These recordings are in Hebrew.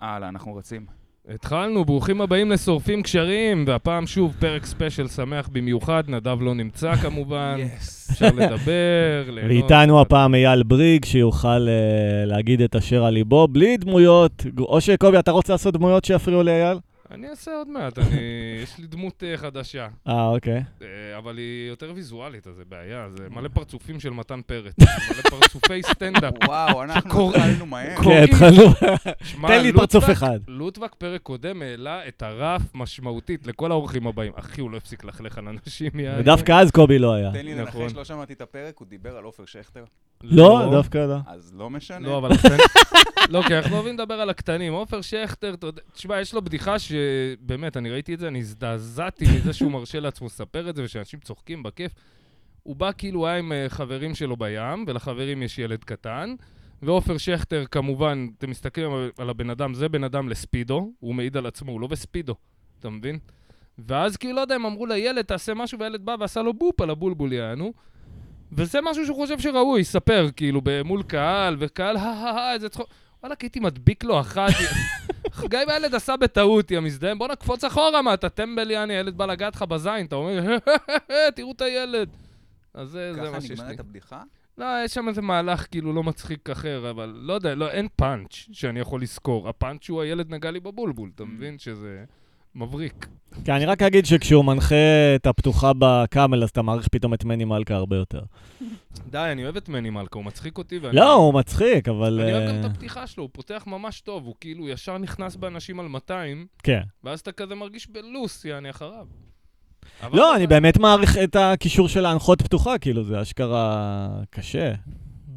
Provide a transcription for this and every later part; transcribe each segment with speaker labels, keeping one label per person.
Speaker 1: הלאה, אנחנו רצים.
Speaker 2: התחלנו, ברוכים הבאים לשורפים קשרים, והפעם שוב פרק ספיישל שמח במיוחד, נדב לא נמצא כמובן,
Speaker 1: יס.
Speaker 2: אפשר לדבר, ליהנות.
Speaker 3: ואיתנו הפעם אייל בריג, שיוכל אה, להגיד את אשר על ליבו, בלי דמויות. או שקובי, אתה רוצה לעשות דמויות שיפריעו לאייל?
Speaker 2: אני אעשה עוד מעט, אני... יש לי דמות אה, חדשה,
Speaker 3: אה, אוקיי.
Speaker 2: אה, אבל היא יותר ויזואלית, אז זה בעיה, זה מלא פרצופים של מתן פרץ, מלא פרצופי סטנדאפ.
Speaker 1: וואו, אנחנו
Speaker 2: שקורא-
Speaker 1: התחלנו מהר.
Speaker 2: קוראים-
Speaker 3: כן, התחלנו.
Speaker 2: שמע,
Speaker 3: תן לי
Speaker 2: לוטבק-
Speaker 3: פרצוף אחד.
Speaker 2: לוטבק פרק קודם העלה את הרף משמעותית לכל האורחים הבאים. אחי, הוא לא הפסיק ללכלך על אנשים, יאללה.
Speaker 3: ודווקא אז קובי לא היה.
Speaker 1: תן לי
Speaker 2: נכון.
Speaker 1: לנחש, לא שמעתי את הפרק, הוא דיבר על עופר שכטר,
Speaker 3: לא, דווקא לא.
Speaker 1: אז לא משנה.
Speaker 2: לא, אבל הקטנים... לא, כי אנחנו אוהבים לדבר על הקטנים. עופר שכטר, אתה יודע... תשמע, יש לו בדיחה שבאמת, אני ראיתי את זה, אני הזדעזעתי מזה שהוא מרשה לעצמו לספר את זה, ושאנשים צוחקים בכיף. הוא בא כאילו היה עם אה, חברים שלו בים, ולחברים יש ילד קטן. ועופר שכטר, כמובן, אתם מסתכלים על- על הבן אדם, זה בן אדם לספידו, הוא מעיד על עצמו, הוא לא בספידו, אתה מבין? ואז כאילו, לא יודע, הם אמרו לילד, תעשה משהו, והילד בא ועשה לו בופ על הבולבול יענו. וזה משהו שהוא חושב שראוי, ספר, כאילו, ב- מול קהל, וקהל, הא הא הא, איזה צחוק. וואלכ, הייתי מדביק לו אחת. גם אם הילד עשה בטעות, יא מזדהם, בוא נקפוץ אחורה, מה, אתה טמבל, יעני, הילד בא לגעת לך בזין, אתה אומר, תראו את הילד. אז זה זה
Speaker 1: ככה
Speaker 2: מה שיש לי.
Speaker 1: נגמרת הבדיחה?
Speaker 2: לא, יש שם איזה מהלך כאילו לא מצחיק אחר, אבל לא יודע, לא, אין פאנץ' שאני יכול לזכור. הפאנץ' הוא הילד נגע לי בבולבול,
Speaker 1: Mm.
Speaker 2: אתה מבין שזה מבריק.
Speaker 3: כן, אני רק אגיד שכשהוא מנחה את הפתוחה בקאמל, אז אתה מעריך פתאום את מני מלכה הרבה יותר.
Speaker 2: די, אני אוהב את מני מלכה, הוא מצחיק אותי. ואני...
Speaker 3: לא, הוא מצחיק, אבל...
Speaker 2: כן. אני אוהב
Speaker 3: אה,
Speaker 2: גם את הפתיחה שלו, הוא פותח ממש טוב, הוא כאילו ישר נכנס באנשים על 200,
Speaker 3: כן.
Speaker 2: ואז אתה כזה מרגיש בלוס, יעני אחריו. אבל-
Speaker 3: לא, אני באמת מעריך את הקישור של ההנחות פתוחה, כאילו, זה אשכרה קשה.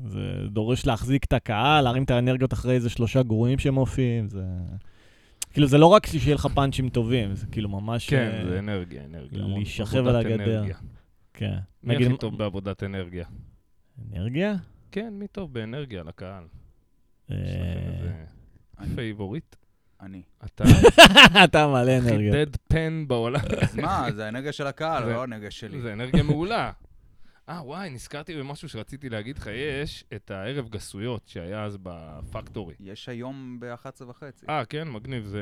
Speaker 3: זה דורש להחזיק את הקהל, להרים את האנרגיות אחרי איזה שלושה גרועים שמופיעים, זה... כאילו, זה לא רק שיהיה לך פאנצ'ים טובים, זה כאילו ממש...
Speaker 2: כן,
Speaker 3: אה,
Speaker 2: זה אנרגיה, אנרגיה. המון
Speaker 3: להישכב
Speaker 2: עבודת
Speaker 3: על הגדר.
Speaker 2: אנרגיה.
Speaker 3: כן.
Speaker 2: מי
Speaker 3: נגיד-
Speaker 2: הכי טוב בעבודת אנרגיה?
Speaker 3: אנרגיה?
Speaker 2: כן, מי טוב באנרגיה לקהל? יש לכם
Speaker 3: אה,
Speaker 2: איזה
Speaker 1: אני-
Speaker 2: פייבוריט?
Speaker 1: אני.
Speaker 2: אתה
Speaker 3: אתה מלא
Speaker 2: הכי
Speaker 3: אנרגיה.
Speaker 2: דד פן בעולם.
Speaker 1: אז מה, זה האנרגיה של הקהל,
Speaker 2: זה-
Speaker 1: לא האנרגיה שלי.
Speaker 2: זה אנרגיה מעולה. אה, וואי, נזכרתי במשהו שרציתי להגיד לך. יש את הערב גסויות שהיה אז בפקטורי.
Speaker 1: יש היום ב-11 וחצי.
Speaker 2: אה, כן, מגניב. זה...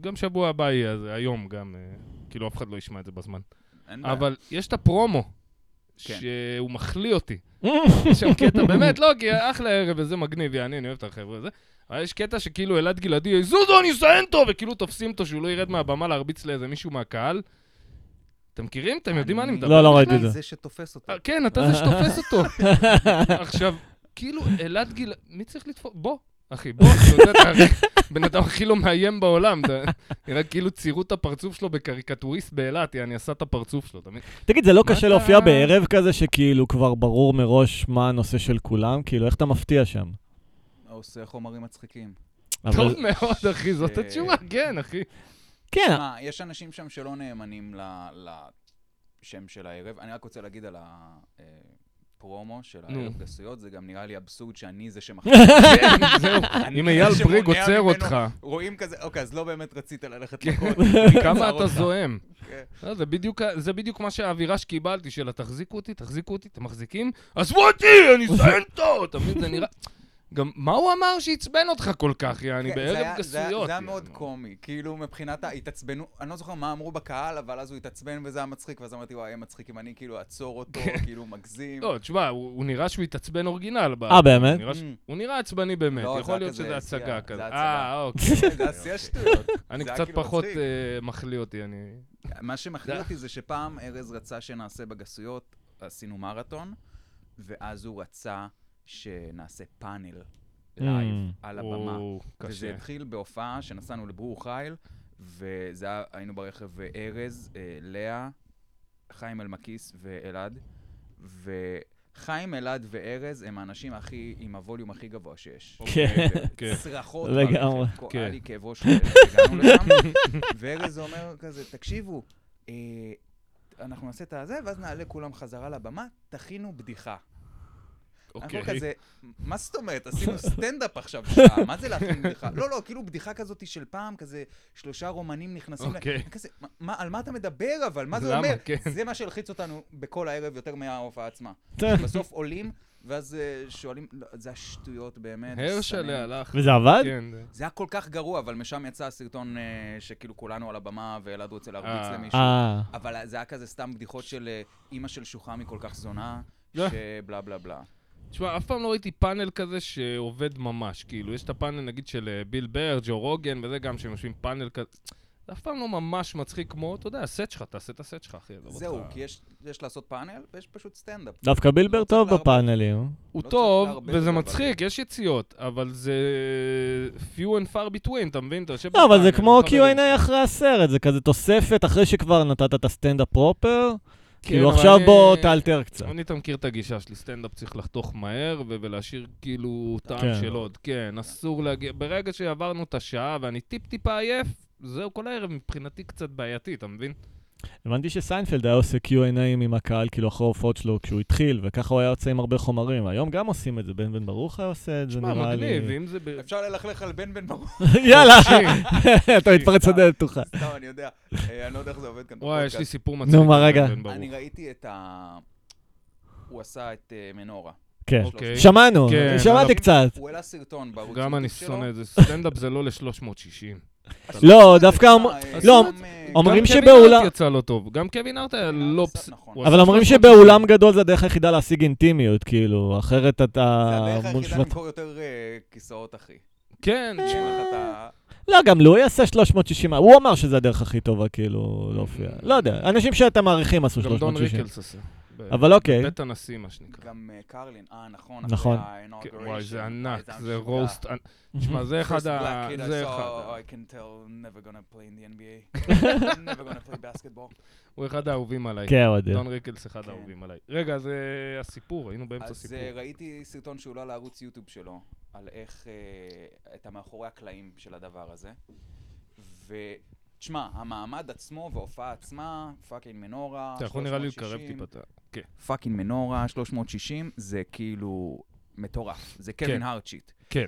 Speaker 2: גם שבוע הבא יהיה, אז היום גם. אה, כאילו, אף אחד לא ישמע את זה בזמן.
Speaker 1: אין בעיה.
Speaker 2: אבל לא יש את הפרומו,
Speaker 1: אה. כן.
Speaker 3: לא
Speaker 2: שהוא מחליא אותי.
Speaker 3: אה,
Speaker 2: יש שם קטע, באמת, לא, כי אחלה ערב, וזה מגניב, יעני, אני אוהב את החבר'ה הזה. אבל יש קטע שכאילו אלעד גלעדי, זוזו, אני אסיים אותו, וכאילו תופסים אותו שהוא לא ירד מהבמה להרביץ לאיזה מישהו מהקהל. אתם מכירים? אתם יודעים מה אני
Speaker 1: אני-
Speaker 2: מדבר?
Speaker 3: לא, לא ראיתי את
Speaker 1: בכלל,
Speaker 3: זה.
Speaker 1: זה שתופס אותו.
Speaker 2: אה, כן, אתה זה שתופס אותו. עכשיו, כאילו, אלעד גיל... מי צריך לתפוס? בוא, אחי, בוא, אתה יודע, אתה הרי בן אדם הכי לא מאיים בעולם. אתה- נראה כאילו ציירו את הפרצוף שלו בקריקטוריסט באילת, יעני, עשה את הפרצוף שלו, אתה מבין?
Speaker 3: תגיד, זה לא
Speaker 2: מה
Speaker 3: קשה
Speaker 2: אתה-
Speaker 3: להופיע בערב כזה שכאילו כבר ברור מראש מה הנושא של כולם? כאילו, איך אתה מפתיע שם?
Speaker 2: אה.
Speaker 1: עושה חומרים מצחיקים.
Speaker 3: אבל...
Speaker 2: טוב מאוד, אחי, זאת
Speaker 1: ש-
Speaker 2: התשובה, כן, אחי.
Speaker 3: כן,
Speaker 1: מה, יש אנשים שם שלא נאמנים ל- לשם של הערב. אני רק רוצה להגיד על הפרומו של
Speaker 2: נו.
Speaker 1: הערב גסויות, זה גם נראה לי אבסורד שאני זה שמחזיק.
Speaker 2: כן, זהו.
Speaker 1: אני
Speaker 2: אם אייל
Speaker 1: שמונע
Speaker 2: בריג עוצר
Speaker 1: ממנו-
Speaker 2: אותך,
Speaker 1: רואים כזה, אוקיי, אז לא באמת רצית
Speaker 2: כן,
Speaker 1: ללכת לקרות.
Speaker 2: כמה
Speaker 1: עצר
Speaker 2: אתה
Speaker 1: אותך.
Speaker 2: זועם.
Speaker 1: כן.
Speaker 2: לא, זה בדיוק ה- זה בדיוק מה שהאווירה שקיבלתי, של התחזיקו אותי, תחזיקו אותי, אתם מחזיקים, עזבו אותי, אני אסיים אותו, אתה מבין, זה נראה... גם מה הוא אמר שעצבן אותך כל כך, יא, אני
Speaker 1: כן, זה
Speaker 2: בערב
Speaker 1: היה- זה היה-
Speaker 2: גסויות.
Speaker 1: זה היה
Speaker 2: יא,
Speaker 1: מאוד
Speaker 2: נו.
Speaker 1: קומי, כאילו מבחינת ההתעצבנות, אני לא זוכר מה אמרו בקהל, אבל אז הוא התעצבן וזה היה מצחיק, ואז אמרתי, וואי, יהיה מצחיק אם אני כאילו אעצור אותו,
Speaker 2: כן.
Speaker 1: כאילו מגזים.
Speaker 2: לא, תשמע, הוא הוא נראה שהוא התעצבן אורגינל. ב-
Speaker 3: אה, באמת?
Speaker 2: הוא נראה ש-
Speaker 1: Mm.
Speaker 2: הוא נראה עצבני באמת,
Speaker 1: לא, זה
Speaker 2: יכול
Speaker 1: היה
Speaker 2: להיות
Speaker 1: כזה
Speaker 2: שזה
Speaker 1: שיא,
Speaker 2: הצגה
Speaker 1: זה
Speaker 2: כזה.
Speaker 1: הצגה.
Speaker 2: אה, אוקיי.
Speaker 1: זה עשייה שטויות.
Speaker 2: אני
Speaker 1: זה היה
Speaker 2: קצת
Speaker 1: כאילו
Speaker 2: פחות
Speaker 1: מצחיק.
Speaker 2: אה, מחליא אותי, אני...
Speaker 1: מה שמחליט
Speaker 2: זה-
Speaker 1: אותי זה שפעם ארז רצה שנעשה בגסויות, עשינו מרתון, ואז הוא רצה שנעשה פאנל לייב
Speaker 3: Mm.
Speaker 1: על הבמה.
Speaker 2: הוא
Speaker 1: וזה
Speaker 2: קשה.
Speaker 1: התחיל בהופעה שנסענו לברור חיל, וזה היה, היינו ברכב אה, ארז, אה, לאה, חיים אלמקיס ואלעד, וחיים, אלעד וארז הם האנשים הכי, עם הווליום הכי גבוה שיש.
Speaker 3: כן.
Speaker 2: כן.
Speaker 1: צרחות.
Speaker 3: לגמרי.
Speaker 1: ברכב, כל-
Speaker 2: כן.
Speaker 1: היה לי כאב ראש, הגענו לשם, וארז אומר כזה, תקשיבו, אה, אנחנו נעשה את הזה, ואז נעלה כולם חזרה לבמה, תכינו בדיחה. אנחנו
Speaker 2: אוקיי.
Speaker 1: כזה, מה זאת אומרת? עשינו סטנדאפ עכשיו שעה, מה זה להכין בדיחה? לא, לא, כאילו בדיחה כזאת של פעם, כזה שלושה רומנים נכנסים... ל-
Speaker 2: אוקיי.
Speaker 1: כזה, "מה- מה- על מה אתה מדבר אבל? מה זה
Speaker 2: למה?
Speaker 1: אומר?
Speaker 2: כן.
Speaker 1: זה מה שהלחיץ אותנו בכל הערב יותר מההופעה עצמה.
Speaker 3: טוב.
Speaker 1: בסוף עולים, ואז אה, שואלים, לא, זה השטויות באמת. סמים.
Speaker 2: הרשלה הלך.
Speaker 3: וזה עבד?
Speaker 2: כן, זה-
Speaker 1: זה היה כל כך גרוע, אבל משם יצא הסרטון אה, שכאילו כולנו על הבמה ואלעד רוצה להרביץ
Speaker 2: אה.
Speaker 1: למישהו.
Speaker 3: אה,
Speaker 1: אבל זה היה כזה סתם בדיחות של אה, אימא של שוחמי כל כך זונה,
Speaker 2: לא.
Speaker 1: שבלה בלה בלה.
Speaker 2: תשמע, אף פעם לא ראיתי פאנל כזה שעובד ממש. כאילו, יש את הפאנל, נגיד, של אה, ביל בר, ג'ו רוגן וזה גם, שהם יושבים פאנל כזה. זה אף פעם לא ממש מצחיק כמו, אתה יודע, הסט שלך, תעשה את הסט שלך, אחי. לא עזוב אותך.
Speaker 1: זהו, כי יש- יש לעשות פאנל ויש פשוט סטנדאפ.
Speaker 3: דווקא בילבר
Speaker 1: לא
Speaker 3: טוב
Speaker 1: צריך
Speaker 3: בפאנלים.
Speaker 2: הוא
Speaker 1: לא
Speaker 2: טוב,
Speaker 1: צריך לערבב
Speaker 2: וזה
Speaker 1: אבל-
Speaker 2: מצחיק, יש יציאות, אבל זה few and far between, אתה מבין? אתה יושב...
Speaker 3: לא, אבל זה
Speaker 2: בפאנל,
Speaker 3: כמו
Speaker 2: עם חברים.
Speaker 3: Q&A אחרי הסרט, זה כזה תוספת אחרי שכבר נתת את הסטנדאפ פרופר.
Speaker 2: כן,
Speaker 3: כאילו
Speaker 2: אבל
Speaker 3: עכשיו
Speaker 2: אני-
Speaker 3: בוא תאלתר קצת.
Speaker 2: אני, אתה מכיר את הגישה שלי, סטנדאפ צריך לחתוך מהר ו- ולהשאיר כאילו טעם
Speaker 3: כן.
Speaker 2: של עוד. כן, אסור להגיע... ברגע שעברנו את השעה ואני טיפ-טיפה עייף, זהו כל הערב מבחינתי קצת בעייתי, אתה מבין?
Speaker 3: הבנתי שסיינפלד היה עושה Q&A עם הקהל, כאילו אחרי ההופעות שלו כשהוא התחיל, וככה הוא היה יוצא עם הרבה חומרים. היום גם עושים את זה, בן בן ברוך היה עושה את זה,
Speaker 2: שמע,
Speaker 3: נראה
Speaker 2: מגניב,
Speaker 3: לי.
Speaker 2: אם זה... ב- כן.
Speaker 1: אפשר ללכלך על בן בן ברוך,
Speaker 3: יאללה,
Speaker 2: חופשי.
Speaker 3: אתה מתפרץ
Speaker 2: אוקיי.
Speaker 3: לדלת פתוחה.
Speaker 1: סתם, אני יודע. אה, אני לא יודע איך זה עובד כאן.
Speaker 2: וואי, יש לי
Speaker 1: בפודקאסט.
Speaker 2: סיפור מצחיק.
Speaker 3: מה,
Speaker 2: עם
Speaker 3: רגע?
Speaker 2: בן ברוך.
Speaker 1: אני ראיתי את ה... הוא עשה את אה, מנורה.
Speaker 3: כן.
Speaker 2: אוקיי.
Speaker 3: שמענו,
Speaker 2: כן,
Speaker 3: שמעתי
Speaker 2: אבל-
Speaker 3: קצת.
Speaker 1: הוא העלה סרטון בערוץ
Speaker 2: גם אני
Speaker 1: יוטיוב שלו.
Speaker 2: שונא את זה, סטנדאפ זה לא ל-360.
Speaker 3: לא, דווקא...
Speaker 1: אה,
Speaker 3: אמ-
Speaker 1: אה,
Speaker 3: לא,
Speaker 1: גם, אה,
Speaker 3: אמ- אומרים
Speaker 2: גם קווין
Speaker 3: שבאולם-
Speaker 2: הארט יצא לא טוב, גם קווין הארט היה
Speaker 1: קווין הארט
Speaker 2: לא
Speaker 1: עשה-
Speaker 2: פס...
Speaker 1: נכון.
Speaker 2: הוא
Speaker 3: אבל
Speaker 2: עשה
Speaker 3: אומרים
Speaker 2: 360.
Speaker 3: שבאולם גדול זה הדרך היחידה להשיג אינטימיות, כאילו, אחרת
Speaker 1: זה
Speaker 3: אתה...
Speaker 1: הדרך היחידה
Speaker 3: מושבת-
Speaker 1: למכור יותר אה, כיסאות, אחי.
Speaker 2: כן,
Speaker 1: שיהיה לך את ה-
Speaker 3: לא, גם לו יעשה 360, הוא אמר שזה הדרך הכי טובה, כאילו, להופיע. לא יודע, אנשים שאתם מעריכים עשו
Speaker 2: אה, גם דון
Speaker 3: 360.
Speaker 2: ריקלס אה, עשה. ב-
Speaker 3: אבל אוקיי.
Speaker 2: בית הנשיא, מה שנקרא.
Speaker 1: גם אה, קרלין, אה, נכון.
Speaker 3: נכון.
Speaker 1: אחרי אה,
Speaker 2: כן,
Speaker 1: ה-inauguration.
Speaker 2: וואי, זה
Speaker 1: וואי,
Speaker 2: ענק,
Speaker 1: היה
Speaker 2: זה
Speaker 1: משוגע.
Speaker 2: רוסט... ענ-
Speaker 3: Mhm.
Speaker 2: תשמע, זה אחד
Speaker 1: First
Speaker 2: ה...
Speaker 1: black kid I
Speaker 2: זה
Speaker 1: saw,
Speaker 2: אחד. ה-
Speaker 1: I can tell, never gonna play in the NBA. I'm never gonna play basketball.
Speaker 2: הוא אחד האהובים עליי.
Speaker 3: כן, אוהדים.
Speaker 2: דון ריקלס אחד
Speaker 1: כן.
Speaker 2: האהובים עליי. רגע, זה הסיפור, היינו באמצע
Speaker 1: אז
Speaker 2: סיפור.
Speaker 1: אה, ראיתי סרטון לא שהועלה לערוץ יוטיוב שלו, על איך... אה, את המאחורי הקלעים של הדבר הזה. ותשמע, המעמד עצמו וההופעה עצמה, פאקינג מנורה,
Speaker 2: אתה יכול נראה לי לקרב
Speaker 1: 360,
Speaker 2: טיפה. את ה- כן.
Speaker 1: פאקינג מנורה, 360, זה כאילו מטורף. זה קווין הרצ'יט.
Speaker 2: כן.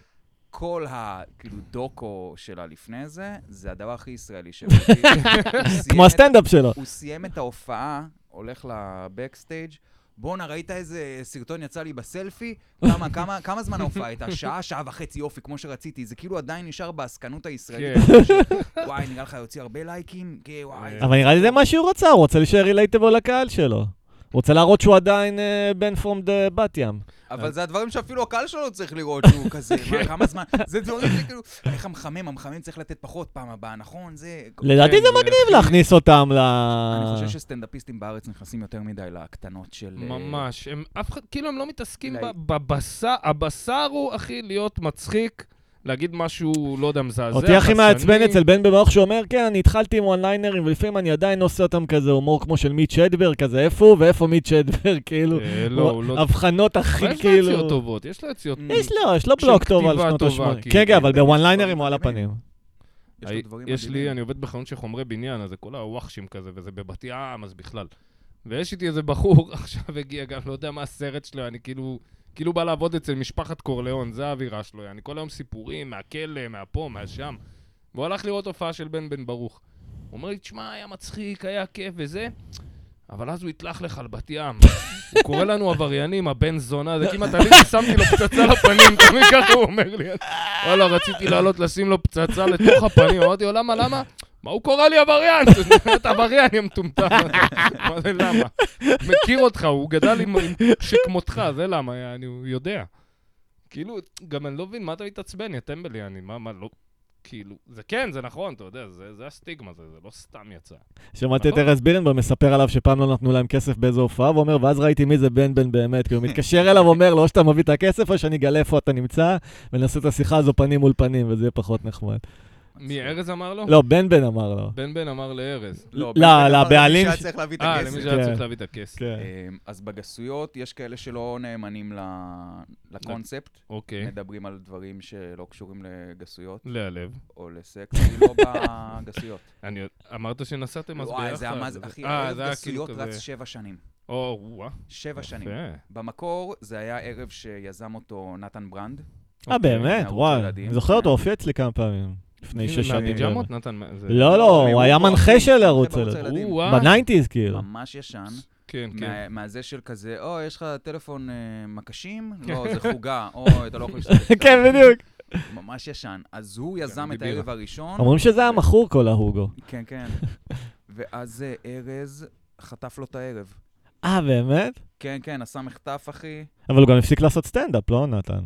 Speaker 1: כל הכאילו דוקו שלה לפני זה, זה הדבר הכי ישראלי שראיתי. הוא סיים
Speaker 3: כמו
Speaker 1: את-
Speaker 3: הסטנדאפ שלו.
Speaker 2: אה.
Speaker 1: הוא סיים את ההופעה, הולך לבקסטייג', בואנה, ראית איזה סרטון יצא לי בסלפי? כמה, כמה, כמה זמן ההופעה הייתה? שעה, שעה וחצי יופי, כמו שרציתי. זה כאילו עדיין נשאר בעסקנות הישראלית. וואי, נראה לך יוציא הרבה לייקים? כן, וואי.
Speaker 2: כן. אבל
Speaker 3: אבל נראה לי זה מה שהוא רוצה, הוא רוצה להישאר רילייטבל לקהל שלו. הוא רוצה להראות שהוא עדיין אה, בן פרום דה בת ים.
Speaker 2: כן.
Speaker 1: אבל זה הדברים שאפילו הקהל שלו לא צריך לראות שהוא כזה, מה, כמה זמן, זה דברים שכאילו, איך המחמם, המחמם צריך לתת פחות פעם הבאה, נכון? זה...
Speaker 3: לדעתי
Speaker 2: כן,
Speaker 3: זה
Speaker 2: זה-
Speaker 3: מגניב להכניס אותם ל...
Speaker 1: אני חושב שסטנדאפיסטים בארץ נכנסים יותר מדי לקטנות של... אה,
Speaker 2: ממש, הם אף אחד, כאילו הם לא מתעסקים
Speaker 1: אולי-
Speaker 2: ב- בבשר, הבשר הוא, אחי, להיות מצחיק, להגיד משהו, לא יודע, מזעזע.
Speaker 3: אותי הכי
Speaker 2: חסני.
Speaker 3: מעצבן אצל בן במוח שאומר, כן, אני התחלתי עם אונליינרים, ולפעמים אני עדיין עושה אותם כזה הומור כמו של מיט שדבר, כזה איפה הוא ואיפה מיט שדבר, כאילו.
Speaker 2: אה, לא, הוא לא...
Speaker 3: הבחנות
Speaker 2: אבל
Speaker 3: הכי
Speaker 2: יש לו יציאות
Speaker 3: כאילו...
Speaker 2: טובות, יש לו יציאות...
Speaker 1: Mm.
Speaker 3: יש לו, יש לו בלוק טוב על
Speaker 2: כתיבה
Speaker 3: שנות
Speaker 2: טובה,
Speaker 3: ה-80.
Speaker 2: כאילו.
Speaker 3: כן, כן, אבל
Speaker 1: יש לו
Speaker 3: בוונליינרים הוא על
Speaker 1: דברים מדהימים.
Speaker 3: הפנים.
Speaker 1: יש לו דברים
Speaker 2: יש לי,
Speaker 1: מדהימים.
Speaker 2: אני עובד בחנות של חומרי בניין, אז זה כל הוואחשים כזה, וזה בבת ים, אז בכלל. ויש איתי איזה בחור, עכשיו הגיע גם, לא יודע מה הסרט שלו, אני כאילו... כאילו בא לעבוד אצל משפחת קורליאון, זה האווירה שלו, אני כל היום סיפורים מהכלא, מהפה, מהשם. והוא הלך לראות הופעה של בן בן ברוך. הוא אומר לי, תשמע, היה מצחיק, היה כיף וזה, אבל אז הוא התלך לך על בת ים. הוא קורא לנו עבריינים, הבן זונה, זה כמעט אני ששמתי לו פצצה לפנים, תמיד ככה הוא אומר לי. וואלה, רציתי לעלות לשים לו פצצה לתוך הפנים, אמרתי לו, למה, למה? מה הוא קורא לי עבריין? אתה עבריין, יא מטומטם. מה זה למה? מכיר אותך, הוא גדל עם עם שכמותך, זה למה, יא, אני הוא יודע. כאילו, גם אני לא מבין, מה אתה מתעצבן, יא טמבל, יא, אני, מה, מה, לא... כאילו, זה כן, זה נכון, אתה יודע, זה, זה הסטיגמה, זה, זה לא סתם יצא.
Speaker 3: שמעתי את
Speaker 2: נכון.
Speaker 3: ארז בירנבוים מספר עליו שפעם לא נתנו להם כסף באיזו הופעה, והוא אומר, ואז ראיתי מי זה בן בן באמת, כי הוא מתקשר אליו, אומר לו, או שאתה מביא את הכסף, או שאני אגלה איפה אתה נמצא, ונעשה את השיחה הזו פנים מול פנים, וזה יהיה פחות נחמד.
Speaker 2: מי, ארז אמר לו?
Speaker 3: לא, בן בן אמר לו.
Speaker 2: בן בן אמר לארז.
Speaker 1: אוקיי. לא,
Speaker 3: לא,
Speaker 1: בן-
Speaker 3: לא,
Speaker 1: אבל
Speaker 3: הבעלים
Speaker 1: למי שהיה
Speaker 3: ש-
Speaker 1: צריך להביא את
Speaker 2: אה, למי
Speaker 1: הכסף.
Speaker 2: שהיה
Speaker 3: כן.
Speaker 2: צריך להביא את הכסף.
Speaker 3: כן.
Speaker 1: אמ, אז בגסויות, יש כאלה שלא נאמנים ל- לקונספט,
Speaker 2: אוקיי.
Speaker 1: מדברים על דברים שלא קשורים לגסויות
Speaker 2: להלב.
Speaker 1: או לסקס, אני לא בגסויות.
Speaker 2: אני עוד- אמרת שנסעתם אז ביחד.
Speaker 1: וואי, זה המאז,
Speaker 2: אז-
Speaker 1: אחי,
Speaker 2: אה,
Speaker 1: ערב
Speaker 2: זה היה
Speaker 1: גסויות
Speaker 2: כאילו
Speaker 1: רץ
Speaker 2: כזה-
Speaker 1: שבע שנים.
Speaker 2: או, וואה.
Speaker 1: שבע שנים.
Speaker 3: אה,
Speaker 2: יפה.
Speaker 1: במקור זה היה ערב שיזם אותו נתן ברנד.
Speaker 2: אוקיי.
Speaker 3: אה, באמת?
Speaker 1: מערוץ
Speaker 3: וואי,
Speaker 1: אוקיי, ילדים. כן.
Speaker 3: אני זוכר אותו, הופיע אצלי כמה פעמים. לפני שש שנים.
Speaker 2: מהפיג'מות, נתן? מה- זה-
Speaker 3: לא, לא, הוא
Speaker 1: הוא
Speaker 3: היה
Speaker 1: מופיע
Speaker 3: מנחה של
Speaker 1: בערוץ
Speaker 3: ערוץ
Speaker 1: הילדים.
Speaker 3: הילדים.
Speaker 2: או, וואו.
Speaker 3: בניינטיז, כאילו.
Speaker 1: ממש ישן.
Speaker 2: כן, כן.
Speaker 1: מה- מהזה של כזה, או, יש לך טלפון אה, מקשים? לא,
Speaker 2: כן.
Speaker 1: זה חוגה, או, אתה לא יכול להשתמש.
Speaker 3: כן, בדיוק.
Speaker 1: ממש ישן. אז הוא יזם
Speaker 2: אני
Speaker 1: את
Speaker 2: בירה.
Speaker 1: הערב הראשון.
Speaker 3: אומרים שזה היה מכור כל ההוגו.
Speaker 1: כן, כן. ואז אה, ארז חטף לו את הערב.
Speaker 3: אה, באמת?
Speaker 1: כן, כן, עשה מחטף, אחי.
Speaker 3: אבל הוא גם הפסיק לעשות סטנדאפ, לא, נתן?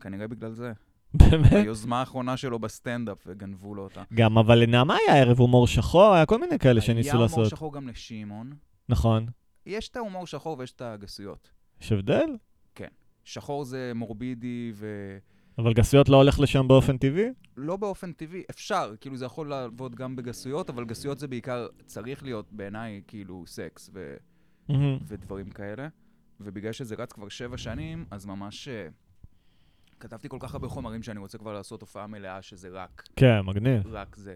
Speaker 1: כנראה בגלל זה.
Speaker 3: באמת?
Speaker 1: היוזמה האחרונה שלו בסטנדאפ, וגנבו לו אותה.
Speaker 3: גם, אבל לנעמה היה ערב הומור שחור, היה כל מיני כאלה שניסו
Speaker 1: היה הומור
Speaker 3: לעשות.
Speaker 1: שחור גם לשמעון.
Speaker 3: נכון.
Speaker 1: יש את ההומור שחור ויש את הגסויות.
Speaker 3: יש הבדל?
Speaker 1: שחור זה מורבידי ו...
Speaker 3: אבל גסויות לא הולך לשם באופן טבעי?
Speaker 1: לא באופן טבעי, אפשר, כאילו זה יכול לעבוד גם בגסויות, אבל גסויות זה בעיקר צריך להיות בעיניי כאילו סקס ו...
Speaker 3: מהמם.
Speaker 1: ודברים כאלה. ובגלל שזה רץ כבר שבע שנים, אז ממש אה, כתבתי כל כך הרבה חומרים שאני רוצה כבר לעשות הופעה מלאה, שזה רק,
Speaker 3: כן, מגניב.
Speaker 1: רק זה.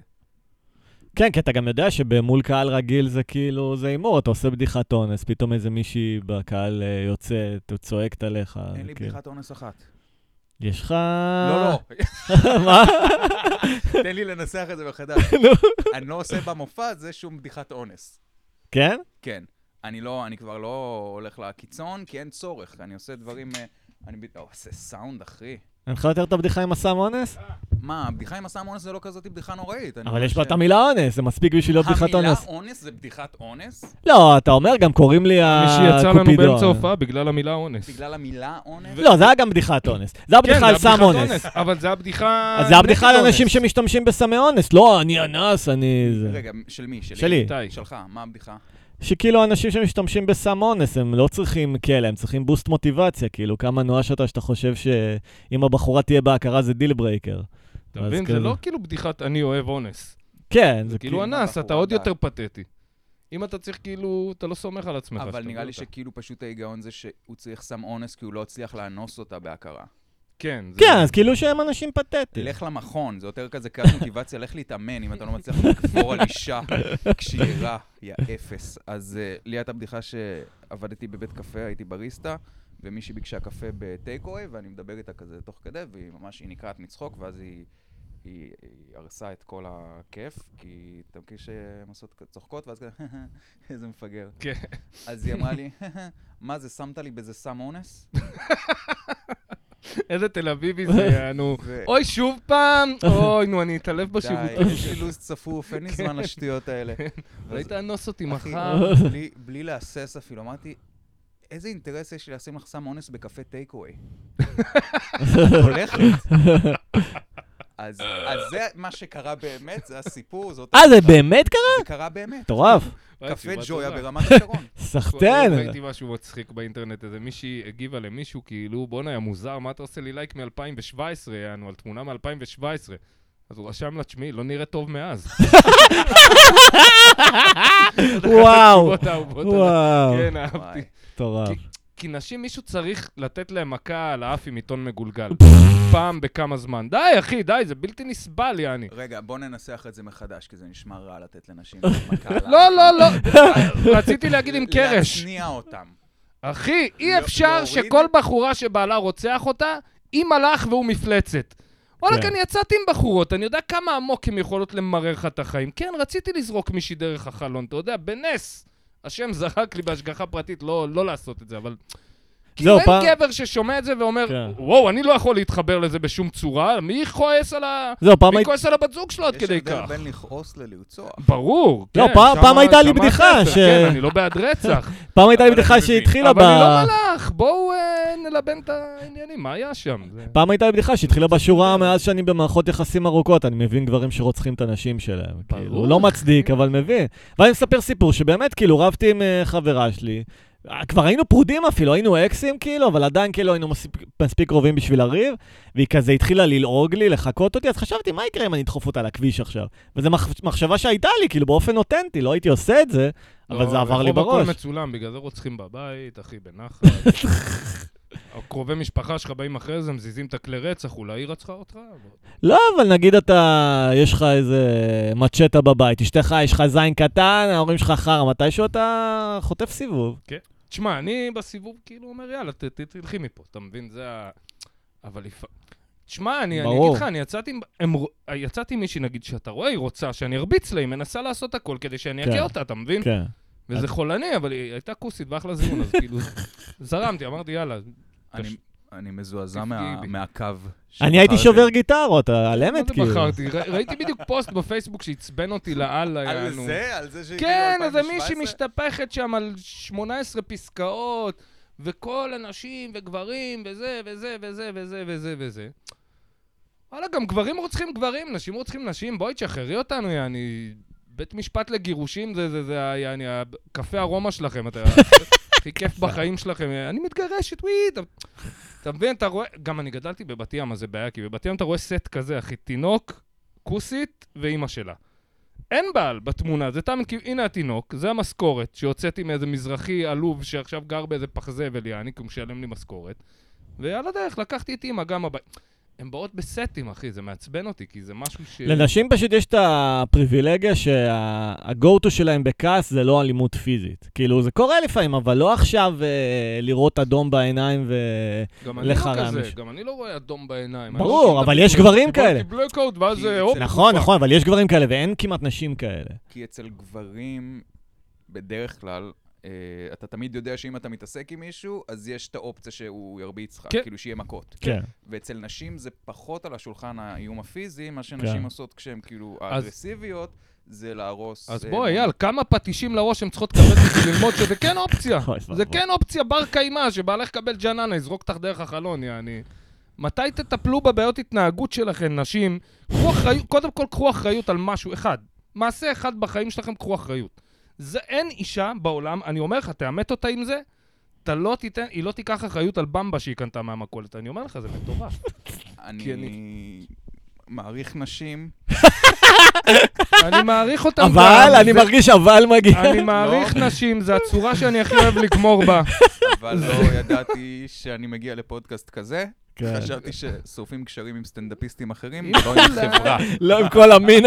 Speaker 3: כן, כי אתה גם יודע שבמול קהל רגיל זה כאילו, זה הימור, אתה עושה בדיחת אונס, פתאום איזה מישהי בקהל אה, יוצאת, או צועקת עליך.
Speaker 1: אין לי
Speaker 3: כאילו.
Speaker 1: בדיחת אונס אחת.
Speaker 3: יש לך...
Speaker 1: לא, לא,
Speaker 3: אה. מה?
Speaker 1: תן לי לנסח את זה מחדש. אני לא עושה במופע הזה שום בדיחת אונס.
Speaker 3: כן?
Speaker 1: כן. אני לא, אני כבר לא הולך לקיצון, כי אין צורך. אני עושה דברים... אה, אני ב- לא, זה סאונד, אחי.
Speaker 3: אין לך יותר את הבדיחה עם הסם אונס?
Speaker 1: מה, הבדיחה עם הסם אונס זה לא כזאת בדיחה נוראית. אני
Speaker 3: אבל
Speaker 1: אומר
Speaker 3: יש
Speaker 1: ש-
Speaker 3: בה את המילה אונס, זה מספיק בשביל להיות לא בדיחת אונס.
Speaker 1: לא המילה אונס זה בדיחת אונס?
Speaker 3: לא, אתה אומר, גם קוראים לי
Speaker 2: מי
Speaker 3: הקופידון.
Speaker 2: שיצא לנו באמצע ההופעה בגלל המילה אונס.
Speaker 1: בגלל המילה אונס?
Speaker 3: לא, זה היה גם בדיחת אונס. זה היה
Speaker 2: כן, זה
Speaker 3: בדיחה על
Speaker 2: היה
Speaker 3: סם
Speaker 2: בדיחת
Speaker 3: אונס.
Speaker 2: אבל זה הבדיחה...
Speaker 3: אז זה היה בדיחה על
Speaker 2: נגד
Speaker 3: אנשים
Speaker 2: אונס.
Speaker 3: שמשתמשים בסמי אונס. לא, אני אנס, אני... זה.
Speaker 1: רגע, של מי? שלי?
Speaker 3: שלי.
Speaker 2: איתי.
Speaker 1: שלך, מה הבדיחה?
Speaker 3: שכאילו אנשים שמשתמשים בסם אונס, הם לא צריכים כלא, הם צריכים בוסט מוטיבציה, כאילו, כמה נואש אתה שאתה חושב שאם הבחורה תהיה בהכרה זה דיל ברייקר.
Speaker 2: אתה
Speaker 3: אז
Speaker 2: מבין? זה
Speaker 3: כזה.
Speaker 2: לא כאילו בדיחת אני אוהב אונס.
Speaker 3: כן,
Speaker 2: זה
Speaker 3: זה
Speaker 2: כאילו
Speaker 1: כאילו
Speaker 2: אנס, אתה
Speaker 1: הבחורה
Speaker 2: עוד
Speaker 1: די.
Speaker 2: יותר פתטי. אם אתה צריך כאילו, אתה לא סומך על עצמך.
Speaker 1: אבל
Speaker 2: שאתה
Speaker 1: נראה לי
Speaker 2: יודע אותה.
Speaker 1: שכאילו פשוט ההיגיון זה שהוא צריך סם אונס כי הוא לא הצליח לאנוס אותה בהכרה.
Speaker 2: כן. זה-
Speaker 3: כן, אז כאילו שהם אנשים פתטיים.
Speaker 1: לך למכון, זה יותר כזה קרב מוטיבציה, לך להתאמן אם אתה לא מצליח לקבור על אישה כשהיא ערה, יא אפס. אז אה, לי הייתה בדיחה שעבדתי בבית קפה, הייתי בריסטה, ומישהי ביקשה קפה בטייק אווי, ואני מדבר איתה כזה תוך כדי, והיא ממש, היא נקרעת מצחוק, ואז היא... היא, היא הרסה את כל הכיף, כי אתה מכיר שהן עושות כ- צוחקות, ואז כזה, איזה מפגר.
Speaker 2: כן.
Speaker 1: אז היא אמרה לי, מה זה, שמת לי בזה סם אונס?
Speaker 2: איזה תל אביבי זה, היה, נו.
Speaker 1: ו-
Speaker 2: אוי, שוב פעם? אוי, נו, אני אתעלב
Speaker 1: די,
Speaker 2: בשירותים.
Speaker 1: יש לי לו"ז צפוף, אין לי זמן לשטויות האלה. ואז-
Speaker 2: אולי תאנוס אותי
Speaker 1: אחי,
Speaker 2: מחר.
Speaker 1: בלי- בלי להסס אפילו, אמרתי, איזה אינטרס יש לי לשים לך סם אונס בקפה טייקווי? הולכת. אז אז זה מה שקרה באמת, זה הסיפור, זאת...
Speaker 3: אה, זה באמת קרה?
Speaker 1: זה קרה באמת.
Speaker 3: מטורף.
Speaker 1: קפה
Speaker 2: ראיתי,
Speaker 1: ג'ויה
Speaker 2: בטוח.
Speaker 1: ברמת השרון.
Speaker 3: סחטיין.
Speaker 2: ראיתי משהו מצחיק באינטרנט, איזה מישהי הגיבה למישהו, כאילו, בואנה, יא מוזר, מה אתה עושה לי לייק מ-2017, יענו, על תמונה מ-2017. אז הוא רשם לה, תשמעי, לא נראה טוב מאז.
Speaker 3: וואו.
Speaker 2: התגובות האהובות עליי.
Speaker 3: וואו.
Speaker 2: כן,
Speaker 1: וואי.
Speaker 2: אהבתי.
Speaker 3: מטורף.
Speaker 2: כי נשים, מישהו צריך לתת להם מכה על האף עם עיתון מגולגל. פעם בכמה זמן. די, אחי, די, זה בלתי נסבל, יעני.
Speaker 1: רגע, בוא ננסח את זה מחדש, כי זה נשמע רע לתת לנשים מכה על
Speaker 2: לא,
Speaker 1: האף.
Speaker 2: לא, לא. רציתי להגיד עם קרש.
Speaker 1: להצניע אותם.
Speaker 2: אחי, אי
Speaker 1: לא-
Speaker 2: אפשר
Speaker 1: להוריד?
Speaker 2: שכל בחורה שבעלה רוצח אותה, היא מלאך והוא מפלצת. וואלכ,
Speaker 3: כן.
Speaker 2: אני יצאתי עם בחורות, אני יודע כמה עמוק הן יכולות למרר לך את החיים. כן, רציתי לזרוק מישהי דרך החלון, אתה יודע, בנס. השם זרק לי בהשגחה פרטית לא, לא לעשות את זה, אבל... כאילו
Speaker 3: זהו,
Speaker 2: אין
Speaker 3: פעם-
Speaker 2: גבר ששומע את זה ואומר,
Speaker 3: כן.
Speaker 2: וואו, אני לא יכול להתחבר לזה בשום צורה, מי כועס על, ה...
Speaker 3: זהו, פעם
Speaker 2: מי
Speaker 3: הייתה...
Speaker 2: כועס על הבת זוג שלו עד
Speaker 1: יש
Speaker 2: כדי
Speaker 1: הבדל
Speaker 2: כך?
Speaker 1: בין לכעוס ללרצוח.
Speaker 2: ברור, כן.
Speaker 3: לא, פעם-
Speaker 2: שמה-
Speaker 3: פעם הייתה לי
Speaker 2: שמה
Speaker 3: בדיחה
Speaker 2: הספר,
Speaker 3: ש-
Speaker 2: כן, אני לא בעד רצח.
Speaker 3: פעם הייתה לי
Speaker 1: אבל אני
Speaker 3: בדיחה
Speaker 1: מבין.
Speaker 3: שהתחילה ב...
Speaker 2: אבל היא לא מלאך, בואו אה, נלבן את העניינים, מה היה שם? כן. זה-
Speaker 3: פעם הייתה לי בדיחה שהתחילה בשורה מאז שאני במערכות יחסים ארוכות, אני מבין גברים שרוצחים את הנשים שלהם.
Speaker 2: ברור.
Speaker 3: כאילו, לא מצדיק, אבל מבין. ואני מספר סיפור שבאמת, כאילו, רבתי עם אה, חברה שלי. אה, כבר היינו פרודים אפילו, היינו אקסים כאילו, אבל עדיין כאילו היינו מספיק- מספיק קרובים בשביל לריב, והיא כזה התחילה ללעוג לי, לחקות אותי, אז חשבתי, מה יקרה אם אני אדחוף אותה לכביש עכשיו? וזו מח- מחשבה שהייתה לי, כאילו, באופן אותנטי, לא הייתי עושה את זה, אבל
Speaker 2: לא,
Speaker 3: זה עבר לי
Speaker 2: ברחוב
Speaker 3: בראש.
Speaker 2: הכל מצולם, בגלל זה רוצחים בבית, אחי, בנחת. קרובי משפחה שלך באים אחרי זה, מזיזים את הכלי רצח, אולי היא רצחה אותך? אבל-
Speaker 3: לא, אבל נגיד אתה, יש לך איזה מצ'טה בבית, אשתך, יש לך זין קטן, ההורים שלך חרא, מתישהו אתה חוטף סיבוב.
Speaker 2: תשמע, אני בסיבוב כאילו אומר, יאללה, ת- ת- תלכי מפה, אתה מבין? זה ה... אבל לפ... תשמע, אני, אני
Speaker 3: ברור.
Speaker 2: אגיד לך, אני יצאתי עם הם ר- יצאתי עם מישהי, נגיד, שאתה רואה, היא רוצה שאני ארביץ לה, היא מנסה לעשות הכל כדי שאני
Speaker 3: כן.
Speaker 2: אכה אותה, אתה מבין?
Speaker 3: כן.
Speaker 2: וזה חולני, אבל היא הייתה כוסית ואחלה זיון, אז כאילו זרמתי, אמרתי, יאללה.
Speaker 1: אני-
Speaker 2: קש-
Speaker 1: אני מזועזע
Speaker 2: תפגעי
Speaker 1: מה-
Speaker 2: בי.
Speaker 1: מהקו.
Speaker 3: אני הייתי
Speaker 1: שבחרתם.
Speaker 3: שובר גיטרות, על
Speaker 2: מה
Speaker 3: אמת
Speaker 2: זה
Speaker 3: כאילו.
Speaker 2: בחרתי? ר- ראיתי בדיוק פוסט בפייסבוק שעצבן אותי לאללה,
Speaker 1: על
Speaker 2: יענו.
Speaker 1: זה? כאילו, על זה שהגיעו
Speaker 2: כן, איזה
Speaker 1: 2017?
Speaker 2: מישהי משתפכת שם על 18 פסקאות, וכל הנשים וגברים, וזה, וזה, וזה, וזה, וזה, וזה. וואלה, גם גברים רוצחים גברים, נשים רוצחים נשים, בואי תשחררי אותנו, יעני. בית משפט לגירושים זה, זה, זה, ה- יעני, הקפה הרומא שלכם, אתה... הכי כיף בחיים שלכם, אני מתגרשת, וואי, אתה... אתה מבין, אתה רואה, גם אני גדלתי בבת ים, אז זה בעיה, כי בבת ים אתה רואה סט כזה, אחי, תינוק, כוסית ואימא שלה. אין בעל בתמונה, זה תמיד כאילו, הנה התינוק, זה המשכורת שהוצאתי מאיזה מזרחי עלוב שעכשיו גר באיזה פח זבל, יעני, כי הוא משלם לי משכורת. ועל הדרך לקחתי את אימא גם הבית. הן באות בסטים, אחי, זה מעצבן אותי, כי זה משהו ש...
Speaker 3: לנשים פשוט יש את הפריבילגיה שה-go-to שלהם בכעס זה לא אלימות פיזית. כאילו, זה קורה לפעמים, אבל לא עכשיו אה, לראות אדום בעיניים ו...
Speaker 2: גם אני לא
Speaker 3: לחרם
Speaker 2: כזה,
Speaker 3: יש.
Speaker 2: גם אני לא רואה אדום בעיניים.
Speaker 3: ברור,
Speaker 2: אני לא
Speaker 3: אבל
Speaker 2: רואה
Speaker 3: יש
Speaker 2: את
Speaker 3: גברים
Speaker 2: הקיבלתי
Speaker 3: כאלה.
Speaker 2: בלקאוט, ואז
Speaker 1: כי
Speaker 2: אה,
Speaker 1: אצל-
Speaker 2: הופ,
Speaker 3: נכון,
Speaker 1: תקופה.
Speaker 3: נכון, אבל יש גברים כאלה, ואין כמעט נשים כאלה.
Speaker 1: כי אצל גברים, בדרך כלל, אה, אתה תמיד יודע שאם אתה מתעסק עם מישהו, אז יש את האופציה שהוא ירביץ לך,
Speaker 2: כן.
Speaker 1: כאילו שיהיה מכות.
Speaker 3: כן.
Speaker 1: ואצל נשים זה פחות על השולחן האיום הפיזי, מה שנשים
Speaker 3: כן.
Speaker 1: עושות כשהן כאילו
Speaker 2: אז-
Speaker 1: אגרסיביות, זה להרוס...
Speaker 2: אז
Speaker 1: אה,
Speaker 2: בוא,
Speaker 1: מון-
Speaker 3: לא-
Speaker 2: אייל, כמה פטישים לראש הם צריכות לקבל בשביל ללמוד שזה כן אופציה?
Speaker 3: אוי,
Speaker 2: זה
Speaker 3: ואבוי.
Speaker 2: כן אופציה בר קיימא, שבעלך לקבל ג'ננה, יזרוק אותך דרך החלון, יעני. מתי תטפלו בבעיות התנהגות שלכן, נשים? קחו אחריות, קודם כל קחו אחריות על משהו אחד. מעשה אחד בחיים שלכם, קחו אחריות. זה אין אישה בעולם, אני אומר לך, תעמת אותה עם זה, אתה לא תיתן, היא לא תיקח אחריות על במבה שהיא קנתה מהמכולת. אני אומר לך, זה מטורף. כי
Speaker 1: אני מעריך נשים.
Speaker 2: אני מעריך אותם.
Speaker 3: אבל,
Speaker 2: גם,
Speaker 3: אני
Speaker 2: זה-
Speaker 3: מרגיש לא. אבל מגיע.
Speaker 2: אני מעריך נשים, זו הצורה שאני הכי אוהב לגמור בה.
Speaker 1: אבל לא ידעתי שאני מגיע לפודקאסט כזה.
Speaker 3: כן.
Speaker 1: חשבתי ששורפים קשרים עם סטנדאפיסטים אחרים,
Speaker 2: אם
Speaker 1: לא עם
Speaker 2: כולם-
Speaker 1: חברה.
Speaker 3: לא עם כל המין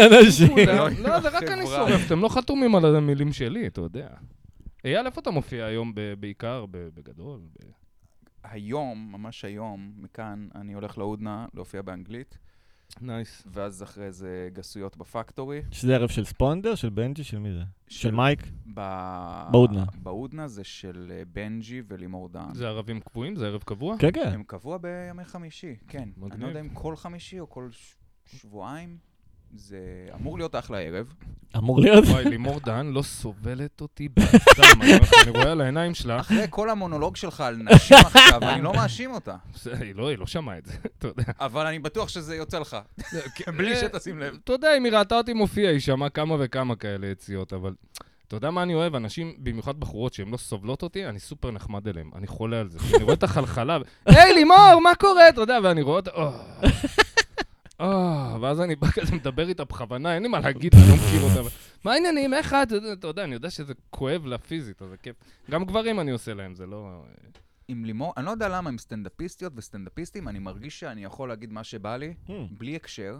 Speaker 3: אנשים.
Speaker 1: לא,
Speaker 2: כולם- לא, זה רק אני
Speaker 1: חברה.
Speaker 2: שורף, אתם לא חתומים על המילים שלי, אתה יודע. אייל, איפה אתה מופיע היום ב- בעיקר, ב- בגדול? ב-
Speaker 1: היום, ממש היום, מכאן, אני הולך להודנה להופיע באנגלית,
Speaker 2: נייס.
Speaker 1: ואז אחרי זה גסויות בפקטורי.
Speaker 3: שזה ערב של ספונדר? של בנג'י? של מי זה? של
Speaker 1: של-
Speaker 3: מייק? כן,
Speaker 1: ב...
Speaker 3: בהודנה.
Speaker 1: בהודנה זה של אה, בנג'י ולימור דהן.
Speaker 2: זה ערבים קבועים? זה ערב קבוע?
Speaker 3: כן, כן.
Speaker 1: הם קבוע בימי חמישי, כן. מגניב. אני
Speaker 2: מגניב.
Speaker 1: לא יודע אם כל חמישי או כל ש... שבועיים. זה אמור להיות אחלה ערב.
Speaker 3: אמור להיות.
Speaker 2: וואי, לימור דהן לא סובלת אותי בדם, אני אומר לך, אני רואה על העיניים שלה,
Speaker 1: אחרי כל המונולוג שלך על נשים עכשיו, אני לא מאשים אותה.
Speaker 2: זה- היא לא- היא לא שמעה את זה, אתה יודע. אה,
Speaker 1: אבל אני בטוח שזה יוצא לך, כן, אה, בלי שתשים לב.
Speaker 2: אתה יודע, אם היא ראתה אותי מופיע, היא שמעה כמה וכמה כאלה יציאות, אבל... אתה יודע מה אני אוהב? אנשים, במיוחד בחורות שהן לא סובלות אותי, אני סופר נחמד אליהן, אני חולה על זה. אני רואה את החלחלה, ו- היי, לימור, מה קורה? אתה יודע, ואני רואה אותה, "אה." אה, ואז אני בא כזה מדבר איתה בכוונה, אין לי מה להגיד, אני לא מכיר אותה. אבל, מה העניינים, איך את? אתה יודע, אני יודע שזה כואב לה פיזית, אז זה כיף. גם גברים אני עושה להם, זה לא...
Speaker 1: עם לימור, אני לא יודע למה, עם סטנדאפיסטיות וסטנדאפיסטים, אני מרגיש שאני יכול להגיד מה שבא לי,
Speaker 3: Hmm.
Speaker 1: בלי הקשר,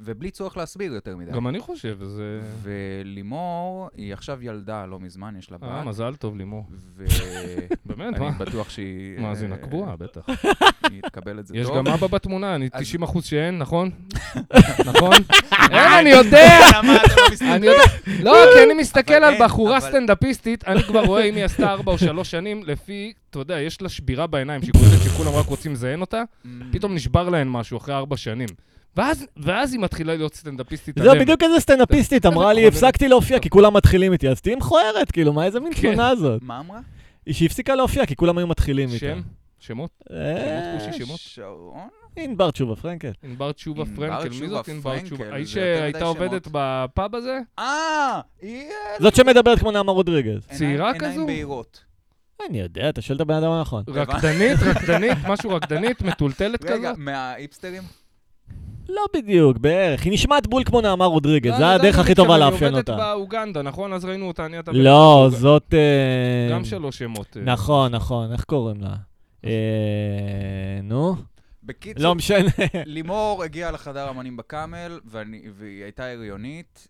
Speaker 1: ובלי צורך להסביר יותר מדי.
Speaker 2: גם אני חושב, זה...
Speaker 1: ולימור, היא עכשיו ילדה לא מזמן, יש לה
Speaker 2: אה,
Speaker 1: בת,
Speaker 2: מזל טוב, לימור.
Speaker 1: ואני
Speaker 2: באמת, מה?
Speaker 1: בטוח שהיא...
Speaker 2: מאזינה
Speaker 1: אה,
Speaker 2: קבועה, בטח.
Speaker 1: היא תקבל את זה
Speaker 2: יש
Speaker 1: טוב.
Speaker 2: גם אבא בתמונה, אני
Speaker 1: אז-
Speaker 2: 90 אחוז שאין, נכון? נכון? אין, אני יודע!
Speaker 1: אה, למה אתם לא מסתכלים?
Speaker 2: אני יודע. לא, כי אני מסתכל
Speaker 1: אבל
Speaker 2: על
Speaker 1: אין,
Speaker 2: בחורה
Speaker 1: אבל-
Speaker 2: סטנדאפיסטית, אני כבר רואה אם היא עשתה ארבע או שלוש שנים, לפי, אתה יודע, יש לה שבירה בעיניים שכוללת שכולם רק רוצים לזיין אותה,
Speaker 1: Mm.
Speaker 2: פתאום נשבר להן משהו אחרי ארבע שנים. ואז- ואז היא מתחילה להיות סטנדאפיסטית.
Speaker 3: זהו,
Speaker 2: עליהם.
Speaker 3: בדיוק איזה סטנדאפיסטית אמרה לי, הפסקתי להופיע כי כולם מתחילים איתי, אז תהיי מכוערת, כאילו, מה איזה מין
Speaker 2: כן.
Speaker 3: תמונה זאת?
Speaker 1: מה אמרה?
Speaker 3: היא שהפסיקה להופיע כי כולם היו מתחילים איתה.
Speaker 2: שם? כן, שמות?
Speaker 3: אה,
Speaker 2: שמות, שמות?
Speaker 1: שרון?
Speaker 3: ענבר תשובה פרנקל.
Speaker 2: ענבר תשובה
Speaker 1: ענבר
Speaker 2: פרנקל. מי
Speaker 1: תשובה
Speaker 2: זאת ענבר
Speaker 1: פרנקל?
Speaker 2: תשובה?
Speaker 1: זה
Speaker 2: האיש
Speaker 1: יותר מדי
Speaker 2: שהייתה
Speaker 1: שמות.
Speaker 2: עובדת בפאב הזה?
Speaker 1: אה, היא... אה,
Speaker 2: לא
Speaker 3: זאת שמדברת כמו נעמה רודריגז.
Speaker 2: צעירה
Speaker 1: עיניים-
Speaker 2: כזו?
Speaker 1: עיניים בהירות.
Speaker 3: אני יודע, אתה שואל את הבן אדם הנכון.
Speaker 1: הבנתי.
Speaker 2: רקדנית, רקדנית, משהו רקדנית, מטולטלת
Speaker 1: רגע,
Speaker 2: כזאת?
Speaker 1: מהאיפסטרים?
Speaker 3: לא בדיוק, בערך. היא נשמעת בול כמו נעמה רודריגז,
Speaker 2: לא,
Speaker 3: זה
Speaker 2: אני יודע
Speaker 3: הדרך
Speaker 2: בדיוק
Speaker 3: הכי טובה
Speaker 2: שאני
Speaker 3: לאפיין
Speaker 2: עובדת
Speaker 3: אותה.
Speaker 2: באוגנדה, נכון? אז ראינו אותה, אני אתה...
Speaker 3: לא,
Speaker 2: באוגנדה.
Speaker 3: זאת... אה,
Speaker 2: גם שלוש שמות. אה,
Speaker 3: נכון, נכון, איך קוראים לה? אה, נו,
Speaker 1: בקיצור,
Speaker 3: לא משנה.
Speaker 1: לימור הגיעה לחדר אמנים בקאמל, ואני- והיא הייתה הריונית,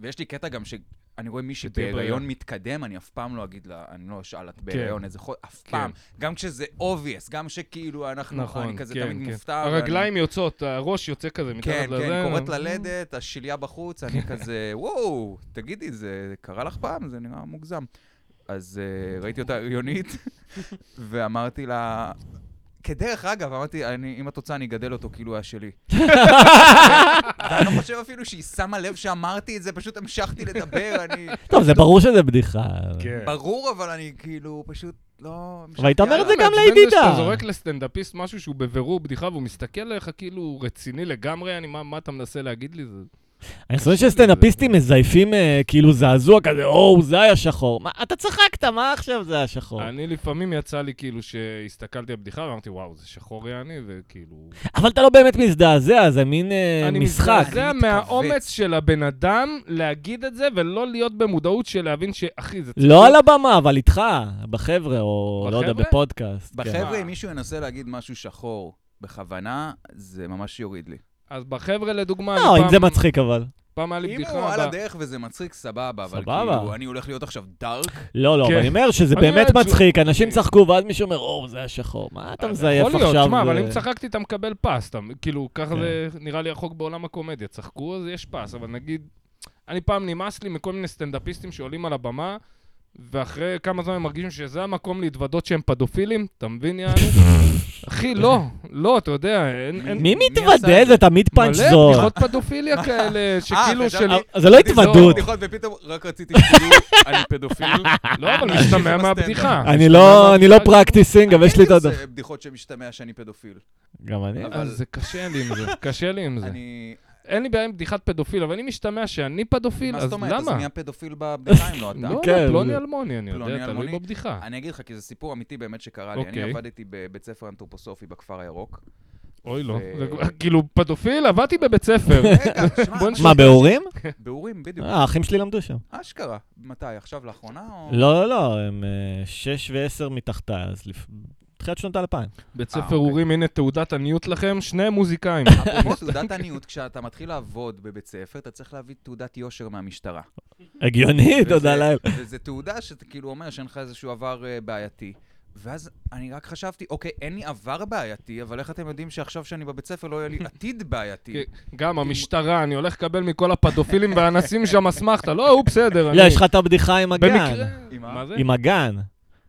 Speaker 1: ויש לי קטע גם ש... אני רואה מישהי
Speaker 2: שתהיה
Speaker 1: בהיריון
Speaker 2: בהיריון.
Speaker 1: מתקדם, אני אף פעם לא אגיד לה, אני לא אשאל את
Speaker 2: כן.
Speaker 1: בהיריון איזה חודש, אף
Speaker 2: כן.
Speaker 1: פעם. גם כשזה obvious, גם שכאילו אנחנו,
Speaker 2: נכון,
Speaker 1: אני כזה
Speaker 2: כן,
Speaker 1: תמיד
Speaker 2: כן.
Speaker 1: מופתע. ואני-
Speaker 2: הרגליים יוצאות, הראש יוצא כזה מתחת
Speaker 1: כן,
Speaker 2: לזה.
Speaker 1: כן, קוראת ללדת, השליה בחוץ, אני כזה, וואו, תגידי, זה קרה לך פעם? זה נראה מוגזם. אז אה, ראיתי אותה הריונית, ואמרתי לה... כדרך אגב, אמרתי, "אני- אם את רוצה, אני אגדל אותו כאילו הוא היה שלי. ואני לא חושב אפילו שהיא שמה לב שאמרתי את זה, פשוט המשכתי לדבר, אני...
Speaker 3: טוב, זה ברור שזה בדיחה.
Speaker 2: כן.
Speaker 1: ברור, אבל אני כאילו פשוט לא...
Speaker 3: אבל היית אומר את זה
Speaker 2: יאללה,
Speaker 3: גם
Speaker 2: מעצבן
Speaker 3: לידידה.
Speaker 2: שאתה זורק לסטנדאפיסט משהו שהוא בבירור בדיחה והוא מסתכל עליך כאילו הוא רציני לגמרי, אני, מה, מה אתה מנסה להגיד לי? זה...
Speaker 3: אני חושב שסטנדאפיסטים מזייפים אה, כאילו זעזוע כזה, או, זה היה שחור. מה, אתה צחקת, מה עכשיו זה היה שחור?
Speaker 2: אני לפעמים יצא לי כאילו שהסתכלתי על בדיחה ואמרתי, וואו, זה שחור יעני, וכאילו...
Speaker 3: אבל אתה לא באמת מזדעזע, זה מין אה,
Speaker 2: אני
Speaker 3: משחק.
Speaker 2: מזדעזע
Speaker 1: אני מתכווץ.
Speaker 2: מהאומץ של הבן אדם להגיד את זה ולא להיות במודעות של להבין שאחי, זה צריך...
Speaker 3: לא על הבמה, אבל איתך, בחבר'ה, או לא יודע,
Speaker 2: בחבר'ה?
Speaker 3: בפודקאסט. כן.
Speaker 1: בחבר'ה, אם מישהו ינסה להגיד משהו שחור בכוונה, זה ממש יוריד לי.
Speaker 2: אז בחבר'ה לדוגמה, אני
Speaker 3: לא, אם
Speaker 2: פעם-
Speaker 3: זה מצחיק אבל.
Speaker 2: פעם היה לי
Speaker 1: אם
Speaker 2: בדיחה...
Speaker 1: הוא על
Speaker 2: ב-
Speaker 1: הדרך וזה מצחיק, סבבה, אבל
Speaker 3: סבבה.
Speaker 1: כאילו, אני הולך להיות עכשיו דארק.
Speaker 3: לא, לא,
Speaker 2: כן.
Speaker 3: אבל אני אומר שזה
Speaker 2: אני אומר,
Speaker 3: באמת
Speaker 2: זה- אה,
Speaker 3: מצחיק, אנשים צחקו, ואז מישהו אומר, או, זה היה שחור, מה אתה מזייף
Speaker 2: יכול
Speaker 3: עכשיו?
Speaker 2: להיות, שמע, אבל
Speaker 3: זה-
Speaker 2: אם צחקתי, אתה מקבל פס, אתה, כאילו, ככה
Speaker 3: כן.
Speaker 2: זה נראה לי החוק בעולם הקומדיה. צחקו, אז יש פס, אבל נגיד, אני פעם נמאס לי מכל מיני סטנדאפיסטים שעולים על הבמה, ואחרי כמה זמן הם מרגישים שזה המקום להתוודות שהם פדופילים, אתה מבין, יענו? אחי, לא, לא, אתה יודע, אין... אין
Speaker 3: מי
Speaker 1: מי עשה
Speaker 3: מתוודה?
Speaker 1: את
Speaker 3: זה תמיד
Speaker 2: מלא
Speaker 3: פאנץ' זול.
Speaker 2: בדיחות פדופיליה
Speaker 1: אה,
Speaker 2: כאלה, שכאילו
Speaker 1: חשבתי-
Speaker 2: של...
Speaker 3: אבל זה לא
Speaker 1: עשיתי
Speaker 3: התוודות.
Speaker 1: בדיחות ופתאום רק רציתי שתדעו, אני פדופיל.
Speaker 2: לא, אבל משתמע
Speaker 1: בסטנדאפ.
Speaker 2: מהבדיחה.
Speaker 3: אני
Speaker 2: משתמע
Speaker 3: לא, אני לא
Speaker 2: מהבדיחה.
Speaker 3: פרקטיסינג, אבל יש לי את
Speaker 1: אני
Speaker 3: הדף.
Speaker 1: עושה בדיחות שמשתמע שאני פדופיל.
Speaker 3: גם אני. לא-
Speaker 1: אבל-
Speaker 2: אז זה קשה לי עם זה, קשה לי עם זה.
Speaker 1: אני...
Speaker 2: אין לי בעיה עם בדיחת פדופיל, אבל אם משתמע שאני פדופיל,
Speaker 1: מה
Speaker 2: אז
Speaker 1: זאת אומרת? אז
Speaker 2: למה?
Speaker 1: מי הפדופיל בבדיחה אם לא אתה?
Speaker 2: לא,
Speaker 3: כן,
Speaker 2: לא, פלוני
Speaker 3: זה-
Speaker 2: אלמוני, אני
Speaker 1: פלוני
Speaker 2: יודע, תלוי
Speaker 1: אלמוני.
Speaker 2: בבדיחה.
Speaker 1: אני אגיד לך, כי זה סיפור אמיתי באמת שקרה לי. אני
Speaker 2: אוקיי.
Speaker 1: עבדתי בבית ספר אנתרופוסופי בכפר הירוק.
Speaker 2: אוי, לא.
Speaker 1: ו-
Speaker 2: זה כבר- כאילו, פדופיל, עבדתי בבית ספר.
Speaker 1: רגע, שמע,
Speaker 2: בוא נשמע.
Speaker 3: מה, בהורים?
Speaker 1: באורים, בדיוק.
Speaker 3: אה, האחים שלי למדו שם.
Speaker 1: אשכרה. מתי? עכשיו לאחרונה?
Speaker 2: אה.
Speaker 1: או-
Speaker 3: לא, לא, לא, הם 6 ו-10 מתחתיי, אז לפ- תחילת שנות האלפיים.
Speaker 2: בית
Speaker 1: אה,
Speaker 2: ספר
Speaker 1: אוקיי.
Speaker 2: אורים, הנה תעודת עניות לכם, שני מוזיקאים.
Speaker 1: אפרופו תעודת עניות, כשאתה מתחיל לעבוד בבית ספר, אתה צריך להביא תעודת יושר מהמשטרה.
Speaker 3: הגיוני, תודה
Speaker 1: וזה-
Speaker 3: לאל.
Speaker 1: וזו תעודה שאתה כאילו אומר שאין לך איזשהו עבר אה, בעייתי. ואז אני רק חשבתי, אוקיי, אין לי עבר בעייתי, אבל איך אתם יודעים שעכשיו שאני בבית ספר לא יהיה לי עתיד בעייתי?
Speaker 2: כן.
Speaker 1: אה,
Speaker 2: גם המשטרה, אני הולך לקבל מכל הפדופילים והאנסים שם אסמכתה. לא, הוא בסדר, אני...
Speaker 3: לא, יש לך את הבדיחה עם הגן.
Speaker 2: במקרה...
Speaker 1: עם ה-
Speaker 2: מה זה?
Speaker 3: עם הגן.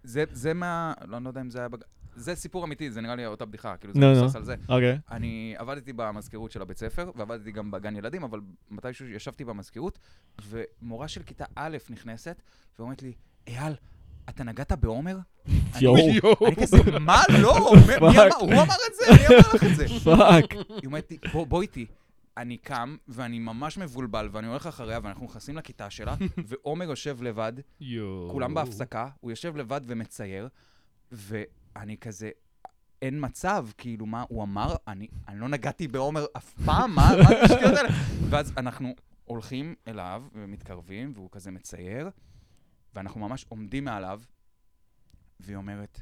Speaker 1: זה, זה מה... לא, אני לא יודע אם זה היה... בג... זה סיפור אמיתי, זה נראה לי אותה בדיחה, כאילו זה
Speaker 3: נו, נו.
Speaker 1: מבוסס על זה.
Speaker 3: אוקיי.
Speaker 1: אני עבדתי במזכירות של הבית ספר, ועבדתי גם בגן ילדים, אבל מתישהו ישבתי במזכירות, ומורה של כיתה א' נכנסת, ואומרת לי, אייל, אתה נגעת בעומר? אני-
Speaker 3: יואו.
Speaker 2: יואו.
Speaker 1: אני כזה, מה? לא, הוא אומר- מי אמר? הוא אמר את זה, מי אמר לך את זה?
Speaker 3: פאק.
Speaker 1: היא אומרת לי, בוא, בוא איתי. אני קם, ואני ממש מבולבל, ואני הולך אחריה, ואנחנו נכנסים לכיתה שלה, ועומר יושב לבד,
Speaker 2: יואו.
Speaker 1: כולם בהפסקה, הוא יושב לבד ומצייר, ואני כזה, אין מצב, כאילו, מה הוא אמר? אני, אני לא נגעתי בעומר אף פעם, מה מה זה השטויות האלה? ואז אנחנו הולכים אליו ומתקרבים, והוא כזה מצייר, ואנחנו ממש עומדים מעליו, והיא אומרת,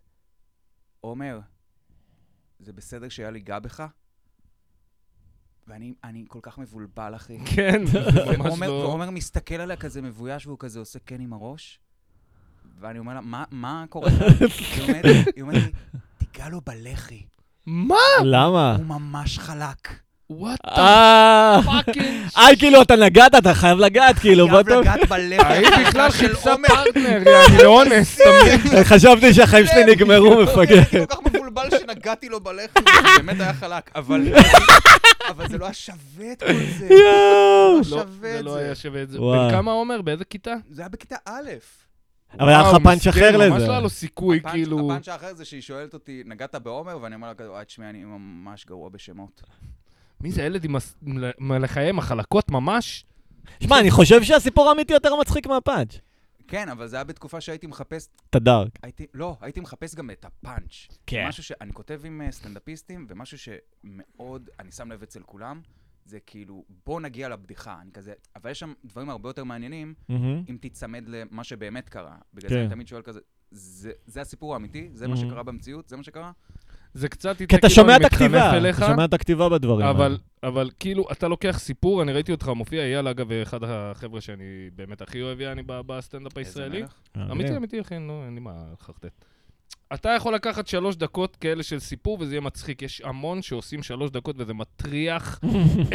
Speaker 1: עומר, זה בסדר שהיה לי גע בך? ואני אני כל כך מבולבל, אחי.
Speaker 2: כן, זה ממש
Speaker 1: ועומר,
Speaker 2: לא...
Speaker 1: ועומר מסתכל עליה כזה מבויש, והוא כזה עושה כן עם הראש, ואני אומר לה, מה, מה קורה? לה?" היא אומרת לי- היא אומרת לי, תיגע לו בלחי,
Speaker 2: מה? אה.
Speaker 3: למה?
Speaker 1: הוא ממש חלק.
Speaker 2: וואט
Speaker 3: אה,
Speaker 2: פאקינג...
Speaker 3: איי, כאילו, אתה נגעת, אתה חייב לגעת,
Speaker 2: לא,
Speaker 3: כאילו, מה
Speaker 1: חייב
Speaker 3: אתה...
Speaker 1: לגעת בלחי.
Speaker 2: האם בכלל
Speaker 1: של
Speaker 2: חיפשה
Speaker 1: עומר.
Speaker 2: פרטנר, יעני, לא לאונס, אתה מבין?
Speaker 3: חשבתי שהחיים
Speaker 2: כן.
Speaker 3: שלי נגמרו, מפגר.
Speaker 1: הייתי לא, כל כך מבולבל שנגעתי לו בלחי, זה באמת היה חלק, אבל... אבל זה לא היה שווה את כל זה. לא
Speaker 3: יואו.
Speaker 2: לא,
Speaker 1: שווה
Speaker 2: זה
Speaker 1: את
Speaker 2: לא
Speaker 1: זה.
Speaker 2: היה שווה את זה.
Speaker 3: וואי.
Speaker 2: בן כמה עומר? באיזה כיתה?
Speaker 1: זה היה בכיתה א'.
Speaker 3: אבל היה לך
Speaker 2: וואו,
Speaker 3: פאנץ'
Speaker 2: מסכן,
Speaker 3: אחר
Speaker 2: ממש
Speaker 3: לזה.
Speaker 2: לא היה לו סיכוי,
Speaker 1: הפאנץ'-
Speaker 2: כאילו...
Speaker 1: הפאנץ' האחר זה שהיא שואלת אותי, נגעת בעומר? ואני אומר לה כזה, וואי, תשמעי, אני ממש גרוע בשמות.
Speaker 2: מי זה ילד עם הס- מ- מ- לחיי מחלקות ממש?
Speaker 3: שמע, אני חושב שהסיפור האמיתי יותר מצחיק מהפאנץ'.
Speaker 1: כן, אבל זה היה בתקופה שהייתי מחפש
Speaker 3: אתה דארק.
Speaker 1: הייתי, לא, הייתי מחפש גם את הפאנץ'.
Speaker 3: כן.
Speaker 1: משהו שאני כותב עם אה, סטנדאפיסטים, ומשהו שמאוד, אני שם לב אצל כולם, זה כאילו, בוא נגיע לבדיחה. אני כזה, אבל יש שם דברים הרבה יותר מעניינים,
Speaker 3: מהמם.
Speaker 1: אם תיצמד למה שבאמת קרה. בגלל
Speaker 3: כן.
Speaker 1: זה אני תמיד שואל כזה, זה, זה הסיפור האמיתי? זה מה
Speaker 3: Mhm.
Speaker 1: שקרה במציאות? זה מה שקרה?
Speaker 2: זה קצת
Speaker 3: כי
Speaker 2: יצא
Speaker 3: אתה
Speaker 2: כאילו
Speaker 3: שומע
Speaker 2: אני
Speaker 3: את
Speaker 2: מתחנף
Speaker 3: הכתיבה,
Speaker 2: אליך,
Speaker 3: אתה שומע את הכתיבה בדברים.
Speaker 2: אבל,
Speaker 3: האלה.
Speaker 2: אבל כאילו, אתה לוקח סיפור, אני ראיתי אותך מופיע, אייל, אגב, אחד החבר'ה שאני באמת הכי אוהב, יעני, ב- בסטנדאפ הישראלי. אמיתי, אמיתי, אחי, נו, אין לי מה לחרטט. אתה יכול לקחת שלוש דקות כאלה של סיפור, וזה יהיה מצחיק. יש המון שעושים שלוש דקות, וזה מטריח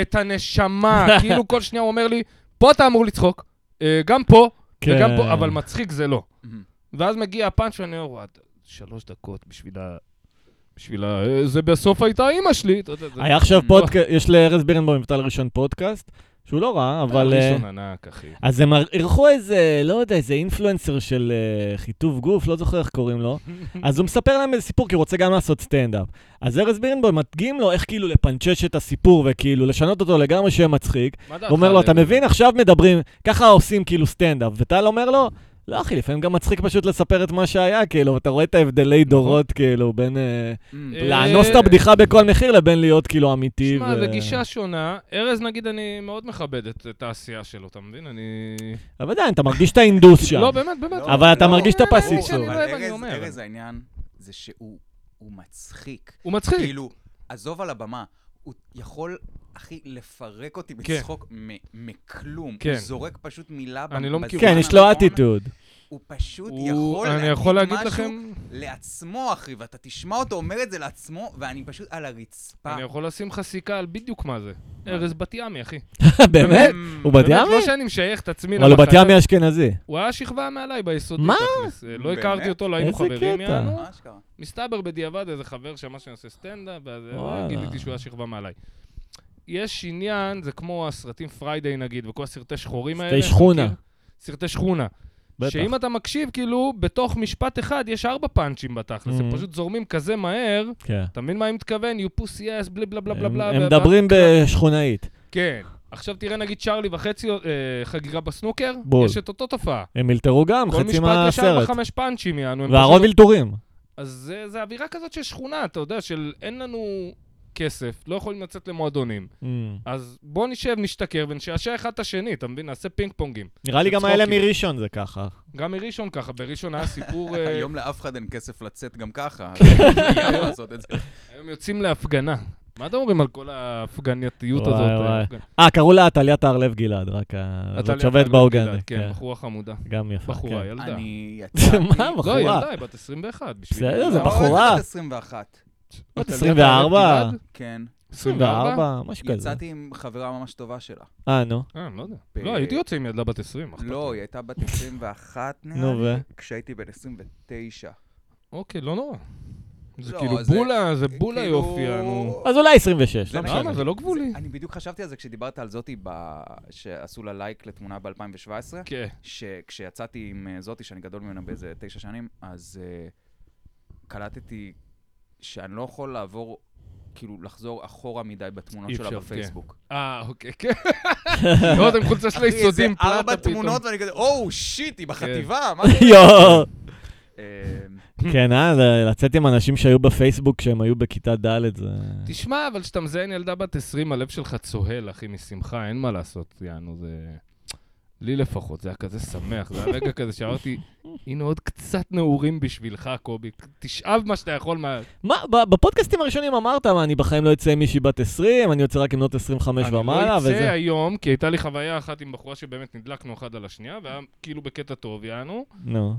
Speaker 2: את הנשמה. כאילו, כל שנייה הוא אומר לי, פה אתה אמור לצחוק, אה, גם פה,
Speaker 3: כן.
Speaker 2: וגם פה, אבל מצחיק זה לא.
Speaker 1: מהמם.
Speaker 2: ואז מגיע הפאנץ' ואני אומר, וואט, שלוש דקות בשביל ה... בשביל ה... אה, זה בסוף הייתה אימא שלי. אתה יודע, זה-
Speaker 3: היה עכשיו
Speaker 1: לא.
Speaker 3: פודקאסט, יש לארז בירנבוים את הראשון פודקאסט, שהוא לא רע, אבל... אה,
Speaker 2: ראשון ענק, אחי.
Speaker 3: אז הם אירחו איזה, לא יודע, איזה אינפלואנסר של אה, חיטוב גוף, לא זוכר איך קוראים לו. אז הוא מספר להם איזה סיפור, כי הוא רוצה גם לעשות סטנדאפ. אז ארז בירנבוים מדגים לו איך כאילו לפנצ'ש את הסיפור וכאילו לשנות אותו לגמרי שיהיה מצחיק.
Speaker 2: מה דעתך
Speaker 3: הוא אומר לו,
Speaker 2: על
Speaker 3: אתה
Speaker 2: זה?"
Speaker 3: מבין, עכשיו מדברים, ככה עושים כאילו סטנדאפ. וטל אומר לו, לא אחי, לפעמים גם מצחיק פשוט לספר את מה שהיה, כאילו, אתה רואה את ההבדלי דורות, כאילו, בין אה,
Speaker 1: מהמם.
Speaker 2: נכון. אה,
Speaker 3: לאנוס את הבדיחה בכל מחיר לבין להיות כאילו אמיתי.
Speaker 2: תשמע,
Speaker 3: ו-
Speaker 2: זו גישה שונה. ארז, נגיד, אני מאוד מכבד את את העשייה שלו, אתה מבין? אני...
Speaker 3: אבל עדיין, אתה מרגיש את האינדוס שם.
Speaker 2: לא, באמת, באמת.
Speaker 1: לא,
Speaker 3: אבל אתה
Speaker 1: לא.
Speaker 3: מרגיש את
Speaker 2: לא, לא,
Speaker 1: ברור,
Speaker 3: הפסיצור.
Speaker 2: שאני לא
Speaker 1: אבל
Speaker 2: אוהב, אני
Speaker 1: ארז-
Speaker 2: אומר.
Speaker 1: ארז העניין זה שהוא הוא מצחיק.
Speaker 2: הוא מצחיק.
Speaker 1: כאילו, עזוב על הבמה, הוא יכול, אחי, לפרק אותי בצחוק מ- מכלום.
Speaker 2: כן.
Speaker 1: הוא זורק פשוט מילה ב-
Speaker 2: אני לא מכיר.
Speaker 3: כן,
Speaker 1: בזמן
Speaker 3: יש לו
Speaker 1: הנכון,
Speaker 3: אטיטוד.
Speaker 1: הוא פשוט
Speaker 2: הוא-
Speaker 1: יכול
Speaker 2: אני יכול
Speaker 1: להגיד
Speaker 2: להגיד
Speaker 1: משהו
Speaker 2: לכם...
Speaker 1: לעצמו, אחי, ואתה תשמע אותו אומר את זה לעצמו, ואני פשוט על הרצפה. Mm.
Speaker 2: אני יכול לשים לך סיכה על בדיוק מה זה. ארז בת ימי, אחי. אה,
Speaker 3: באמת? הוא בת
Speaker 2: באמת,
Speaker 3: ימי?
Speaker 2: לא שאני משייך את עצמי
Speaker 3: אבל הוא בת
Speaker 2: למחנה.
Speaker 3: ימי אשכנזי.
Speaker 2: הוא היה שכבה מעליי ביסודי,
Speaker 3: מה?
Speaker 2: תכלס. אה, לא הכרתי
Speaker 1: באמת?
Speaker 2: אותו, לא היינו
Speaker 3: איזה
Speaker 2: חברים,
Speaker 3: קטע.
Speaker 2: יענו.
Speaker 1: מה שקרה?
Speaker 2: מסתבר בדיעבד, איזה חבר שמע שאני עושה סטנדאפ, ואז אה,
Speaker 3: וואלה.
Speaker 2: גיליתי שהוא היה שכבה מעליי. יש עניין, זה כמו הסרטים פריידיי נגיד, וכל הסרטי שחורים האלה. אתה
Speaker 3: שכונה.
Speaker 2: מכיר? סרטי שכונה.
Speaker 3: בטח.
Speaker 2: שאם אתה מקשיב, כאילו, בתוך משפט אחד יש ארבע פאנצ'ים בתכלס, הם
Speaker 3: Mhm.
Speaker 2: פשוט זורמים כזה מהר,
Speaker 3: כן.
Speaker 2: אתה מבין מה אני מתכוון? You pussy ass, בלי בלה בלה בלה בלה.
Speaker 3: הם
Speaker 2: ו-
Speaker 3: מדברים
Speaker 2: ו-
Speaker 3: בשכונאית.
Speaker 2: כן. עכשיו תראה, נגיד צ'ארלי וחצי אה, חגיגה בסנוקר,
Speaker 3: בול.
Speaker 2: יש את אותו תופעה.
Speaker 3: הם אלתרו גם,
Speaker 2: כל
Speaker 3: חצי
Speaker 2: משפט יש ארבע
Speaker 3: מהסרט.
Speaker 2: חמש פאנצ'ים, יענו. הם
Speaker 3: והרוב
Speaker 2: פשוט-
Speaker 3: אלתורים.
Speaker 2: אז זה- זה אווירה כזאת של שכונה, אתה יודע, של אין לנו כסף, לא יכולים לצאת למועדונים. אז בוא נשב, נשתכר ונשעשע אחד את השני, אתה מבין? נעשה פינג פונגים.
Speaker 3: נראה לי
Speaker 2: זה
Speaker 3: גם האלה
Speaker 2: צחוקים.
Speaker 3: מראשון זה ככה.
Speaker 2: גם מראשון ככה, בראשון היה סיפור... אה, כן.
Speaker 1: היום לאף אחד אין כסף לצאת גם ככה. אז אני חייב לעשות את זה.
Speaker 2: היום יוצאים להפגנה. מה אתם אומרים על כל ההפגנתיות
Speaker 3: וואי,
Speaker 2: הזאת?
Speaker 3: וואי.
Speaker 2: ההפגנה?
Speaker 3: אה, קראו לה עתליה תהרלב גלעד, רק ה- זאת
Speaker 2: עתליה
Speaker 3: שובת
Speaker 2: תהרלב
Speaker 3: באוגנדה.
Speaker 2: גלעד, כן, בחורה חמודה.
Speaker 3: גם יפה.
Speaker 2: בחורה,
Speaker 3: כן.
Speaker 2: ילדה.
Speaker 1: אוקיי. אני יצאתי...
Speaker 3: מה,
Speaker 2: לא,
Speaker 3: בחורה?
Speaker 2: ילדה, היא בת 21. בשבילי.
Speaker 3: בסדר, זה
Speaker 1: לא,
Speaker 3: בחורה.
Speaker 1: בת 21.
Speaker 3: בת
Speaker 2: עתליה
Speaker 3: 24.
Speaker 2: תהרלב גלעד? 24?
Speaker 3: 24, משהו כזה.
Speaker 1: כן. יצאתי עם חברה ממש טובה שלה.
Speaker 3: אה, נו.
Speaker 2: אה, אני לא יודע.
Speaker 1: ב-
Speaker 2: לא, הייתי יוצא עם ילדה בת 20. אכפת
Speaker 1: לא,
Speaker 2: לי.
Speaker 1: היא הייתה בת 21 נראה
Speaker 3: נו,
Speaker 1: לי,
Speaker 3: ו?
Speaker 1: כשהייתי בן 29.
Speaker 2: אוקיי, לא נורא. זה
Speaker 1: לא,
Speaker 2: כאילו
Speaker 1: זה-
Speaker 2: בולה, זה בולה
Speaker 1: כאילו-
Speaker 2: יופי, נו.
Speaker 3: אז אולי 26,
Speaker 1: זה
Speaker 3: לא
Speaker 1: נראה
Speaker 3: משנה.
Speaker 2: למה? זה לא גבולי.
Speaker 1: זה- אני בדיוק חשבתי על זה כשדיברת על זאתי ב- שעשו לה לייק לתמונה ב-2017,
Speaker 2: כן.
Speaker 1: שכשיצאתי עם אה, זאתי, שאני גדול ממנה באיזה תשע שנים, אז אה, קלטתי שאני לא יכול לעבור, כאילו, לחזור אחורה מדי בתמונות
Speaker 2: אי
Speaker 1: שלה
Speaker 2: אפשר, כן.
Speaker 1: בפייסבוק.
Speaker 2: אה, אוקיי, כן. לראות עם חולצה של
Speaker 1: אחי, איזה
Speaker 2: היסודים,
Speaker 1: ארבע
Speaker 2: פלטה פתאום. כן.
Speaker 1: תמונות, ואני כזה, אוו, שיט, היא בחטיבה, מה זה?
Speaker 3: יואו.
Speaker 1: אה,
Speaker 3: כן, אה, ל- לצאת עם אנשים שהיו בפייסבוק כשהם היו בכיתה ד' זה...
Speaker 2: תשמע, אבל כשאתה מזיין ילדה בת 20, הלב שלך צוהל, אחי, משמחה, אין מה לעשות, יענו, זה... לי לפחות, זה היה כזה שמח, זה היה רגע כזה שאמרתי, הנה עוד קצת נעורים בשבילך, קובי, תשאב מה שאתה יכול מה...
Speaker 3: מה, ב- בפודקאסטים הראשונים אמרת, מה, אני בחיים לא אצא עם מישהי בת 20, אני יוצא רק עם בנות 25 ומעלה,
Speaker 2: אני לא אצא
Speaker 3: וזה...
Speaker 2: היום, כי הייתה לי חוויה אחת עם בחורה שבאמת נדלקנו אחת על השנייה, והיה כאילו בקטע טוב, יענו,
Speaker 3: נו.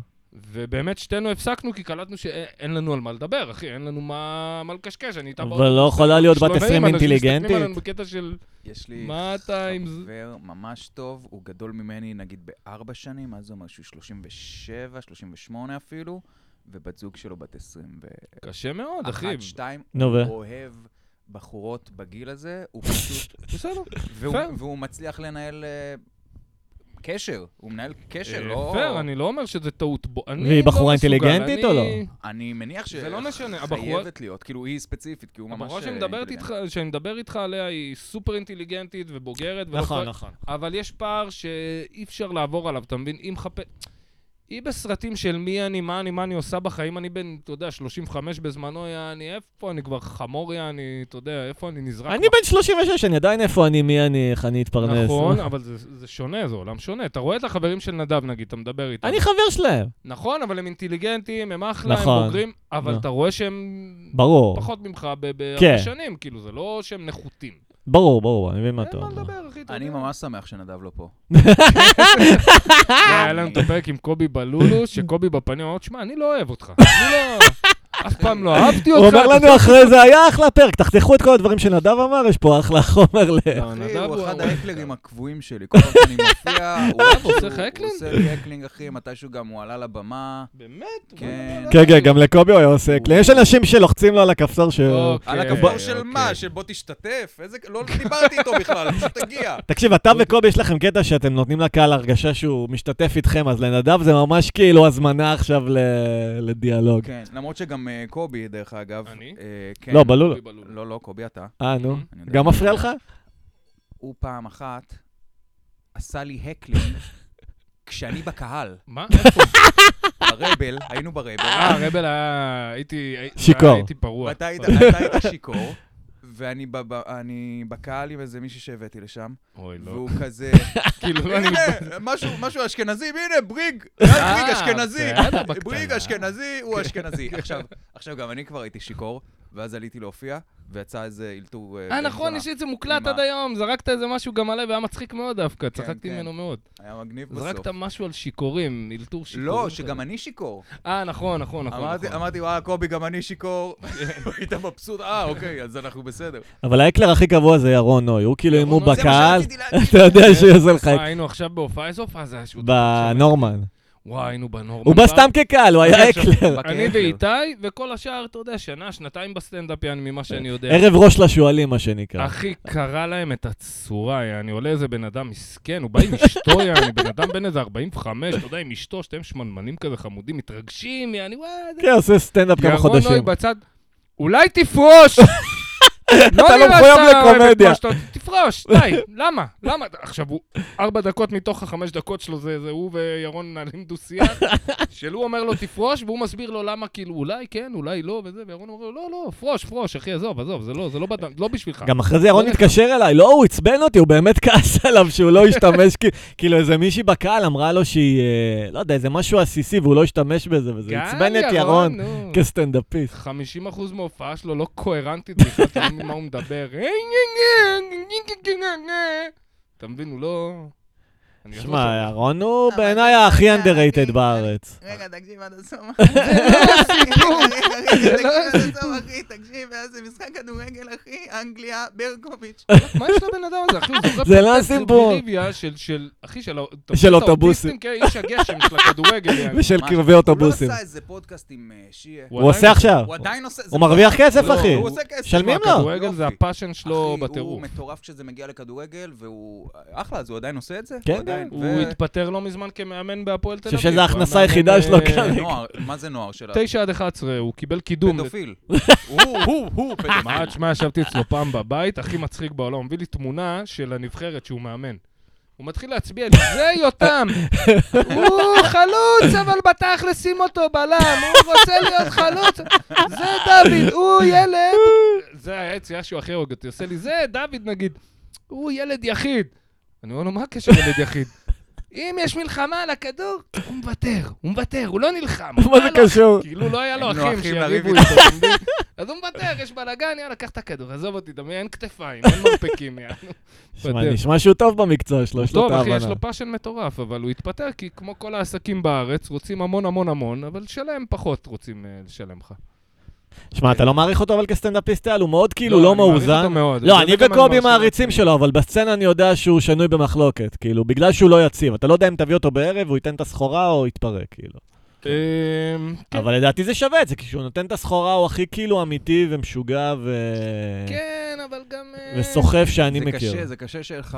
Speaker 2: ובאמת שתינו הפסקנו, כי קלטנו שאין לנו על מה לדבר, אחי, אין לנו מה, מה לקשקש, אני איתה
Speaker 3: אבל לא יכולה להיות בת
Speaker 2: שלבים,
Speaker 3: 20
Speaker 2: אנשים מסתכלים עלינו
Speaker 3: אינטליגנטית?
Speaker 2: בקטע של...
Speaker 1: יש לי
Speaker 2: מה אתה עם זה?
Speaker 1: חבר ממש טוב, הוא גדול ממני נגיד בארבע שנים, מה זה אומר שהוא 37, 38 אפילו, ובת זוג שלו בת 21,
Speaker 2: קשה מאוד, אחי.
Speaker 1: 2,
Speaker 3: נו, ו?
Speaker 1: הוא אוהב בחורות בגיל הזה, הוא פשוט,
Speaker 2: בסדר.
Speaker 1: והוא,
Speaker 2: פייר.
Speaker 1: והוא מצליח לנהל אה, קשר, הוא מנהל קשר, לא...
Speaker 2: פייר, אני לא אומר שזה טעות בו. אני
Speaker 3: והיא
Speaker 2: לא
Speaker 3: בחורה
Speaker 2: מסוגל,
Speaker 3: אינטליגנטית או לא?
Speaker 2: אני-
Speaker 1: אני מניח ש...
Speaker 2: זה לא משנה, הבחורה-
Speaker 1: חייבת להיות, כאילו היא ספציפית, כי הוא ממש...
Speaker 2: הבחורה
Speaker 1: אה,
Speaker 2: שמדברת
Speaker 1: אינטליגנט.
Speaker 2: איתך, שאני מדבר איתך עליה היא סופר אינטליגנטית ובוגרת. ולא
Speaker 3: נכון,
Speaker 2: כל-
Speaker 3: נכון.
Speaker 2: אבל יש פער שאי אפשר לעבור עליו, אתה מבין? היא מחפשת... היא בסרטים של מי אני, מה אני, מה אני עושה בחיים. אני בן, אתה יודע, 35 בזמנו, יעני, איפה אני כבר חמור, יעני, אתה יודע, איפה אני נזרק.
Speaker 3: אני בן 36, אני עדיין איפה אני, מי אני, איך אני אתפרנס.
Speaker 2: נכון, אבל זה, זה שונה, זה עולם שונה. אתה רואה את החברים של נדב, נגיד, אתה מדבר איתם.
Speaker 3: אני חבר שלהם.
Speaker 2: נכון, אבל הם אינטליגנטים, הם אחלה,
Speaker 3: נכון.
Speaker 2: הם בוגרים, אבל
Speaker 3: לא.
Speaker 2: אתה רואה שהם
Speaker 3: ברור.
Speaker 2: פחות ממך ב- בהרבה
Speaker 3: כן.
Speaker 2: שנים, כאילו, זה לא שהם נחותים.
Speaker 3: ברור, ברור, אני מבין מה
Speaker 2: אין
Speaker 3: אתה
Speaker 2: מה
Speaker 3: אומר.
Speaker 2: לדבר, אחי, אתה
Speaker 1: אני
Speaker 2: יודע.
Speaker 1: ממש שמח שנדב לא פה.
Speaker 3: אה.
Speaker 2: זה היה לנו את הפרק עם קובי בלולו, שקובי בפנים אמר, תשמע, אני לא אוהב אותך. אני לא... אף פעם לא אהבתי אותך.
Speaker 3: הוא אומר
Speaker 2: אתה-
Speaker 3: לנו אחרי זה, היה אחלה פרק, תחתכו את כל הדברים שנדב אמר, יש פה אחלה חומר ל...
Speaker 2: לא,
Speaker 1: אחי,
Speaker 2: נדב
Speaker 1: הוא אחד
Speaker 2: הוא- אה,
Speaker 1: ההקלרים הקבועים שלי, כל פעם שאני מופיע, הוא
Speaker 2: עושה
Speaker 1: איכשהו-
Speaker 2: האקלינג?
Speaker 1: הוא עושה לי הקלינג, אחי, מתישהו גם הוא עלה לבמה.
Speaker 2: באמת?
Speaker 1: כן.
Speaker 3: כן, כן, גם לקובי הוא היה עושה... יש אנשים שלוחצים לו על הכפתור ש...
Speaker 2: אוקיי,
Speaker 1: על הכפור של
Speaker 2: אוקיי.
Speaker 1: מה? של בוא תשתתף? איזה... לא דיברתי איתו בכלל, פשוט תגיע.
Speaker 3: תקשיב, אתה וקובי יש לכם קטע שאתם נותנים לקהל הרגשה שהוא משתתף איתכם, אז לנדב זה ממש כאילו הזמנה עכשיו ל- לדיאלוג.
Speaker 1: כן, למרות שגם אה, קובי, דרך אגב.
Speaker 2: אוקיי. אני?
Speaker 1: אה, כן. אוקיי.
Speaker 3: לא, בלול.
Speaker 2: קובי בלולו.
Speaker 1: לא, לא, קובי אתה.
Speaker 3: אה, נו.
Speaker 1: אני יודע.
Speaker 3: גם מפריע לך?
Speaker 1: הוא פעם אחת עשה לי הקלינג כשאני בקהל,
Speaker 2: מה? איפה?
Speaker 1: ברבל, היינו ברבל,
Speaker 2: אה, רבל היה... הייתי... הי-
Speaker 3: שיכור.
Speaker 2: הייתי פרוע.
Speaker 1: ואתה היית אתה היית שיכור, ואני ב- ב- אני בקהל עם איזה מישהי שהבאתי לשם,
Speaker 2: אוי, לא.
Speaker 1: והוא כזה,
Speaker 2: כאילו, לא, אני...
Speaker 1: הנה, משהו- משהו אשכנזי, הנה, בריג, רק בריג
Speaker 2: אה,
Speaker 1: אשכנזי,
Speaker 2: בסדר, בקטנה. כן.
Speaker 1: בריג אשכנזי, הוא אשכנזי. עכשיו, עכשיו גם אני כבר הייתי שיכור, ואז עליתי להופיע, ויצא איזה אלתור...
Speaker 2: אה,
Speaker 1: בן
Speaker 2: נכון,
Speaker 1: זונה.
Speaker 2: יש לי את זה מוקלט
Speaker 1: מה?
Speaker 2: עד היום. זרקת איזה משהו גם עליי, והיה מצחיק מאוד דווקא. צחקתי
Speaker 1: כן.
Speaker 2: ממנו מאוד.
Speaker 1: היה מגניב בסוף.
Speaker 2: זרקת משהו על שיכורים, אלתור שיכורים.
Speaker 1: לא, שגם אני שיכור.
Speaker 2: אה, נכון, נכון, נכון.
Speaker 1: אמרתי,
Speaker 2: נכון. כן.
Speaker 1: אמרתי, וואי, קובי, גם אני שיכור. היית מבסוט, אה, אוקיי, אז אנחנו בסדר.
Speaker 3: אבל האקלר הכי קבוע זה ירון נוי, הוא כאילו אם
Speaker 2: ירון
Speaker 3: הוא
Speaker 2: נוי, זה מה
Speaker 3: בקהל,
Speaker 1: שרציתי להגיד.
Speaker 3: אתה יודע שהוא עושה לך
Speaker 2: מה, אה, היינו עכשיו בהופעה, איזה הופעה זה היה שהוא...
Speaker 3: בנורמן.
Speaker 2: וואי, היינו בנורמן.
Speaker 3: הוא בא סתם כקהל, הוא היה אקלר.
Speaker 1: כן.
Speaker 2: אני ואיתי, וכל השאר, אתה יודע, שנה, שנתיים בסטנדאפ, יעני, ממה שאני יודע.
Speaker 3: ערב ראש לשועלים, מה שנקרא.
Speaker 2: אחי, קרע להם את הצורה, יעני, עולה איזה בן אדם מסכן, הוא בא עם אשתו, יעני, בן אדם בן איזה 45, אתה יודע, עם אשתו, שתיהם שמנמנים כזה חמודים, מתרגשים, יעני, וואי, זה...
Speaker 3: כן, עושה סטנדאפ כמה
Speaker 2: ירון נוי
Speaker 3: חודשים.
Speaker 2: בצד, אולי תפרוש!
Speaker 3: אתה לא
Speaker 2: נראה
Speaker 3: מחויב
Speaker 2: שאתה אוהב את
Speaker 3: לקומדיה.
Speaker 2: מה שאתה- תפרוש, די, למה? למה? עכשיו, הוא ארבע דקות מתוך החמש דקות שלו, זה זה הוא וירון מנהלים דו-שיח, שלו אומר לו תפרוש, והוא מסביר לו למה, כאילו, אולי כן, אולי לא, וזה, וירון אומר לו, לא, לא, פרוש, פרוש, אחי, עזוב, עזוב, זה לא, זה לא בד- לא בשבילך.
Speaker 3: גם אחרי זה ירון
Speaker 2: לא
Speaker 3: התקשר אליי, לא, הוא עצבן אותי, הוא באמת כעס עליו שהוא לא השתמש, כי- כאילו איזה מישהי בקהל אמרה לו שהיא, אה, לא יודע, איזה משהו עסיסי והוא לא השתמש בזה, וזה
Speaker 2: גל
Speaker 3: עצבן את ירון
Speaker 2: "כן, נו.
Speaker 3: כסטנדאפיסט.
Speaker 2: 50% מההופעה שלו לא קוהרנטית בכלל, אתה לא מבין מה הוא מדבר. אה, אתה מבין, הוא לא... אני יכול
Speaker 3: שמע,
Speaker 2: לעשות-
Speaker 3: ירון הוא בעיניי הכי underrated בארץ.
Speaker 1: רגע, תקשיב עד הסוף. לא תקשיב עד הסוף, אחי, תקשיב, זה משחק כדורגל, אחי, אנגליה, ברקוביץ'.
Speaker 2: מה יש לבן אדם הזה, אחי? הוא זוכר
Speaker 3: זה לא
Speaker 2: פרוטקציות
Speaker 3: הסיפור.
Speaker 2: בריביה של, של, אחי, של
Speaker 3: של
Speaker 2: האוטיסטים,
Speaker 3: אוטובוסים.
Speaker 2: כן, איש הגשם של הכדורגל. יעני.
Speaker 3: ושל
Speaker 1: מה?
Speaker 3: קרבי
Speaker 1: כן, הוא לא
Speaker 3: כאילו אוטובוסים.
Speaker 1: עשה איזה פודקאסט עם אה, שיה.
Speaker 3: הוא עושה
Speaker 2: עדיין-
Speaker 3: עכשיו. לא?
Speaker 1: הוא עדיין עושה... זה
Speaker 3: הוא מרוויח כסף,
Speaker 2: לא,
Speaker 3: אחי.
Speaker 1: הוא עושה כסף.
Speaker 3: משלמים
Speaker 2: תשמע,
Speaker 3: לו.
Speaker 2: הכדורגל זה
Speaker 1: יופי.
Speaker 2: הפאשן שלו
Speaker 1: אחי, הוא
Speaker 2: לא בטירוף.
Speaker 1: מטורף כשזה מגיע לכדורגל, והוא... אחלה, אז הוא עדיין עושה את זה?
Speaker 3: כן,
Speaker 1: הוא עדיין-
Speaker 2: הוא
Speaker 1: ו-
Speaker 2: התפטר לא מזמן כמאמן בהפועל תל
Speaker 3: חושב
Speaker 2: אביב.
Speaker 3: שזו
Speaker 2: הוא
Speaker 3: ההכנסה
Speaker 2: היה
Speaker 3: היחידה
Speaker 2: מאמן,
Speaker 3: שלו
Speaker 2: אה,
Speaker 3: כרגע.
Speaker 1: נוער, מה זה נוער שלה?
Speaker 2: 9 עד 11, הוא קיבל קידום.
Speaker 1: פדופיל. הוא, הוא, הוא פדופיל.
Speaker 2: מה, תשמע, ישבתי אצלו פעם בבית, הכי מצחיק בעולם, הוא מביא לי תמונה של הנבחרת שהוא מאמן. הוא מתחיל להצביע לי, זה יותם! הוא חלוץ, אבל בתכלס שים אותו בלם, הוא רוצה להיות חלוץ, זה דוד, הוא ילד... זה היה יציאה שהוא הכי הורג אותי, עושה לי, זה דוד נגיד, הוא ילד יחיד. אני אומר לו, מה הקשר ילד יחיד? אם יש מלחמה על הכדור, הוא מוותר, הוא מוותר, הוא לא נלחם.
Speaker 3: מה זה
Speaker 2: לו
Speaker 3: קשור?
Speaker 2: כאילו לא היה לו
Speaker 1: אין לו
Speaker 2: אחים
Speaker 1: אחים לריב
Speaker 2: שיריבו איתו, אתה מבין? אז הוא מוותר, יש בלאגן, יאללה, קח את הכדור, עזוב אותי, אתה מבין? אין כתפיים, אין מרפקים, יאללה.
Speaker 3: שמע,
Speaker 2: בדרך.
Speaker 3: נשמע שהוא טוב במקצוע שלו, לא, יש לו את
Speaker 2: טוב, אחי, יש
Speaker 3: ההבנה.
Speaker 2: לו פאשן מטורף, אבל הוא התפטר, כי כמו כל העסקים בארץ, רוצים המון המון המון, אבל שלם פחות רוצים אה, לשלם לך.
Speaker 3: שמע, אתה לא מעריך אותו אבל כסטנדאפיסט על, הוא מאוד כאילו לא
Speaker 2: אני מעריך
Speaker 3: מאוזן.
Speaker 2: אותו מאוד.
Speaker 3: לא,
Speaker 2: זה
Speaker 3: אני
Speaker 2: גם
Speaker 3: וקובי
Speaker 2: מעריך אותו.
Speaker 3: מעריצים שלו, אבל בסצנה אני יודע שהוא שנוי במחלוקת, כאילו, בגלל שהוא לא יציב. אתה לא יודע אם תביא אותו בערב, הוא ייתן את הסחורה או יתפרק, כאילו.
Speaker 2: אמ, כן.
Speaker 3: אבל לדעתי זה שווה את זה, כי כשהוא נותן את הסחורה הוא הכי כאילו אמיתי ומשוגע ו...
Speaker 2: כן, אבל גם... אה,
Speaker 3: וסוחף שאני
Speaker 1: זה קשה,
Speaker 3: מכיר.
Speaker 1: זה קשה שיהיה לך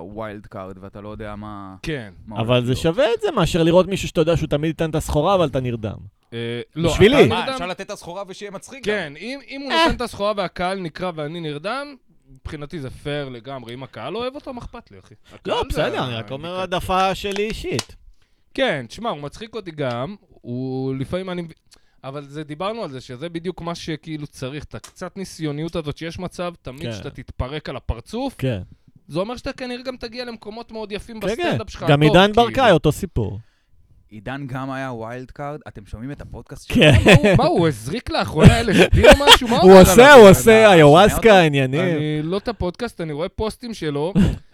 Speaker 1: ווילד קארד ואתה לא יודע מה...
Speaker 2: כן.
Speaker 1: מה
Speaker 3: אבל
Speaker 1: הולך
Speaker 3: זה
Speaker 1: להיות.
Speaker 3: שווה את זה מאשר לראות מישהו שאתה יודע שהוא תמיד ייתן את הסחורה, אבל אתה נרדם.
Speaker 2: אה, לא,
Speaker 3: בשבילי.
Speaker 2: אתה
Speaker 1: מה,
Speaker 2: נרדם?
Speaker 1: אפשר לתת את הסחורה ושיהיה מצחיק גם?
Speaker 2: כן, אם אם הוא נותן את הסחורה והקהל נקרע ואני נרדם, מבחינתי זה פייר לגמרי. אם הקהל אוהב אותו, מה אכפת לי, אחי? הקהל
Speaker 3: לא,
Speaker 2: זה
Speaker 3: בסדר, אני רק
Speaker 2: האינדיקציה.
Speaker 3: אומר העדפה שלי אישית.
Speaker 2: כן, תשמע, הוא מצחיק אותי גם, הוא לפעמים אני... אבל זה, דיברנו על זה, שזה בדיוק מה שכאילו צריך, את הקצת ניסיוניות הזאת שיש מצב, תמיד
Speaker 3: כן.
Speaker 2: כשאתה תתפרק על הפרצוף,
Speaker 3: כן.
Speaker 2: זה אומר שאתה כנראה גם תגיע למקומות מאוד יפים
Speaker 3: כן, כן.
Speaker 2: בסטנדאפ שלך. הטוב,
Speaker 3: גם עידן
Speaker 2: כאילו.
Speaker 3: ברקאי, אותו סיפור.
Speaker 1: עידן גם היה ווילד קארד, אתם שומעים את הפודקאסט שלו?
Speaker 3: כן.
Speaker 2: מה הוא- מה, הוא הזריק לאחרונה LSD או משהו? מה
Speaker 3: הוא
Speaker 2: עובר
Speaker 3: עושה,
Speaker 2: עליו?
Speaker 3: הוא
Speaker 1: הבן
Speaker 3: עושה
Speaker 1: אדם, שומע
Speaker 3: איוואסקה,
Speaker 1: אותו?
Speaker 3: עניינים.
Speaker 2: אני לא את הפודקאסט, אני רואה פוסטים שלו,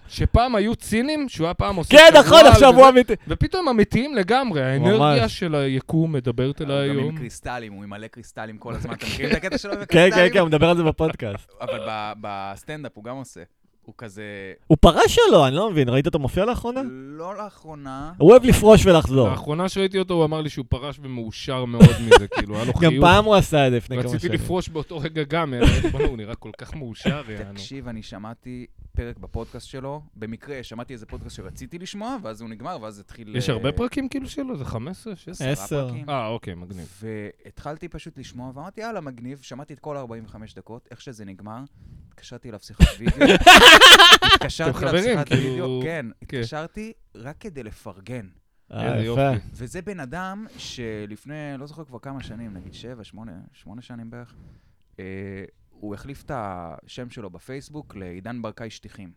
Speaker 2: שפעם היו צינים, שהוא היה פעם עושה...
Speaker 3: כן, נכון,
Speaker 2: שבוע
Speaker 3: עכשיו
Speaker 2: וזה,
Speaker 3: הוא אמיתי.
Speaker 2: ופתאום אמיתיים לגמרי, האנרגיה של היקום מדברת
Speaker 1: הוא
Speaker 3: אה,
Speaker 2: אליי
Speaker 1: גם עם
Speaker 2: היום.
Speaker 1: קריסטלים, הוא ימלא קריסטלים כל הזמן. אתם מכירים את הקטע שלו עם
Speaker 3: כן, כן,
Speaker 1: הקריסטלים?
Speaker 3: כן, הוא מדבר על זה בפודקאסט.
Speaker 1: אבל ב- בסטנדאפ הוא גם עושה. הוא כזה,
Speaker 3: הוא פרש שלו, אני לא מבין, ראית אותו מופיע לאחרונה?
Speaker 1: לא לאחרונה,
Speaker 3: הוא אוהב לפרוש
Speaker 1: לא.
Speaker 3: ולחזור.
Speaker 2: האחרונה שראיתי אותו, הוא אמר לי שהוא פרש ומאושר מאוד מזה, כאילו, היה לו
Speaker 3: גם
Speaker 2: חיוך.
Speaker 3: פעם הוא עשה את זה לפני כמה
Speaker 2: רציתי
Speaker 3: שנים.
Speaker 2: לפרוש באותו רגע גם, אה, בוא'נה, הוא נראה כל כך מאושר, יענו.
Speaker 1: תקשיב, אני שמעתי פרק בפודקאסט שלו, במקרה שמעתי איזה פודקאסט שרציתי לשמוע, ואז הוא נגמר, ואז התחיל...
Speaker 2: יש
Speaker 1: אה,
Speaker 2: הרבה פרקים כאילו שלו? זה 15? 16?
Speaker 1: עשרה
Speaker 3: עשר.
Speaker 1: פרקים.
Speaker 2: אה, אוקיי, מגניב.
Speaker 1: והתחלתי פשוט לשמוע, ואמרתי, יאללה, מגניב, שמעתי את כל 45 דקות, איך שזה נגמר, התקשרתי אליו שיחת וידאו.
Speaker 2: אתם
Speaker 1: התקשרתי אליו
Speaker 2: חברים,
Speaker 1: שיחת
Speaker 2: כאילו-
Speaker 1: וידאו, כן,
Speaker 2: כן.
Speaker 1: התקשרתי רק כדי לפרגן.
Speaker 3: אה,
Speaker 2: איזה
Speaker 3: יפה.
Speaker 2: יופי.
Speaker 1: וזה בן אדם שלפני, לא זוכר כבר כמה שנים, נגיד שבע, שמונה, שמונה שנים בערך, אה, הוא החליף את השם שלו בפייסבוק לעידן ברקאי שטיחים.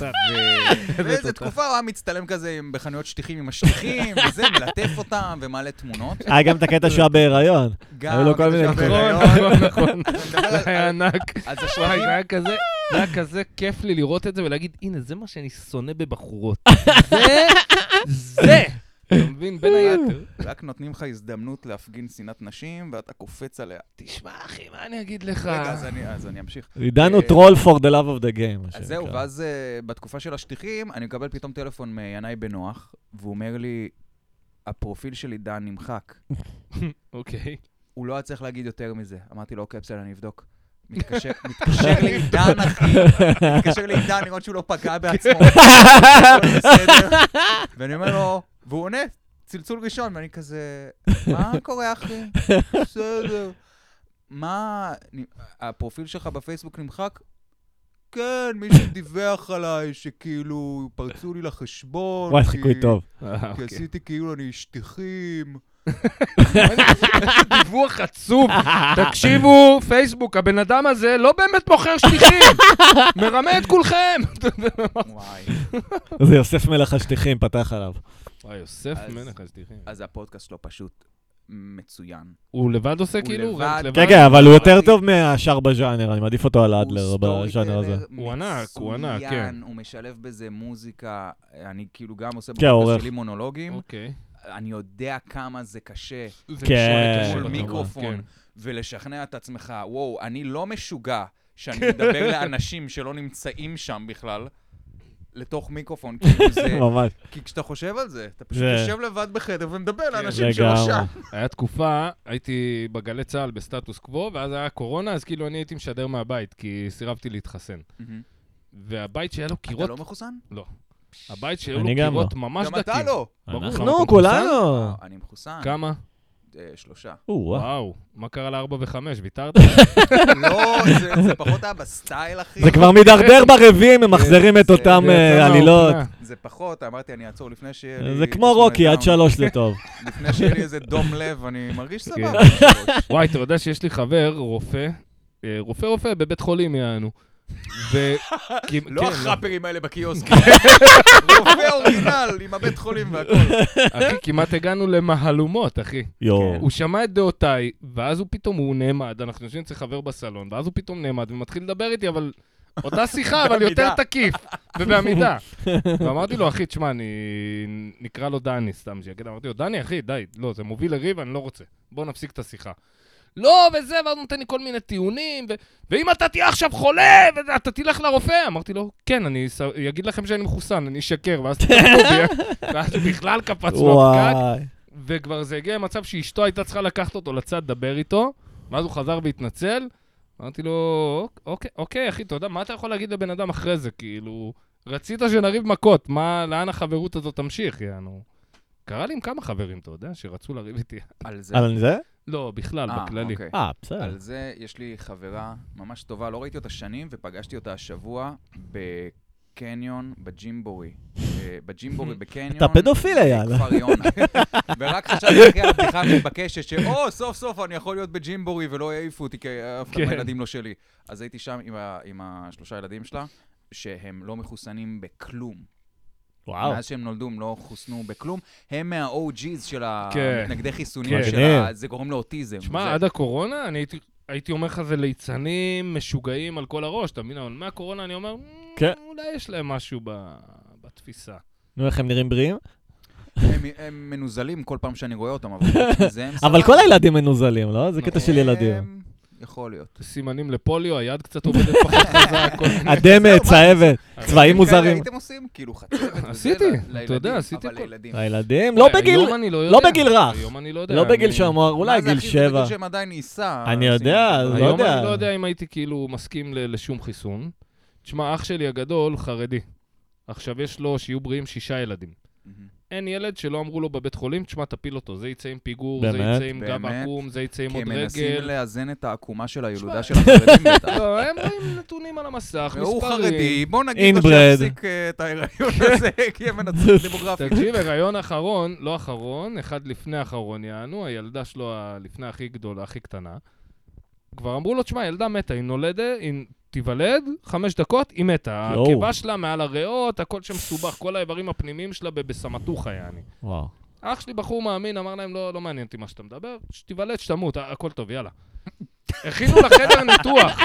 Speaker 1: ו- ואיזה תקופה הוא היה מצטלם כזה עם- בחנויות שטיחים עם השטיחים, וזה, מלטף אותם ומעלה תמונות.
Speaker 3: היה אה, גם את הקטע שהוא היה בהיריון.
Speaker 1: גם...
Speaker 3: היו לו כל מיני
Speaker 1: זה
Speaker 3: דברים.
Speaker 1: שהבהיריון-
Speaker 2: נכון, נכון, נכון.
Speaker 1: אתה מדבר
Speaker 2: זה
Speaker 1: על-
Speaker 2: היה ענק.
Speaker 1: על זה
Speaker 2: וואי, זה
Speaker 1: שטיחים,
Speaker 2: היה כזה, זה היה כזה כיף לי לראות את זה ולהגיד, הנה, זה מה שאני שונא בבחורות. זה, זה. אתה מבין, בין היתר.
Speaker 1: רק נותנים לך הזדמנות להפגין שנאת נשים, ואתה קופץ עליה.
Speaker 2: תשמע, אחי, מה אני אגיד לך?
Speaker 3: אה.
Speaker 1: רגע, אז אני- אז אני אמשיך.
Speaker 3: עידן הוא
Speaker 1: אה,
Speaker 3: טרול for the love of the game. מה
Speaker 1: אז זהו,
Speaker 3: שנקרא.
Speaker 1: ואז אה, בתקופה של השטיחים, אני מקבל פתאום טלפון מינאי בנוח, והוא אומר לי, הפרופיל של עידן נמחק.
Speaker 2: אוקיי.
Speaker 1: הוא לא היה צריך להגיד יותר מזה. אמרתי לו, אוקיי, בסדר, אני אבדוק. מתקשר מתקשר לעידן, אחי. מתקשר לעידן לראות שהוא לא פגע בעצמו.
Speaker 3: כן.
Speaker 1: הכל בסדר. ואני אומר לו, והוא עונה, צלצול ראשון, ואני כזה, מה קורה, אחי? בסדר. מה, אני- הפרופיל שלך בפייסבוק נמחק? כן, מישהו דיווח עליי שכאילו פרצו לי לחשבון.
Speaker 3: וואי,
Speaker 1: כי-
Speaker 3: חיקוי טוב.
Speaker 2: אה,
Speaker 1: כי
Speaker 2: אוקיי.
Speaker 1: עשיתי כאילו אני שטיחים.
Speaker 2: איזה דיווח עצוב. תקשיבו, פייסבוק, הבן אדם הזה לא באמת מוכר שטיחים. מרמה את כולכם.
Speaker 1: וואי.
Speaker 3: זה יוסף מלך השטיחים, פתח עליו.
Speaker 2: וואי, יוסף
Speaker 1: אז-
Speaker 2: מלך השטיחים.
Speaker 1: אז הפודקאסט לא פשוט מצוין.
Speaker 2: הוא לבד עושה
Speaker 1: הוא
Speaker 2: כאילו?
Speaker 1: לבד.
Speaker 2: רנט לבד?
Speaker 3: כן, כן, אבל הוא יותר טוב מהשאר בז'אנר, אני מעדיף אותו על האדלר
Speaker 1: הוא
Speaker 3: בז'אנר הזה.
Speaker 1: סטורי טלר
Speaker 2: הוא ענק, הוא ענק,
Speaker 1: מצוין,
Speaker 2: כן.
Speaker 1: הוא משלב בזה מוזיקה, אני כאילו גם עושה
Speaker 3: כן, הוא עורך.
Speaker 1: בפודקאסט שלי מונולוגים,
Speaker 2: אוקיי.
Speaker 1: אני יודע כמה זה קשה
Speaker 2: זה
Speaker 3: כן.
Speaker 2: קשה
Speaker 1: מול
Speaker 2: לקשר
Speaker 1: מיקרופון
Speaker 2: כמובן,
Speaker 1: ולשכנע את עצמך, וואו, אני לא משוגע שאני מדבר לאנשים שלא נמצאים שם בכלל. לתוך מיקרופון, כאילו זה,
Speaker 3: ממש.
Speaker 1: כי כשאתה חושב על זה, אתה פשוט
Speaker 3: זה-
Speaker 1: יושב לבד בחדר ומדבר לאנשים שלא
Speaker 3: לגמרי.
Speaker 1: שם.
Speaker 2: כן. היה תקופה, הייתי בגלי צה"ל בסטטוס קוו, ואז היה קורונה, אז כאילו אני הייתי משדר מהבית, כי סירבתי להתחסן.
Speaker 1: מהמם.
Speaker 2: והבית שהיה לו
Speaker 1: אתה
Speaker 2: קירות...
Speaker 1: לא מחוסן?
Speaker 2: לא. הבית שהיו לו
Speaker 3: אני גם
Speaker 2: קירות ממש
Speaker 1: גם
Speaker 2: דקים.
Speaker 1: אתה לא.
Speaker 2: ברור, למה,
Speaker 3: אנחנו,
Speaker 2: אתה
Speaker 3: כולנו.
Speaker 1: אה, אני מחוסן.
Speaker 2: מחוסן? כמה?
Speaker 1: אה, שלושה.
Speaker 3: או-אה.
Speaker 2: וואו, מה קרה לארבע וחמש? ויתרת?
Speaker 1: לא, זה- זה פחות היה בסטייל, אחי.
Speaker 3: זה כבר מידרדר ברביעי, ממחזרים את
Speaker 1: זה-
Speaker 3: אותם
Speaker 2: זה יצא
Speaker 3: אה, עלילות.
Speaker 2: מהאופנה.
Speaker 1: זה פחות, אמרתי, אני אעצור לפני שיהיה לי...
Speaker 3: זה כמו רוקי, עד
Speaker 1: תסמונת
Speaker 3: שלוש זה טוב.
Speaker 1: דאון. לפני שיהיה לי איזה דום לב, אני מרגיש סבבה.
Speaker 2: כן. וואי, אתה יודע שיש לי חבר, רופא, אה, רופא רופא בבית חולים יענו. ו... כי-
Speaker 1: לא
Speaker 2: כן,
Speaker 1: החאפרים האלה בקיוסקים. רופא אורגינל עם הבית חולים והכל.
Speaker 2: אחי, כמעט הגענו למהלומות, אחי.
Speaker 3: יואו.
Speaker 2: הוא שמע את דעותיי, ואז הוא פתאום, הוא נעמד, אנחנו יושבים אצל חבר בסלון, ואז הוא פתאום נעמד ומתחיל לדבר איתי, אבל אותה שיחה, אבל יותר
Speaker 1: בעמידה.
Speaker 2: תקיף, ובעמידה. ואמרתי לו, אחי, תשמע, אני... נקרא לו דני, סתם שיגיד, אמרתי לו, דני, אחי, די, לא, זה מוביל לריב, אני לא רוצה. בוא נפסיק את השיחה. לא, וזה, ואז הוא נותן לי כל מיני טיעונים, ו... ואם אתה תהיה עכשיו חולה, וזה, אתה תלך לרופא. אמרתי לו, כן, אני ס- אגיד לכם שאני מחוסן, אני אשקר, ואז תתקפו בי, ואז הוא בכלל קפץ מהפקק.
Speaker 3: וואי.
Speaker 2: וכבר זה הגיע למצב שאשתו הייתה צריכה לקחת אותו לצד, לדבר איתו, ואז הוא חזר והתנצל. אמרתי לו, "אוק- אוקיי, אוקיי, אחי, אתה יודע, מה אתה יכול להגיד לבן אדם אחרי זה? כאילו, רצית שנריב מכות, מה, לאן החברות הזאת תמשיך, יענו? קרה לי עם כמה חברים, אתה יודע, שרצו לריב איתי.
Speaker 1: על זה...
Speaker 3: על זה?
Speaker 2: לא, בכלל,
Speaker 1: אה,
Speaker 2: בכללי.
Speaker 1: אוקיי.
Speaker 3: אה, בסדר.
Speaker 1: על זה יש לי חברה ממש טובה, לא ראיתי אותה שנים, ופגשתי אותה השבוע בקניון, בג'ימבורי. אה, ב- בג'ימבו ובקניון.
Speaker 3: אתה פדופיל, אייל.
Speaker 1: בכפר יונה. ורק חשבתי אחרי הבדיחה המתבקשת, שאו, סוף סוף אני יכול להיות בג'ימבורי ולא יעיפו אותי, כי אף אחד
Speaker 2: כן.
Speaker 1: מהילדים לא שלי. אז הייתי שם עם ה- עם השלושה ילדים שלה, שהם לא מחוסנים בכלום.
Speaker 3: וואו.
Speaker 1: מאז שהם נולדו הם לא חוסנו בכלום. הם מה-OG's של
Speaker 2: כן.
Speaker 1: המתנגדי חיסונים,
Speaker 2: כן.
Speaker 1: של ה- זה גורם לאוטיזם. זה-
Speaker 2: שמע, עד הקורונה, אני הייתי- הייתי אומר לך, זה ליצנים משוגעים על כל הראש, אתה מבין? אבל מהקורונה אני אומר, "מ,
Speaker 3: כן.
Speaker 2: אולי יש להם משהו ב- בתפיסה.
Speaker 3: נו, איך הם נראים בריאים?
Speaker 1: הם, הם מנוזלים כל פעם שאני רואה אותם, אבל חוץ מזה הם
Speaker 3: אבל
Speaker 1: סבבה.
Speaker 3: כל הילדים מנוזלים, לא? זה קטע
Speaker 1: נכון.
Speaker 3: של ילדים.
Speaker 1: יכול להיות.
Speaker 2: סימנים לפוליו, היד קצת עובדת פחות חזק. כל מיני-
Speaker 3: אדמת, צהבת, צבעים
Speaker 1: דברים כאלה
Speaker 3: מוזרים.
Speaker 1: הייתם עושים? כאילו חצבת וזה
Speaker 2: עשיתי,
Speaker 1: ל-
Speaker 2: אתה
Speaker 1: לילדים,
Speaker 2: יודע, עשיתי
Speaker 1: אבל
Speaker 2: כל-
Speaker 1: לילדים.
Speaker 3: הילדים, לא בגיל,
Speaker 2: כן, היום אני
Speaker 3: לא
Speaker 2: יודע.
Speaker 3: בגיל רך.
Speaker 2: היום אני לא יודע.
Speaker 3: לא בגיל
Speaker 2: אני-
Speaker 3: שאמר, אולי
Speaker 1: מה זה
Speaker 3: גיל
Speaker 1: הכי- זה בגיל
Speaker 3: שבע.
Speaker 1: שהם עדיין עיסה.
Speaker 3: אני
Speaker 1: עושים
Speaker 3: יודע,
Speaker 1: את
Speaker 3: אז
Speaker 1: הדברים.
Speaker 3: לא
Speaker 2: היום
Speaker 3: יודע.
Speaker 2: אני לא יודע אם הייתי כאילו מסכים ל- לשום חיסון. תשמע, אח שלי הגדול חרדי. עכשיו יש לו, שיהיו בריאים, שישה ילדים.
Speaker 1: מהמם.
Speaker 2: אין ילד שלא אמרו לו בבית חולים, תשמע, תפיל אותו. זה יצא עם פיגור, זה
Speaker 3: באמת?
Speaker 2: יצא עם גב
Speaker 1: באמת?
Speaker 2: עקום, זה יצא עם
Speaker 1: כי הם
Speaker 2: עוד
Speaker 1: מנסים
Speaker 2: רגל.
Speaker 1: לאזן את העקומה של הילודה
Speaker 2: שמע.
Speaker 1: של החרדים בטח.
Speaker 2: לא, הם רואים נתונים על המסך, מספרים.
Speaker 1: הוא חרדי, בוא נגיד לו
Speaker 3: Inbred.
Speaker 1: שיפסיק אה, את ההיריון הזה, כי הם מנצחים דמוגרפית.
Speaker 2: תקשיב, הריון אחרון, לא אחרון, אחד לפני האחרון, יענו, הילדה שלו הלפני הכי גדולה, הכי קטנה. כבר אמרו לו, תשמע, ילדה מתה, היא נולדת, היא תיוולד, חמש דקות, היא מתה.
Speaker 3: יואו.
Speaker 2: הקיבה שלה מעל הריאות, הכל שם מסובך, כל האיברים הפנימיים שלה ב- בסמטוחה, יעני.
Speaker 3: וואו.
Speaker 2: אח שלי בחור מאמין, אמר להם, לא, לא מעניין אותי מה שאתה מדבר, שתיוולד, שתמות, ה- הכל טוב, יאללה. הכינו לחדר ניתוח,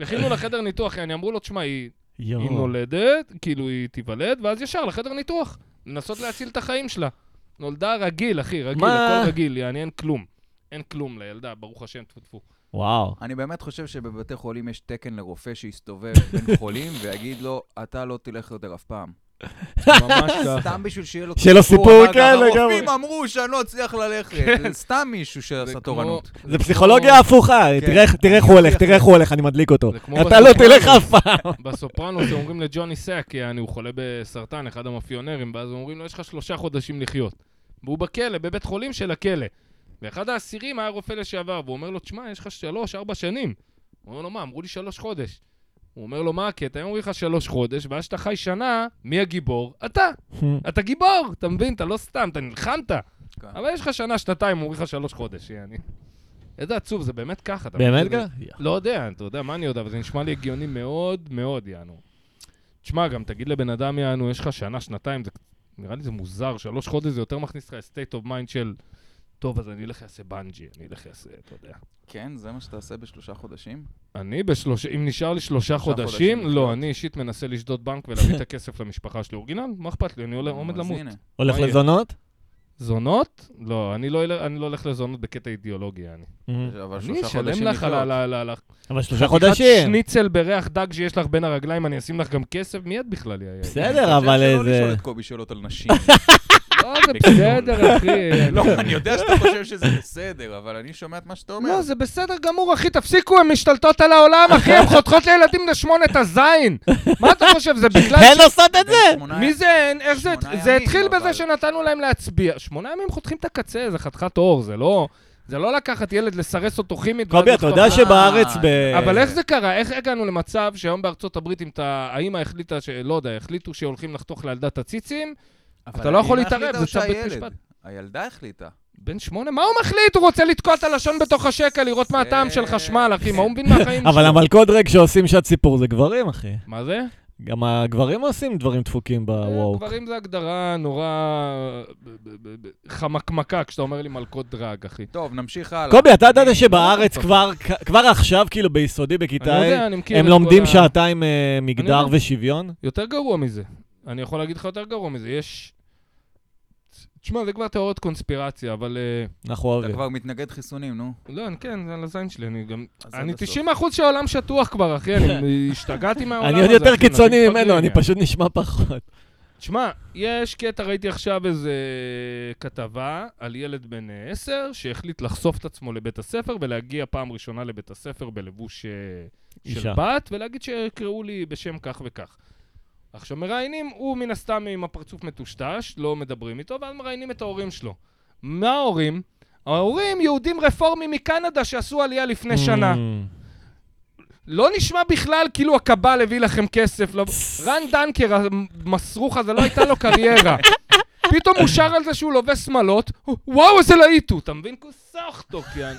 Speaker 2: הכינו לחדר ניתוח, יעני, אמרו לו, תשמע, היא היא
Speaker 3: יואו.
Speaker 2: נולדת, כאילו היא תיוולד, ואז ישר לחדר ניתוח, לנסות להציל את החיים שלה. נולדה רגיל, אחי, רגיל,
Speaker 3: מה?
Speaker 2: הכל רגיל, יעני אין כלום. אין כלום לילדה, ברוך השם, טפו טפו.
Speaker 3: וואו.
Speaker 1: אני באמת חושב שבבתי חולים יש תקן לרופא שיסתובב בין חולים ויגיד לו, אתה לא תלך יותר אף פעם.
Speaker 2: ממש ככה.
Speaker 1: סתם בשביל שיהיה לו
Speaker 3: שיהיה לו סיפור,
Speaker 1: אגב,
Speaker 3: כן,
Speaker 1: הרופאים
Speaker 3: לגמרי.
Speaker 1: אמרו שאני לא אצליח ללכת.
Speaker 2: כן.
Speaker 1: זה סתם מישהו שעשה תורנות.
Speaker 3: זה פסיכולוגיה הפוכה,
Speaker 1: כן.
Speaker 3: תראה איך- תראה איך הוא הולך, תראה איך הוא הולך, אני מדליק אותו.
Speaker 2: זה כמו
Speaker 3: אתה לא
Speaker 2: בסופרנוס.
Speaker 3: תלך אף פעם.
Speaker 2: בסופרנוס הם אומרים לג'וני סק, יעני, הוא חולה בסרטן, אחד המאפיונרים, ואז הם אומרים לו, יש לך שלושה חודשים לחיות. והוא בכלא, בבית חולים של הכלא. ואחד האסירים היה רופא לשעבר, והוא אומר לו, תשמע, יש לך שלוש, ארבע שנים. הוא אומר לו, מה? אמרו לי שלוש חודש. הוא אומר לו, מה הקטע? הם אומרים לך שלוש חודש, ואז שאתה חי שנה, מי הגיבור? אתה. אתה גיבור, אתה מבין? אתה לא סתם, אתה נלחמת.
Speaker 1: כן.
Speaker 2: אבל יש לך שנה, שנתיים, אומרים לך שלוש חודש, יעני. איזה עצוב, זה באמת ככה. אתה מבין?
Speaker 3: באמת
Speaker 2: זה-
Speaker 3: גם?
Speaker 2: לא יודע, אתה יודע, מה אני יודע, אבל זה נשמע לי הגיוני מאוד מאוד, יענו. תשמע, גם תגיד לבן אדם, יענו, יש לך שנה, שנתיים, זה, נראה לי זה מוזר, שלוש חודש זה יותר מכניס לך state of mind של, טוב, אז אני אלך אעשה בנג'י, אני אלך אעשה, אתה יודע.
Speaker 1: כן, זה מה שאתה עושה בשלושה חודשים?
Speaker 2: אני בשלושה, אם נשאר לי שלושה
Speaker 1: חודשים
Speaker 2: חודשים,
Speaker 1: לחיות.
Speaker 2: לא, אני אישית מנסה לשדוד בנק ולהביא את הכסף למשפחה שלי. אורגינל, מה אכפת לי, אני עולה- עומד
Speaker 1: אז
Speaker 2: למות.
Speaker 1: הנה.
Speaker 3: הולך
Speaker 2: מה יהיה?
Speaker 3: לזונות?
Speaker 2: זונות? לא, אני לא אלך- אני לא הולך לזונות בקטע אידיאולוגי, אני.
Speaker 1: אבל
Speaker 2: אני
Speaker 1: שלושה
Speaker 2: אשלם
Speaker 1: חודשים
Speaker 2: לך על
Speaker 1: לחיות.
Speaker 2: ה- על ה- על ה-
Speaker 3: אבל
Speaker 2: חתיכת
Speaker 3: שלושה חודשים.
Speaker 2: שניצל בריח דג שיש לך בין הרגליים, אני אשים לך גם כסף מיד בכלל, יאי.
Speaker 3: בסדר,
Speaker 1: אני חושב
Speaker 3: אבל
Speaker 1: שלא לשאול
Speaker 3: איזה...
Speaker 1: את קובי שאלות על נשים.
Speaker 2: לא, זה בסדר, אחי.
Speaker 1: לא, אני יודע שאתה חושב שזה בסדר, אבל אני שומע את מה שאתה אומר.
Speaker 2: לא, זה בסדר גמור, אחי, תפסיקו, הן משתלטות על העולם, אחי, הן חותכות לילדים לשמונה את הזין. מה אתה חושב, זה בגלל
Speaker 3: הן
Speaker 2: ש...
Speaker 3: כן, עושות את
Speaker 1: בן
Speaker 3: זה!
Speaker 1: שמונה-
Speaker 2: מי זה הן? איך זה...
Speaker 1: שמונה
Speaker 2: זה
Speaker 1: ימים, לא
Speaker 2: התחיל
Speaker 1: אבל-
Speaker 2: בזה שנתנו להם להצביע. שמונה ימים חותכים את הקצה, זה חתיכת אור, זה לא... זה לא לקחת ילד, לסרס אותו כימית.
Speaker 3: קובי,
Speaker 2: ואז
Speaker 3: אתה
Speaker 2: לכתוב
Speaker 3: יודע
Speaker 1: אה,
Speaker 3: שבארץ ב...
Speaker 2: כן. אבל איך זה קרה? איך הגענו למצב שהיום בארצות הברית, אם אתה... האמא החליטה, ש- לא יודע, החליטו שהולכים לחתוך לילדה את הציצים,
Speaker 1: אבל
Speaker 2: אתה לא יכול
Speaker 1: האמא
Speaker 2: להתערב,
Speaker 1: החליטה
Speaker 2: זה צו
Speaker 1: או
Speaker 2: בית
Speaker 1: שהילד?
Speaker 2: משפט.
Speaker 1: הילדה החליטה.
Speaker 2: בן שמונה, מה הוא מחליט? הוא רוצה לתקוע את הלשון בתוך השקע, לראות מה הטעם של חשמל, אחי, מה הוא מבין מהחיים
Speaker 3: אבל המלכוד ריק שעושים שעת סיפור זה גברים, אחי.
Speaker 2: מה זה?
Speaker 3: גם הגברים עושים דברים דפוקים
Speaker 2: אה,
Speaker 3: בוואו.
Speaker 2: גברים זה הגדרה נורא ב- ב- ב- ב- חמקמקה, כשאתה אומר לי מלכות דרג, אחי.
Speaker 1: טוב, נמשיך הלאה.
Speaker 3: קובי, אתה ידעת שבארץ כבר כבר עכשיו, כאילו ביסודי,
Speaker 2: לא- אני לא
Speaker 3: בכיתה
Speaker 2: יודע,
Speaker 3: ה',
Speaker 2: אני מכיר את
Speaker 3: הם
Speaker 2: כל
Speaker 3: לומדים
Speaker 2: ה- לא
Speaker 3: שעתיים אה, מגדר
Speaker 2: יודע.
Speaker 3: ושוויון?
Speaker 2: יותר גרוע מזה. אני יכול להגיד לך יותר גרוע מזה. יש... תשמע, זה כבר תיאוריות קונספירציה, אבל... אה,
Speaker 3: אנחנו
Speaker 1: אתה
Speaker 3: אוהבים.
Speaker 1: כבר מתנגד חיסונים, נו.
Speaker 2: לא, אני כן, זה על הזין שלי, אני גם...
Speaker 1: אז
Speaker 2: אני
Speaker 1: עד הסוף.
Speaker 2: 90% שהעולם שטוח כבר, אחי, אני השתגעתי מהעולם הזה.
Speaker 3: אני עוד יותר
Speaker 2: אחי, כן, אנשים
Speaker 3: קיצוני
Speaker 2: מפגרים,
Speaker 3: ממנו, אני
Speaker 2: יעני.
Speaker 3: פשוט נשמע פחות.
Speaker 2: תשמע, יש קטע, ראיתי עכשיו איזה כתבה על ילד בן אה, עשר שהחליט לחשוף את עצמו לבית הספר ולהגיע פעם ראשונה לבית הספר בלבוש אה,
Speaker 3: אישה.
Speaker 2: של בת, ולהגיד שיקראו לי בשם כך וכך. עכשיו מראיינים, הוא מן הסתם עם הפרצוף מטושטש, לא מדברים איתו, ואז מראיינים את ההורים שלו. מה ההורים? ההורים יהודים רפורמים מקנדה שעשו עלייה לפני שנה.
Speaker 3: Mm.
Speaker 2: לא נשמע בכלל כאילו הקבל הביא לכם כסף. לא- רן דנקר, המסרוך הזה, לא הייתה לו קריירה. פתאום הוא שר על זה שהוא לובש שמלות, הוא- וואו, איזה להיט הוא, אתה מבין? כוסח טוקיאן.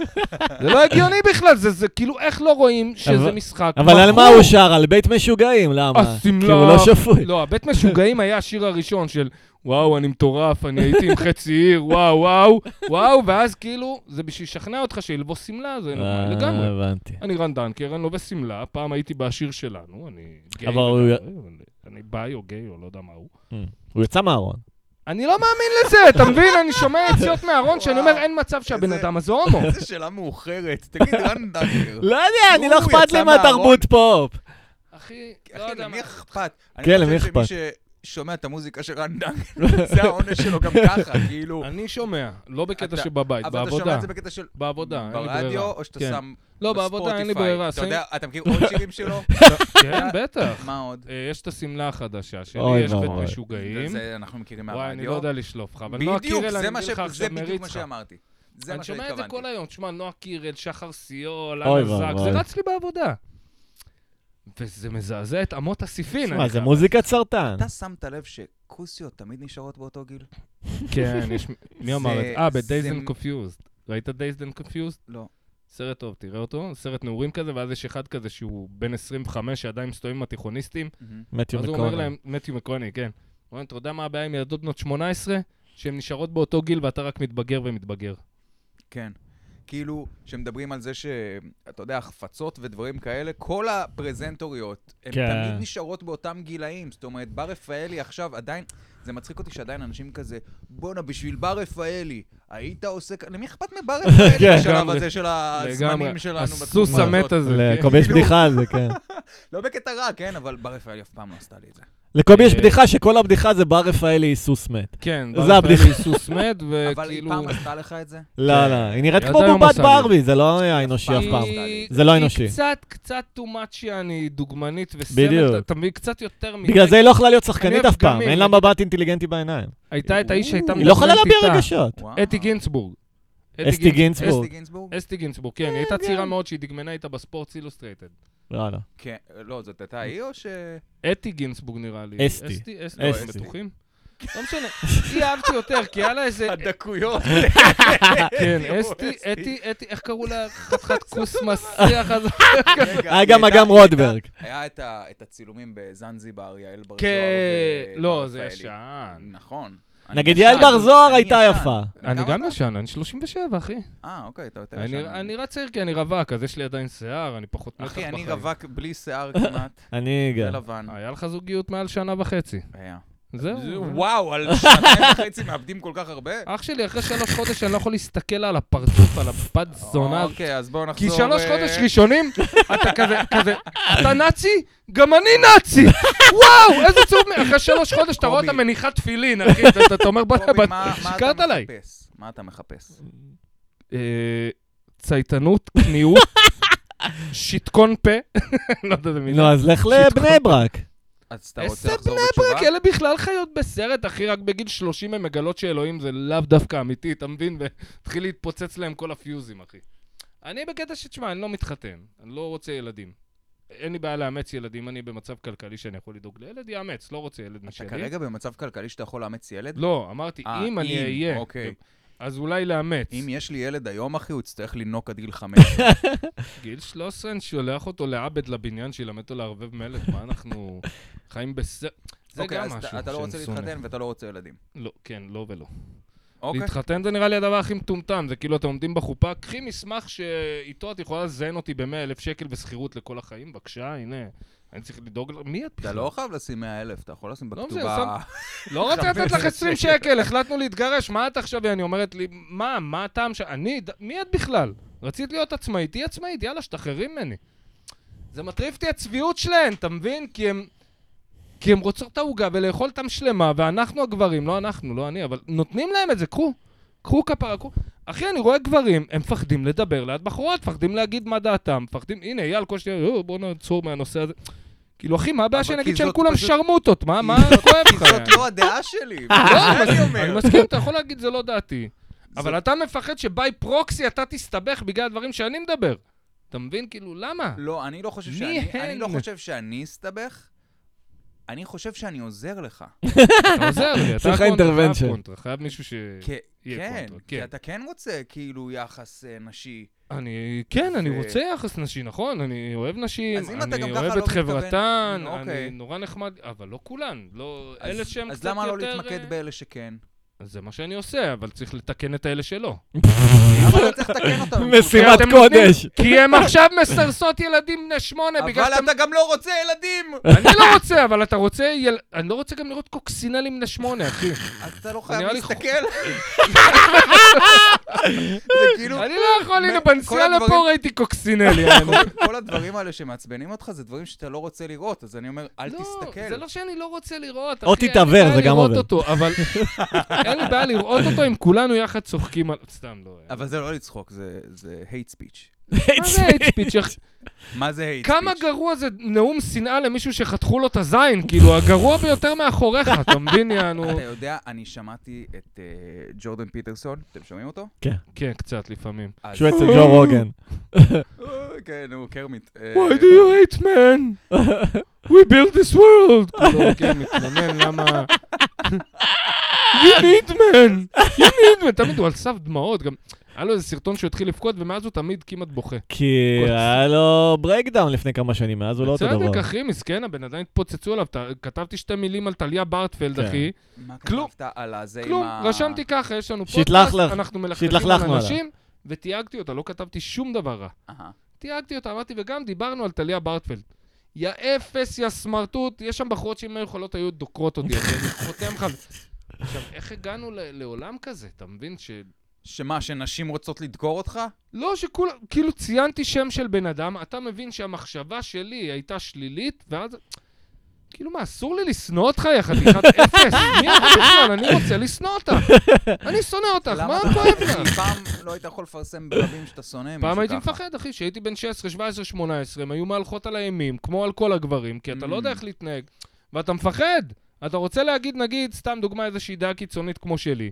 Speaker 2: זה לא הגיוני בכלל, זה זה כאילו, איך לא רואים שזה
Speaker 3: אבל-
Speaker 2: משחק
Speaker 3: אבל על מה
Speaker 2: מכור?
Speaker 3: הוא שר? על בית משוגעים, למה? כי
Speaker 2: השמלה...
Speaker 3: הוא לא שפוי.
Speaker 2: לא, הבית משוגעים היה השיר הראשון של וואו, אני מטורף, אני הייתי עם חצי עיר, וואו, וואו, וואו, ואז כאילו, זה בשביל לשכנע אותך שלבוש שמלה זה
Speaker 3: אה,
Speaker 2: נורמלי לגמרי.
Speaker 3: הבנתי.
Speaker 2: אני רן דנקר, אני לובש שמלה, פעם הייתי בשיר שלנו, אני גיי,
Speaker 3: אבל הוא-
Speaker 2: לגמרי, אבל אני ביי או גיי או לא יודע מה הוא.
Speaker 3: הוא יצא מהארון.
Speaker 2: אני לא מאמין לזה, אתה מבין? אני שומע יציאות מהארון שאני אומר, אין מצב שהבן
Speaker 1: איזה-
Speaker 2: אדם הזה הומו.
Speaker 1: איזה שאלה מאוחרת. תגיד, רן דנקר.
Speaker 3: לא יודע,
Speaker 1: אני לא הוא אכפת יצא לי מהארון. מהתרבות
Speaker 3: פופ.
Speaker 2: אחי, לא
Speaker 1: אחי,
Speaker 2: יודע מה.
Speaker 1: למי אכפת?
Speaker 3: כן, למי
Speaker 1: אני
Speaker 3: אכפת?
Speaker 1: חושב שמי ששומע את המוזיקה של רן דנקר, זה העונש שלו גם ככה, כאילו.
Speaker 2: אני שומע, לא בקטע
Speaker 1: אתה-
Speaker 2: שבבית,
Speaker 1: אבל אתה שומע
Speaker 2: בעבודה.
Speaker 1: את זה בקטע של...
Speaker 2: בעבודה, אין לי ברירה.
Speaker 1: ברדיו, או שאתה
Speaker 2: כן.
Speaker 1: שם
Speaker 2: לא, בעבודה אין לי
Speaker 1: בספוטיפיי.
Speaker 2: ברירה.
Speaker 1: אתה
Speaker 2: שמים-
Speaker 1: יודע, אתה מכיר עוד שירים שלו?
Speaker 2: כן, בטח.
Speaker 1: מה עוד?
Speaker 2: אה, יש את השמלה החדשה שלי,
Speaker 3: אוי
Speaker 2: יש בית
Speaker 3: ואבוי.
Speaker 2: משוגעים.
Speaker 1: זה אנחנו מכירים מהרדיו.
Speaker 2: וואי, אני לא יודע לשלוף לך, אבל נועה
Speaker 1: בדיוק,
Speaker 2: קירל, אני
Speaker 1: זה מה
Speaker 2: מביא
Speaker 1: ש-
Speaker 2: לך
Speaker 1: זה
Speaker 2: עכשיו
Speaker 1: בדיוק מה
Speaker 2: מריצה.
Speaker 1: שאמרתי. זה מה
Speaker 2: אני שומע את זה
Speaker 1: שהתכוונתי.
Speaker 2: כל היום, תשמע, נועה קירל, שחר סיול,
Speaker 3: אוי
Speaker 2: אנה זק,
Speaker 3: ואבוי.
Speaker 2: זה רץ לי בעבודה. וזה מזעזע את אמות הסיפין.
Speaker 3: שמע,
Speaker 2: אני
Speaker 3: זה
Speaker 2: חייב-
Speaker 3: מוזיקת סרטן.
Speaker 1: אתה שמת לב שכוסיות תמיד נשארות באותו גיל?
Speaker 2: כן, יש... מי אמר את זה?
Speaker 1: זה-
Speaker 2: אה,
Speaker 1: זה-
Speaker 2: ב-Days and Confused. ראית Days and Confused?
Speaker 1: לא.
Speaker 2: סרט טוב, תראה אותו. סרט נעורים כזה, ואז יש אחד כזה שהוא בן 25 שעדיין מסתובב עם התיכוניסטים,
Speaker 3: מתיו
Speaker 2: אז הוא אומר
Speaker 3: מקורן.
Speaker 2: להם, מתיו מקוני, כן. הוא אומר, להם, אתה יודע מה הבעיה עם ילדות בנות 18? שהן נשארות באותו גיל ואתה רק מתבגר ומתבגר.
Speaker 1: כן. כאילו, שמדברים על זה ש... אתה יודע, החפצות ודברים כאלה, כל הפרזנטוריות, הן
Speaker 3: כן.
Speaker 1: תמיד נשארות באותם גילאים. זאת אומרת, בר רפאלי עכשיו עדיין... זה מצחיק אותי שעדיין אנשים כזה, בואנה, בשביל בר רפאלי, היית עושה... כ-" למי אכפת מבר רפאלי
Speaker 3: כן.
Speaker 1: בשלב
Speaker 2: לגמרי.
Speaker 1: הזה של הזמנים שלנו
Speaker 2: הסוס
Speaker 1: בתקופה
Speaker 2: המת
Speaker 1: הזאת?
Speaker 2: הזה. כן.
Speaker 3: לקובי יש
Speaker 1: כאילו-
Speaker 3: בדיחה על זה, כן.
Speaker 1: לא בקטע רע, כן, אבל בר רפאלי אף פעם לא עשתה לי את זה.
Speaker 3: לקובי יש
Speaker 2: אה,
Speaker 3: בדיחה שכל הבדיחה זה בר רפאלי היא סוס מת.
Speaker 2: כן,
Speaker 3: זה
Speaker 2: זה
Speaker 3: הבדיחה.
Speaker 2: הבדיחה. סוס מת,
Speaker 1: אבל היא
Speaker 2: וכאילו...
Speaker 1: פעם עשתה לך את זה?
Speaker 3: לא, לא, היא נראית
Speaker 2: ילדה
Speaker 3: כמו
Speaker 2: לא
Speaker 3: בובת
Speaker 2: מוסרית.
Speaker 3: ברבי, זה לא היה אנושי אף
Speaker 1: היא-
Speaker 3: פעם.
Speaker 1: היא-
Speaker 3: זה לא אנושי.
Speaker 2: היא קצת, קצת too much שאני דוגמנית
Speaker 3: בדיוק.
Speaker 2: וסמל, אתה מבין? קצת יותר מדי.
Speaker 3: בגלל זה היא לא יכלה להיות שחקנית
Speaker 2: אני
Speaker 3: אף פעם,
Speaker 2: הפגמים,
Speaker 3: אין לה מבט אינטליגנטי בעיניים.
Speaker 2: הייתה את האיש שהייתה
Speaker 3: היא לא יכולה
Speaker 2: מדברת
Speaker 3: להביע
Speaker 2: איתה.
Speaker 3: רגשות.
Speaker 1: וואו.
Speaker 2: אתי גינצבורג.
Speaker 3: אסתי
Speaker 1: אסתי
Speaker 3: גינצבורג.
Speaker 1: גינצבורג?
Speaker 2: אסתי גינצבורג, כן, היא הייתה צעירה מאוד שהיא דגמנה איתה בספורט אילוסטרייטד.
Speaker 3: לא, לא.
Speaker 1: כן, לא, זאת הייתה היא או ש...
Speaker 2: אתי גינצבורג נראה לי.
Speaker 3: אסתי.
Speaker 2: אסתי, אסתי,
Speaker 3: אסתי.
Speaker 2: אתם בטוחים? לא משנה, היא אהבתי יותר, כי היה לה איזה...
Speaker 1: הדקויות.
Speaker 2: כן, אסתי, אתי, אתי, איך קראו לה? חתיכת כוס מסריח הזה. אה,
Speaker 1: רגע,
Speaker 3: היה אה, גם
Speaker 1: היא הייתה-
Speaker 3: אגם
Speaker 1: היא הייתה-
Speaker 3: רודברג.
Speaker 1: היה את ה- את הצילומים בזנזיבר, יעל בר זוהר.
Speaker 2: כן,
Speaker 1: ו-
Speaker 2: לא, זה
Speaker 1: רפאלי.
Speaker 2: ישן.
Speaker 1: נכון. אני
Speaker 3: נגיד
Speaker 1: ישן,
Speaker 3: יעל בר
Speaker 1: אני-
Speaker 3: זוהר
Speaker 1: אני
Speaker 3: הייתה
Speaker 1: ישן.
Speaker 3: יפה.
Speaker 2: אני
Speaker 1: כמה
Speaker 2: גם
Speaker 1: אתה?
Speaker 2: ישן, אני 37, אחי.
Speaker 1: אה, אוקיי, אתה יותר
Speaker 2: אני-
Speaker 1: ישן.
Speaker 2: אני רץ צעיר כי אני רווק, אז יש לי עדיין שיער, אני פחות מתח
Speaker 1: אחי,
Speaker 2: בחיים. כן. נכון.
Speaker 1: אני רווק בלי שיער כמעט,
Speaker 3: אני גם.
Speaker 1: ולבן.
Speaker 2: היה לך זוגיות מעל שנה וחצי.
Speaker 1: היה. זה-
Speaker 2: זהו.
Speaker 1: וואו, על שנתיים וחצי מאבדים כל כך הרבה?
Speaker 2: אח שלי, אחרי שלוש חודש אני לא יכול להסתכל על הפרצוף, על הבת זונה.
Speaker 1: אוקיי, אז בואו
Speaker 2: כי
Speaker 1: נחזור...
Speaker 2: שלוש
Speaker 1: אה,
Speaker 2: חודש ראשונים, אתה כזה, כזה, אתה נאצי? גם אני נאצי! וואו, איזה צהוב, מ- אחרי שלוש חודש אתה רואה אותה
Speaker 1: קובי.
Speaker 2: מניחת תפילין, אחי, אתה- אתה- אתה אומר, בוא'נה,
Speaker 1: קובי,
Speaker 2: בת-
Speaker 1: מה- מה אתה
Speaker 2: שיקרת עליי.
Speaker 1: מחפש? מה אתה מחפש?
Speaker 2: אה, צייתנות, קניעות, שיטקון פה, לא יודע איזה מילה.
Speaker 3: נו, אז לך
Speaker 2: שיטחו.
Speaker 3: לבני ברק.
Speaker 1: אז אתה
Speaker 2: איזה
Speaker 1: רוצה לחזור
Speaker 2: בני
Speaker 1: בתשובה?
Speaker 2: רק אלה בכלל חיות בסרט, אחי, רק בגיל 30 הן מגלות שאלוהים זה לאו דווקא אמיתי, אתה מבין? והתחיל להתפוצץ להם כל הפיוזים, אחי. אני בקטע שתשמע, אני לא מתחתן, אני לא רוצה ילדים. אין לי בעיה לאמץ ילדים, אני במצב כלכלי שאני יכול לדאוג לילד, יאמץ, לא רוצה ילד
Speaker 1: אתה
Speaker 2: משלי.
Speaker 1: כרגע במצב כלכלי שאתה יכול לאמץ ילד?
Speaker 2: לא, אמרתי,
Speaker 1: אה,
Speaker 2: אם אני אהיה,
Speaker 1: אוקיי.
Speaker 2: אז אולי לאמץ.
Speaker 1: אם יש לי ילד היום, אחי, הוא יצטרך לנוק עד גיל חמש.
Speaker 2: גיל 13, אני שולח אותו לעבד לבניין, שילמד אותו לערבב מלט, מה אנחנו חיים בסרט? זה
Speaker 1: אוקיי,
Speaker 2: גם
Speaker 1: אז
Speaker 2: משהו
Speaker 1: אתה- אתה לא רוצה
Speaker 2: שאני שונא.
Speaker 1: להתחתן ואתה לא רוצה ילדים.
Speaker 2: לא, כן, לא ולא.
Speaker 1: אוקיי.
Speaker 2: להתחתן זה נראה לי הדבר הכי מטומטם, זה כאילו אתם עומדים בחופה, קחי מסמך שאיתו את יכולה לזיין אותי ב-100 אלף שקל ושכירות לכל החיים, בבקשה, הנה, אני צריך לדאוג ל... מי את בכלל?
Speaker 1: אתה לא חייב לשים 100 אלף, אתה יכול לשים
Speaker 2: לא
Speaker 1: בכתובה...
Speaker 2: לא רוצה לתת לך 20 שקל, החלטנו להתגרש, מה את עכשיו? היא אומרת לי, מה, מה הטעם ש... אני, ד- מי את בכלל? רצית להיות עצמאית, תהיי עצמאית, יאללה, שתחררי ממני. זה מטריף אותי הצביעות שלהן, אתה מבין? כי הם... כי הם רוצות את העוגה ולאכול אותם שלמה, ואנחנו הגברים, לא אנחנו, לא אני, אבל נותנים להם את זה, קחו, קחו כפרה, קחו. אחי, אני רואה גברים, הם מפחדים לדבר ליד בחורות, מפחדים להגיד מה דעתם, מפחדים, הנה, אייל קושי, "אה, בוא נעצור מהנושא הזה. כאילו, אחי, מה הבעיה
Speaker 1: אבל
Speaker 2: שנגיד
Speaker 1: כי
Speaker 2: שהם
Speaker 1: זאת
Speaker 2: כולם
Speaker 1: פשוט-
Speaker 2: שרמוטות? מה,
Speaker 1: כי
Speaker 2: מה
Speaker 1: זאת-
Speaker 2: כואב
Speaker 1: כי
Speaker 2: לך?
Speaker 1: זאת לא הדעה שלי, לא, מה אני
Speaker 2: אה, אני
Speaker 1: אומר?
Speaker 2: מסכים, אתה יכול להגיד, זה לא דעתי. אבל אתה מפחד שביי פרוקסי אתה תסתבך בגלל הדברים שאני מדבר. אתה מבין? כאילו, למה?
Speaker 1: לא, אני לא חושב
Speaker 2: מי
Speaker 1: שאני... אני
Speaker 2: הן?
Speaker 1: לא חושב שאני אסתבך, אני חושב שאני עוזר לך.
Speaker 2: אתה עוזר לי, אתה
Speaker 3: שיחה
Speaker 2: הקונטרה,
Speaker 3: intervention.
Speaker 2: חייב קונטרה, חייב מישהו ש...
Speaker 1: כי-
Speaker 2: יהיה
Speaker 1: כן,
Speaker 2: קונטרה, כן.
Speaker 1: כי אתה כן רוצה כאילו יחס אה, נשי.
Speaker 2: אני, כן, אני
Speaker 1: ו-
Speaker 2: רוצה יחס נשי, נכון? אני אוהב נשים,
Speaker 1: אז אם אתה
Speaker 2: אני
Speaker 1: גם ככה
Speaker 2: אוהב
Speaker 1: לא
Speaker 2: את
Speaker 1: מתכוון-
Speaker 2: חברתן,
Speaker 1: נו,
Speaker 2: אני
Speaker 1: אוקיי.
Speaker 2: נורא נחמד, אבל לא כולן, לא...
Speaker 1: אז-
Speaker 2: אלה שהם קצת
Speaker 1: אז
Speaker 2: יותר...
Speaker 1: למה לא
Speaker 2: אה,
Speaker 1: להתמקד באלה שכן?
Speaker 2: אז זה מה שאני עושה, אבל צריך לתקן את האלה שלא.
Speaker 1: למה אתה צריך לתקן אותם? הם
Speaker 3: משימת
Speaker 2: כי אתם
Speaker 3: קודש.
Speaker 2: נותנים- כי הם עכשיו מסרסות ילדים בני שמונה,
Speaker 1: אבל
Speaker 2: בגלל שאתם...
Speaker 1: אתה גם לא רוצה ילדים!
Speaker 2: אני לא רוצה, אבל אתה רוצה... יל- אני לא רוצה גם לראות קוקסינלים בני שמונה, אחי.
Speaker 1: אז אתה לא חייב
Speaker 2: נראה לי חו-
Speaker 1: להסתכל. זה כאילו...
Speaker 2: אני לא יכול, הנה,
Speaker 1: מ-
Speaker 2: בנסיאלה
Speaker 1: כל
Speaker 2: פה
Speaker 1: הדברים-
Speaker 2: ראיתי קוקסינלי.
Speaker 1: כל- כל הדברים האלה שמעצבנים אותך זה דברים שאתה לא רוצה לראות, אז אני אומר, אל
Speaker 2: לא,
Speaker 1: תסתכל.
Speaker 2: זה לא שאני לא רוצה לראות, אחי.
Speaker 3: או
Speaker 2: אין לי
Speaker 3: תתעוור,
Speaker 2: בעיה
Speaker 3: זה גם
Speaker 2: לראות
Speaker 3: עובד.
Speaker 2: אותו, אבל אין לי בעיה לראות אותו אם כולנו יחד צוחקים על... סתם, לא.
Speaker 1: אבל זה לא לצחוק, זה- זה hate speech.
Speaker 2: מה זה hate speech? אח-
Speaker 1: מה זה hate speech?
Speaker 2: כמה גרוע זה נאום שנאה למישהו שחתכו לו את הזין, כאילו, הגרוע ביותר מאחוריך, אתה מבין, יענו...
Speaker 1: אתה יודע, אני שמעתי את אה, ג'ורדן פיטרסון, אתם שומעים אותו?
Speaker 2: כן, קצת לפעמים.
Speaker 1: אז-
Speaker 3: שהוא אצל ג'ו רוגן.
Speaker 1: אה, כן, הוא קרמיט. אה,
Speaker 2: Why do you hate man? We built this world! כאילו, כן, מתלונן, למה... You need man! You need man! תמיד הוא על סף דמעות, גם... היה לו איזה סרטון שהוא התחיל לבכות, ומאז הוא תמיד כמעט בוכה.
Speaker 3: כי
Speaker 2: כל-
Speaker 3: היה לו ברייקדאון לפני כמה שנים, מאז הוא לא אותו דבר.
Speaker 2: בצדק, אחי, מסכן, הבן אדם התפוצצו עליו. ת- כתבתי שתי מילים על טליה ברטפלד,
Speaker 3: כן.
Speaker 2: אחי.
Speaker 1: מה
Speaker 2: כלום.
Speaker 1: כתבת על הזה עם
Speaker 2: כלום,
Speaker 1: ה...
Speaker 2: רשמתי ככה, יש לנו פודקאסט,
Speaker 3: שהתלכלך-
Speaker 2: אנחנו מלכלכים על
Speaker 3: שהתלכלכנו
Speaker 2: אנשים, ותייגתי אותה, לא כתבתי שום דבר רע.
Speaker 1: אהה.
Speaker 2: תייגתי אותה, אמרתי, וגם דיברנו על טליה ברטפלד. יא אפס, יא סמרטוט, יש שם בחורות שאם היו יכולות היו דוקרות אותי, אז אני חותם לך. עכשיו, איך הגענו ל- לעולם כזה? אתה מבין ש...
Speaker 1: שמה, שנשים רוצות לדקור אותך?
Speaker 2: לא, שכולם, כאילו ציינתי שם של בן אדם, אתה מבין שהמחשבה שלי הייתה שלילית, ואז... כאילו מה, אסור לי לשנוא אותך, יא חתיכת אפס? מי את בכלל? אני רוצה לשנוא אותך. אני שונא אותך, מה
Speaker 1: אתה
Speaker 2: כואב
Speaker 1: חושב
Speaker 2: לך?
Speaker 1: שהיא פעם לא היית יכול לפרסם ברבים שאתה שונא מישהו
Speaker 2: פעם הייתי
Speaker 1: ככה?
Speaker 2: מפחד, אחי, כשהייתי בן 16, 17, 18, הם היו מהלכות על הימים, כמו על כל הגברים, כי אתה לא יודע איך להתנהג, ואתה מפחד. אתה רוצה להגיד, נגיד, סתם דוגמה, איזושהי דעה קיצונית כמו שלי.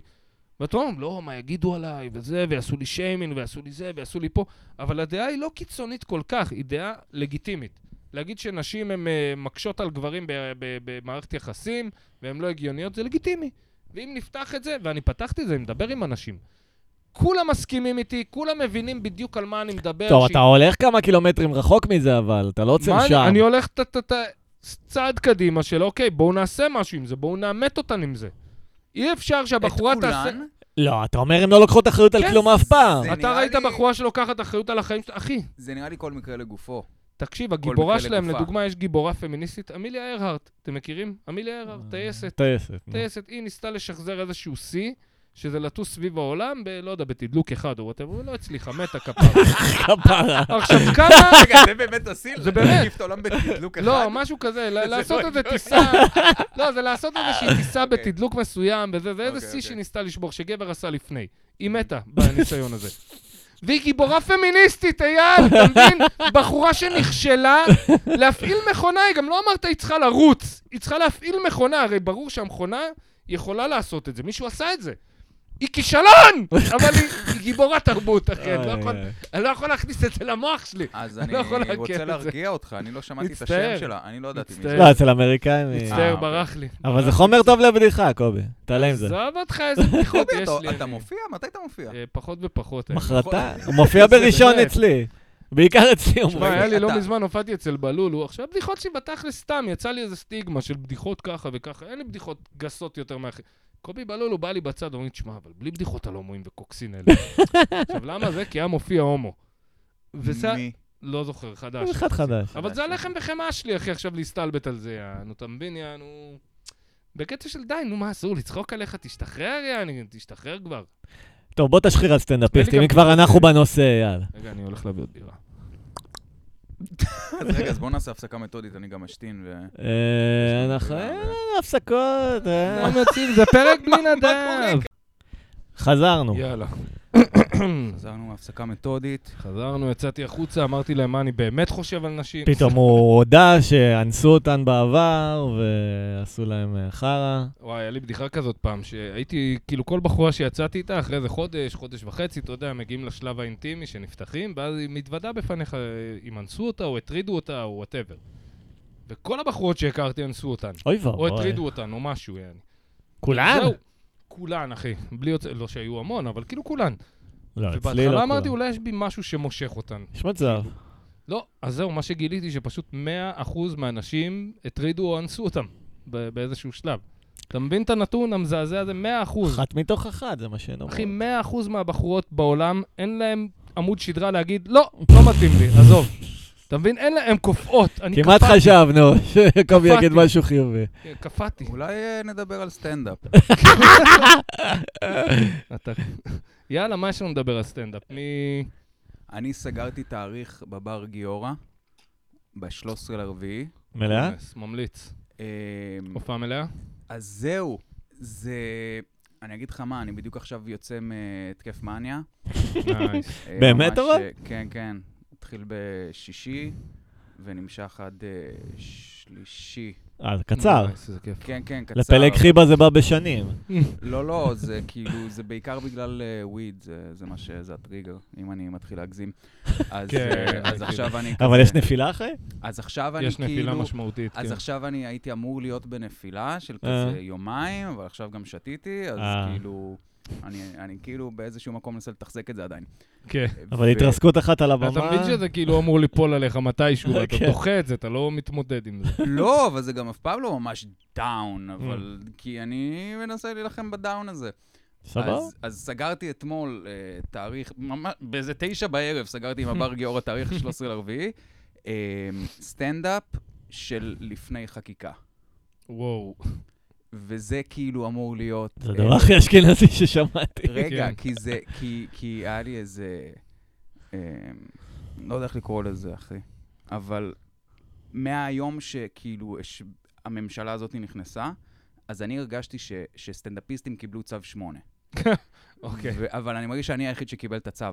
Speaker 2: ואתה אומר, לא, מה יגידו עליי, וזה, ויעשו לי שיימינג, ויעשו לי זה, ויעשו לי פה, אבל הדעה היא לא קיצונית כל כך, היא דעה לגיטימית. להגיד שנשים הן אה, מקשות על גברים ב- ב- במערכת יחסים, והן לא הגיוניות, זה לגיטימי. ואם נפתח את זה, ואני פתחתי את זה, אני מדבר עם אנשים. כולם מסכימים איתי, כולם מבינים בדיוק על מה אני מדבר.
Speaker 3: טוב,
Speaker 2: שהיא-
Speaker 3: אתה הולך כמה קילומטרים רחוק מזה, אבל אתה לא עוצר
Speaker 2: מה
Speaker 3: שם.
Speaker 2: אני, אני הולך ת- ת- ת- צעד קדימה של אוקיי, בואו נעשה משהו עם זה, בואו נעמת אותן עם זה. אי אפשר שהבחורה
Speaker 1: את
Speaker 2: תעשה...
Speaker 1: כולן?
Speaker 3: לא, אתה אומר, הם לא לוקחות אחריות על
Speaker 2: כן,
Speaker 3: כלום אף פעם.
Speaker 1: זה-
Speaker 2: אתה
Speaker 1: נראה
Speaker 2: ראית
Speaker 1: לי-
Speaker 2: בחורה שלוקחת אחריות על החיים שלה, אחי,
Speaker 1: זה נראה לי כל מקרה לגופו.
Speaker 2: תקשיב, הגיבורה
Speaker 1: מקרה
Speaker 2: שלהם,
Speaker 1: לגופה.
Speaker 2: לדוגמה, יש גיבורה פמיניסטית, אמיליה ארהרט, אתם מכירים? אמיליה ארהרט, טייסת,
Speaker 3: טייסת. נו.
Speaker 2: טייסת, היא ניסתה לשחזר איזשהו שיא, שזה לטוס סביב העולם, ב- לא יודע, בתדלוק אחד או וואטאבר, היא לא הצליחה, מתה כפרה.
Speaker 3: כפרה.
Speaker 2: עכשיו, כמה...
Speaker 1: רגע, זה באמת אסיל?
Speaker 2: זה באמת.
Speaker 1: להקיף את העולם בתדלוק אחד?
Speaker 2: לא, משהו כזה, ל-
Speaker 1: זה לא
Speaker 2: לעשות איזה
Speaker 1: הגיוני.
Speaker 2: טיסה, לא, זה לעשות איזושהי טיסה
Speaker 1: אוקיי.
Speaker 2: בתדלוק מסוים, וזה זה איזה
Speaker 1: אוקיי,
Speaker 2: שיא
Speaker 1: אוקיי.
Speaker 2: שהיא ניסתה לשבור, שגבר עשה לפני. היא מתה בניסיון הזה. והיא גיבורה פמיניסטית, אייל, אתה מבין? בחורה שנכשלה להפעיל מכונה, היא גם לא אמרת היא צריכה לרוץ, היא צריכה להפעיל מכונה, הרי ברור שהמכונה יכולה לעשות את זה, מישהו עשה את זה. היא כישלון! אבל היא, היא גיבורת תרבות, אחי, אני לא יכול-
Speaker 3: איי, איי.
Speaker 2: אני לא יכול להכניס את זה למוח שלי.
Speaker 1: אז
Speaker 2: אני
Speaker 1: אני
Speaker 2: לא יכול לעכל את
Speaker 1: רוצה
Speaker 2: זה.
Speaker 1: להרגיע אותך, אני לא שמעתי את
Speaker 2: מצטער.
Speaker 1: השם שלה, אני לא ידעתי מי זה.
Speaker 2: מצטער.
Speaker 3: לא, אצל האמריקאים... היא-
Speaker 1: אה,
Speaker 2: מצטער,
Speaker 1: אוקיי.
Speaker 2: ברח לי.
Speaker 3: אבל זה חומר טוב לבדיחה, קובי. תעלה עם זה.
Speaker 2: עזוב אותך, איזה בדיחות
Speaker 1: קובי,
Speaker 2: יש
Speaker 1: אתה-
Speaker 2: לי.
Speaker 1: אתה
Speaker 2: אני.
Speaker 1: מופיע? מתי אתה מופיע?
Speaker 2: אה, פחות ופחות. האמת.
Speaker 3: מחרתיים. הוא מופיע בראשון
Speaker 2: באמת.
Speaker 3: אצלי. בעיקר אצלי הוא
Speaker 2: תשמע,
Speaker 3: מופיע.
Speaker 2: היה לי לא
Speaker 1: אתה-
Speaker 2: מזמן, הופעתי אצל בלול, הוא עכשיו בדיחות שלי בתכלס סתם, יצא לי איזה סטיגמה של בדיחות ככה וככה, אין לי בדיחות גסות יותר מהאחרים. קובי בלול, הוא בא לי בצד, אומר לי, תשמע, אבל בלי בדיחות על הומואים וקוקסין האלה. עכשיו, למה זה? כי היה מופיע הומו. וזה,
Speaker 1: מי?
Speaker 2: לא זוכר, חדש.
Speaker 3: הוא אחד חדש.
Speaker 2: אבל זה הלחם וחמאה שלי, אחי, עכשיו להסתלבט על זה, יענו, אתה מבין, יענו... בקטע של די, נו, מה, אסור לצחוק עליך, תשתחרר, יעני, תשתחרר כבר.
Speaker 3: טוב, בוא תשחיר על סטנדאפיסטים,
Speaker 2: גם-
Speaker 3: אם כבר אנחנו בנושא, יאללה.
Speaker 2: רגע, אני הולך להביא עוד בירה.
Speaker 1: אז רגע, אז בוא נעשה הפסקה מתודית, אני גם אשתין ו...
Speaker 3: אה, אנחנו... אה, הפסקות, אה.
Speaker 2: הם יוצאים, לא זה פרק בלי
Speaker 1: קורה
Speaker 2: נדב.
Speaker 3: חזרנו.
Speaker 2: יאללה.
Speaker 1: חזרנו מהפסקה מתודית.
Speaker 2: חזרנו, יצאתי החוצה, אמרתי להם מה אני באמת חושב על נשים.
Speaker 3: פתאום הוא הודה שאנסו אותן בעבר, ועשו להם אה, חרא.
Speaker 2: וואי, היה לי בדיחה כזאת פעם, שהייתי, כאילו כל בחורה שיצאתי איתה, אחרי איזה חודש, חודש וחצי, אתה יודע, מגיעים לשלב האינטימי שנפתחים, ואז היא מתוודה בפניך אה, אם אנסו אותה או הטרידו אותה או וואטאבר. וכל הבחורות שהכרתי אנסו אותן.
Speaker 3: אוי
Speaker 2: או
Speaker 3: ואבוי.
Speaker 2: הטרידו אותן, או משהו, יעני.
Speaker 3: כולם?
Speaker 2: זהו, כולן, אחי. בלי יוצא, לא שהיו המון, אבל כאילו כולן.
Speaker 3: לא, אצלי לא
Speaker 2: ובהתחלה אמרתי,
Speaker 3: כולם.
Speaker 2: אולי יש בי משהו שמושך אותן.
Speaker 3: יש מצב.
Speaker 2: לא, אז זהו, מה שגיליתי שפשוט 100% מהאנשים הטרידו או אנסו אותם ב- באיזשהו שלב. אתה מבין את הנתון המזעזע הזה? 100%.
Speaker 3: אחת מתוך אחת, זה מה שהן אומרות.
Speaker 2: אחי, 100% מהבחורות בעולם, אין להם עמוד שדרה להגיד, לא, לא מתאים לי, עזוב. אתה מבין? אין להם, הן קופאות. אני
Speaker 3: כמעט
Speaker 2: קפאתי.
Speaker 3: חשבנו שקובי
Speaker 2: קפאתי.
Speaker 3: יגיד משהו חיובי.
Speaker 2: כן, קפאתי.
Speaker 1: אולי אה, נדבר על סטנדאפ.
Speaker 2: אתה- יאללה, מה יש לנו לדבר על סטנדאפ? מי...
Speaker 1: אני סגרתי תאריך בבר גיורא, ב-13 לרביעי.
Speaker 3: מלאה?
Speaker 2: ממליץ.
Speaker 1: אמ,
Speaker 2: הופעה מלאה?
Speaker 1: אז זהו, זה... אני אגיד לך מה, אני בדיוק עכשיו יוצא מהתקף מאניה.
Speaker 2: נייס.
Speaker 1: אה,
Speaker 3: באמת,
Speaker 1: ממש,
Speaker 3: אבל?
Speaker 1: אה, כן, כן. התחיל בשישי, ונמשך עד אה, שלישי.
Speaker 3: אה, זה קצר.
Speaker 2: נייס, איזה כיף.
Speaker 1: כן, כן, קצר.
Speaker 3: לפלג חיבה זה בא בשנים.
Speaker 1: לא, לא, זה כאילו, זה בעיקר בגלל אה, וויד, זה- זה מה ש... זה הטריגר, אם אני מתחיל להגזים. אז
Speaker 2: כן,
Speaker 1: אה, אז
Speaker 2: כאילו.
Speaker 1: עכשיו אני...
Speaker 3: אבל
Speaker 1: כזה-
Speaker 3: יש נפילה אחרי?
Speaker 1: אז עכשיו אני
Speaker 2: יש
Speaker 1: כאילו...
Speaker 2: נפילה משמעותית, כן.
Speaker 1: אז עכשיו אני הייתי אמור להיות בנפילה של
Speaker 3: אה.
Speaker 1: כזה יומיים, אבל עכשיו גם שתיתי, אז
Speaker 3: אה.
Speaker 1: כאילו... אני, אני כאילו באיזשהו מקום מנסה לתחזק את זה עדיין.
Speaker 2: כן.
Speaker 3: אבל התרסקות אחת על הבמה.
Speaker 2: אתה מבין שזה כאילו אמור ליפול עליך מתישהו, ואתה
Speaker 3: כן.
Speaker 2: דוחה את זה, אתה לא מתמודד עם זה.
Speaker 1: לא, אבל זה גם אף פעם לא ממש דאון, אבל... כי אני מנסה להילחם בדאון הזה.
Speaker 3: סבבה?
Speaker 1: אז, אז סגרתי אתמול אה, תאריך, ממש, באיזה תשע בערב סגרתי עם הבר גיאור התאריך 13 לרביעי, אה, סטנדאפ של לפני חקיקה.
Speaker 2: וואו.
Speaker 1: וזה כאילו אמור להיות...
Speaker 3: זה
Speaker 1: אה,
Speaker 3: הדבר הכי אשכנזי ששמעתי.
Speaker 1: רגע,
Speaker 2: כן.
Speaker 1: כי זה, כי, כי היה לי איזה, אה, לא יודע איך לקרוא לזה, אחי, אבל מהיום שכאילו הש- הממשלה הזאת נכנסה, אז אני הרגשתי ש, שסטנדאפיסטים קיבלו צו 8.
Speaker 2: אוקיי.
Speaker 1: ו- אבל אני מרגיש שאני היחיד שקיבל את הצו.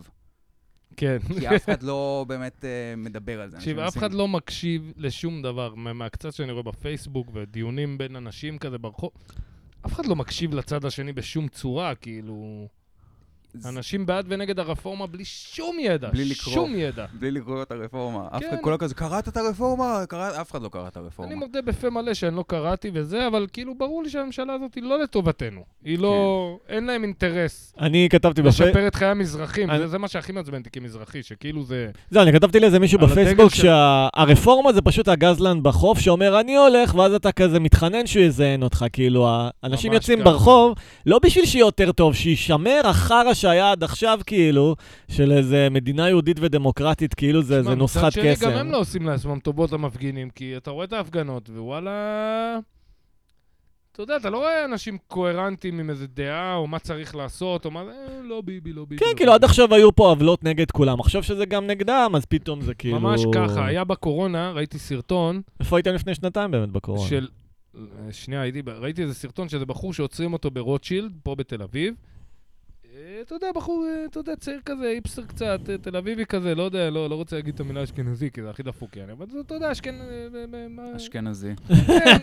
Speaker 2: כן.
Speaker 1: כי אף אחד לא באמת אה, מדבר על זה.
Speaker 2: תקשיב,
Speaker 1: אנשים
Speaker 2: אף אחד
Speaker 1: עושים-
Speaker 2: לא מקשיב לשום דבר. מה- מהקצת שאני רואה בפייסבוק ודיונים בין אנשים כזה ברחוב, אף אחד לא מקשיב לצד השני בשום צורה, כאילו...
Speaker 1: זה-
Speaker 2: אנשים בעד ונגד הרפורמה בלי שום ידע.
Speaker 1: בלי לקרוא.
Speaker 2: שום ידע.
Speaker 1: בלי לקרוא את הרפורמה. אף אחד
Speaker 2: לא- כן.
Speaker 1: כולו כזה, קראת את הרפורמה? קראת-" אף אחד לא קרא את הרפורמה.
Speaker 2: אני מודה בפה מלא שאני לא קראתי וזה, אבל כאילו ברור לי שהממשלה הזאת היא לא לטובתנו. היא לא...
Speaker 1: כן.
Speaker 2: אין להם אינטרס
Speaker 3: אני כתבתי בפייסבוק,
Speaker 2: לשפר את חיי המזרחים.
Speaker 3: אני-
Speaker 2: זה- זה מה שהכי מעצבן אותי כמזרחי, שכאילו זה...
Speaker 3: זהו, אני כתבתי לאיזה מישהו
Speaker 2: על הדגל
Speaker 3: בפייסבוק
Speaker 2: של-
Speaker 3: שהרפורמה זה פשוט הגזלן בחוף שאומר אני הולך, ואז אתה כזה מתחנן שהוא יזיין אותך, כאילו האנשים
Speaker 2: ממש
Speaker 3: יוצאים
Speaker 2: ככה.
Speaker 3: ברחוב, לא בשביל שיהיה יותר טוב, שישמר החרא שהיה עד עכשיו, כאילו, של איזה מדינה יהודית ודמוקרטית, כאילו זה
Speaker 2: שמע,
Speaker 3: איזה נוסחת
Speaker 2: מצד שני, גם
Speaker 3: קסם.
Speaker 2: הם לא עושים לעצמם טובות המפגינים, כי אתה רואה את ההפגנות, ווואלה... אתה יודע, אתה לא רואה אנשים קוהרנטים עם איזה דעה, או מה צריך לעשות, או מה זה... "אה, לא ביבי, לא ביבי.
Speaker 3: כן,
Speaker 2: לא
Speaker 3: כאילו עד
Speaker 2: ביבי".
Speaker 3: עכשיו היו פה עוולות נגד כולם, עכשיו שזה גם נגדם, אז פתאום זה כאילו...
Speaker 2: ממש ככה, היה בקורונה, ראיתי סרטון
Speaker 3: איפה הייתם לפני שנתיים באמת בקורונה?
Speaker 2: של... אה, שנייה, הייתי, ב- ראיתי איזה סרטון שזה בחור שעוצרים אותו ברוטשילד, פה בתל אביב. אה, אתה יודע, בחור, אה, אתה יודע, צעיר כזה, היפסטר קצת, אה, תל אביבי כזה, לא יודע, לא, לא רוצה להגיד את המילה אשכנזי, כי זה הכי דפוק, יעני, אבל זה, אתה יודע, אשכנ... אה, אה, מה-
Speaker 1: אשכנזי.
Speaker 2: כן,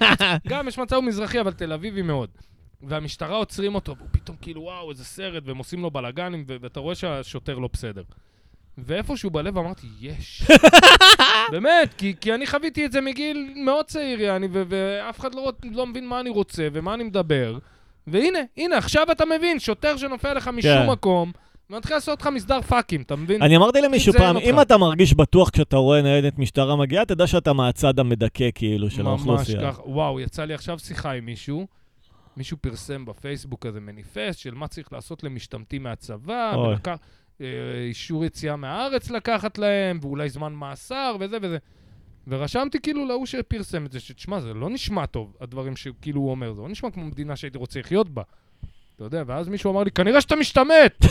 Speaker 2: גם יש מצב הוא מזרחי, אבל תל אביבי מאוד. והמשטרה עוצרים אותו, והוא פתאום כאילו, וואו, איזה סרט, והם עושים לו בלאגנים, ו- ואתה רואה שהשוטר לא בסדר. ואיפשהו בלב אמרתי, יש. באמת, כי, כי אני חוויתי את זה מגיל מאוד צעיר, יעני, ו- ואף אחד לא, רוצ- לא מבין מה אני רוצה ומה אני מדבר. והנה, הנה, עכשיו אתה מבין, שוטר שנופל לך משום
Speaker 3: כן.
Speaker 2: מקום, מתחיל לעשות לך מסדר פאקים, אתה מבין?
Speaker 3: אני אמרתי למישהו
Speaker 2: תזיין
Speaker 3: פעם,
Speaker 2: אותך.
Speaker 3: אם אתה מרגיש בטוח כשאתה רואה ניידת משטרה מגיעה, תדע שאתה מהצד המדכא כאילו של האוכלוסייה.
Speaker 2: ממש ככה. וואו, יצא לי עכשיו שיחה עם מישהו. מישהו פרסם בפייסבוק איזה מניפסט של מה צריך לעשות למשתמטים מהצבא,
Speaker 3: אוי.
Speaker 2: ולקח, אה, אישור יציאה מהארץ לקחת להם, ואולי זמן מאסר וזה וזה. ורשמתי כאילו להוא שפרסם את זה, שתשמע, זה לא נשמע טוב, הדברים שכאילו הוא אומר, זה לא נשמע כמו מדינה שהייתי רוצה לחיות בה. אתה יודע, ואז מישהו אמר לי, כנראה שאתה משתמט!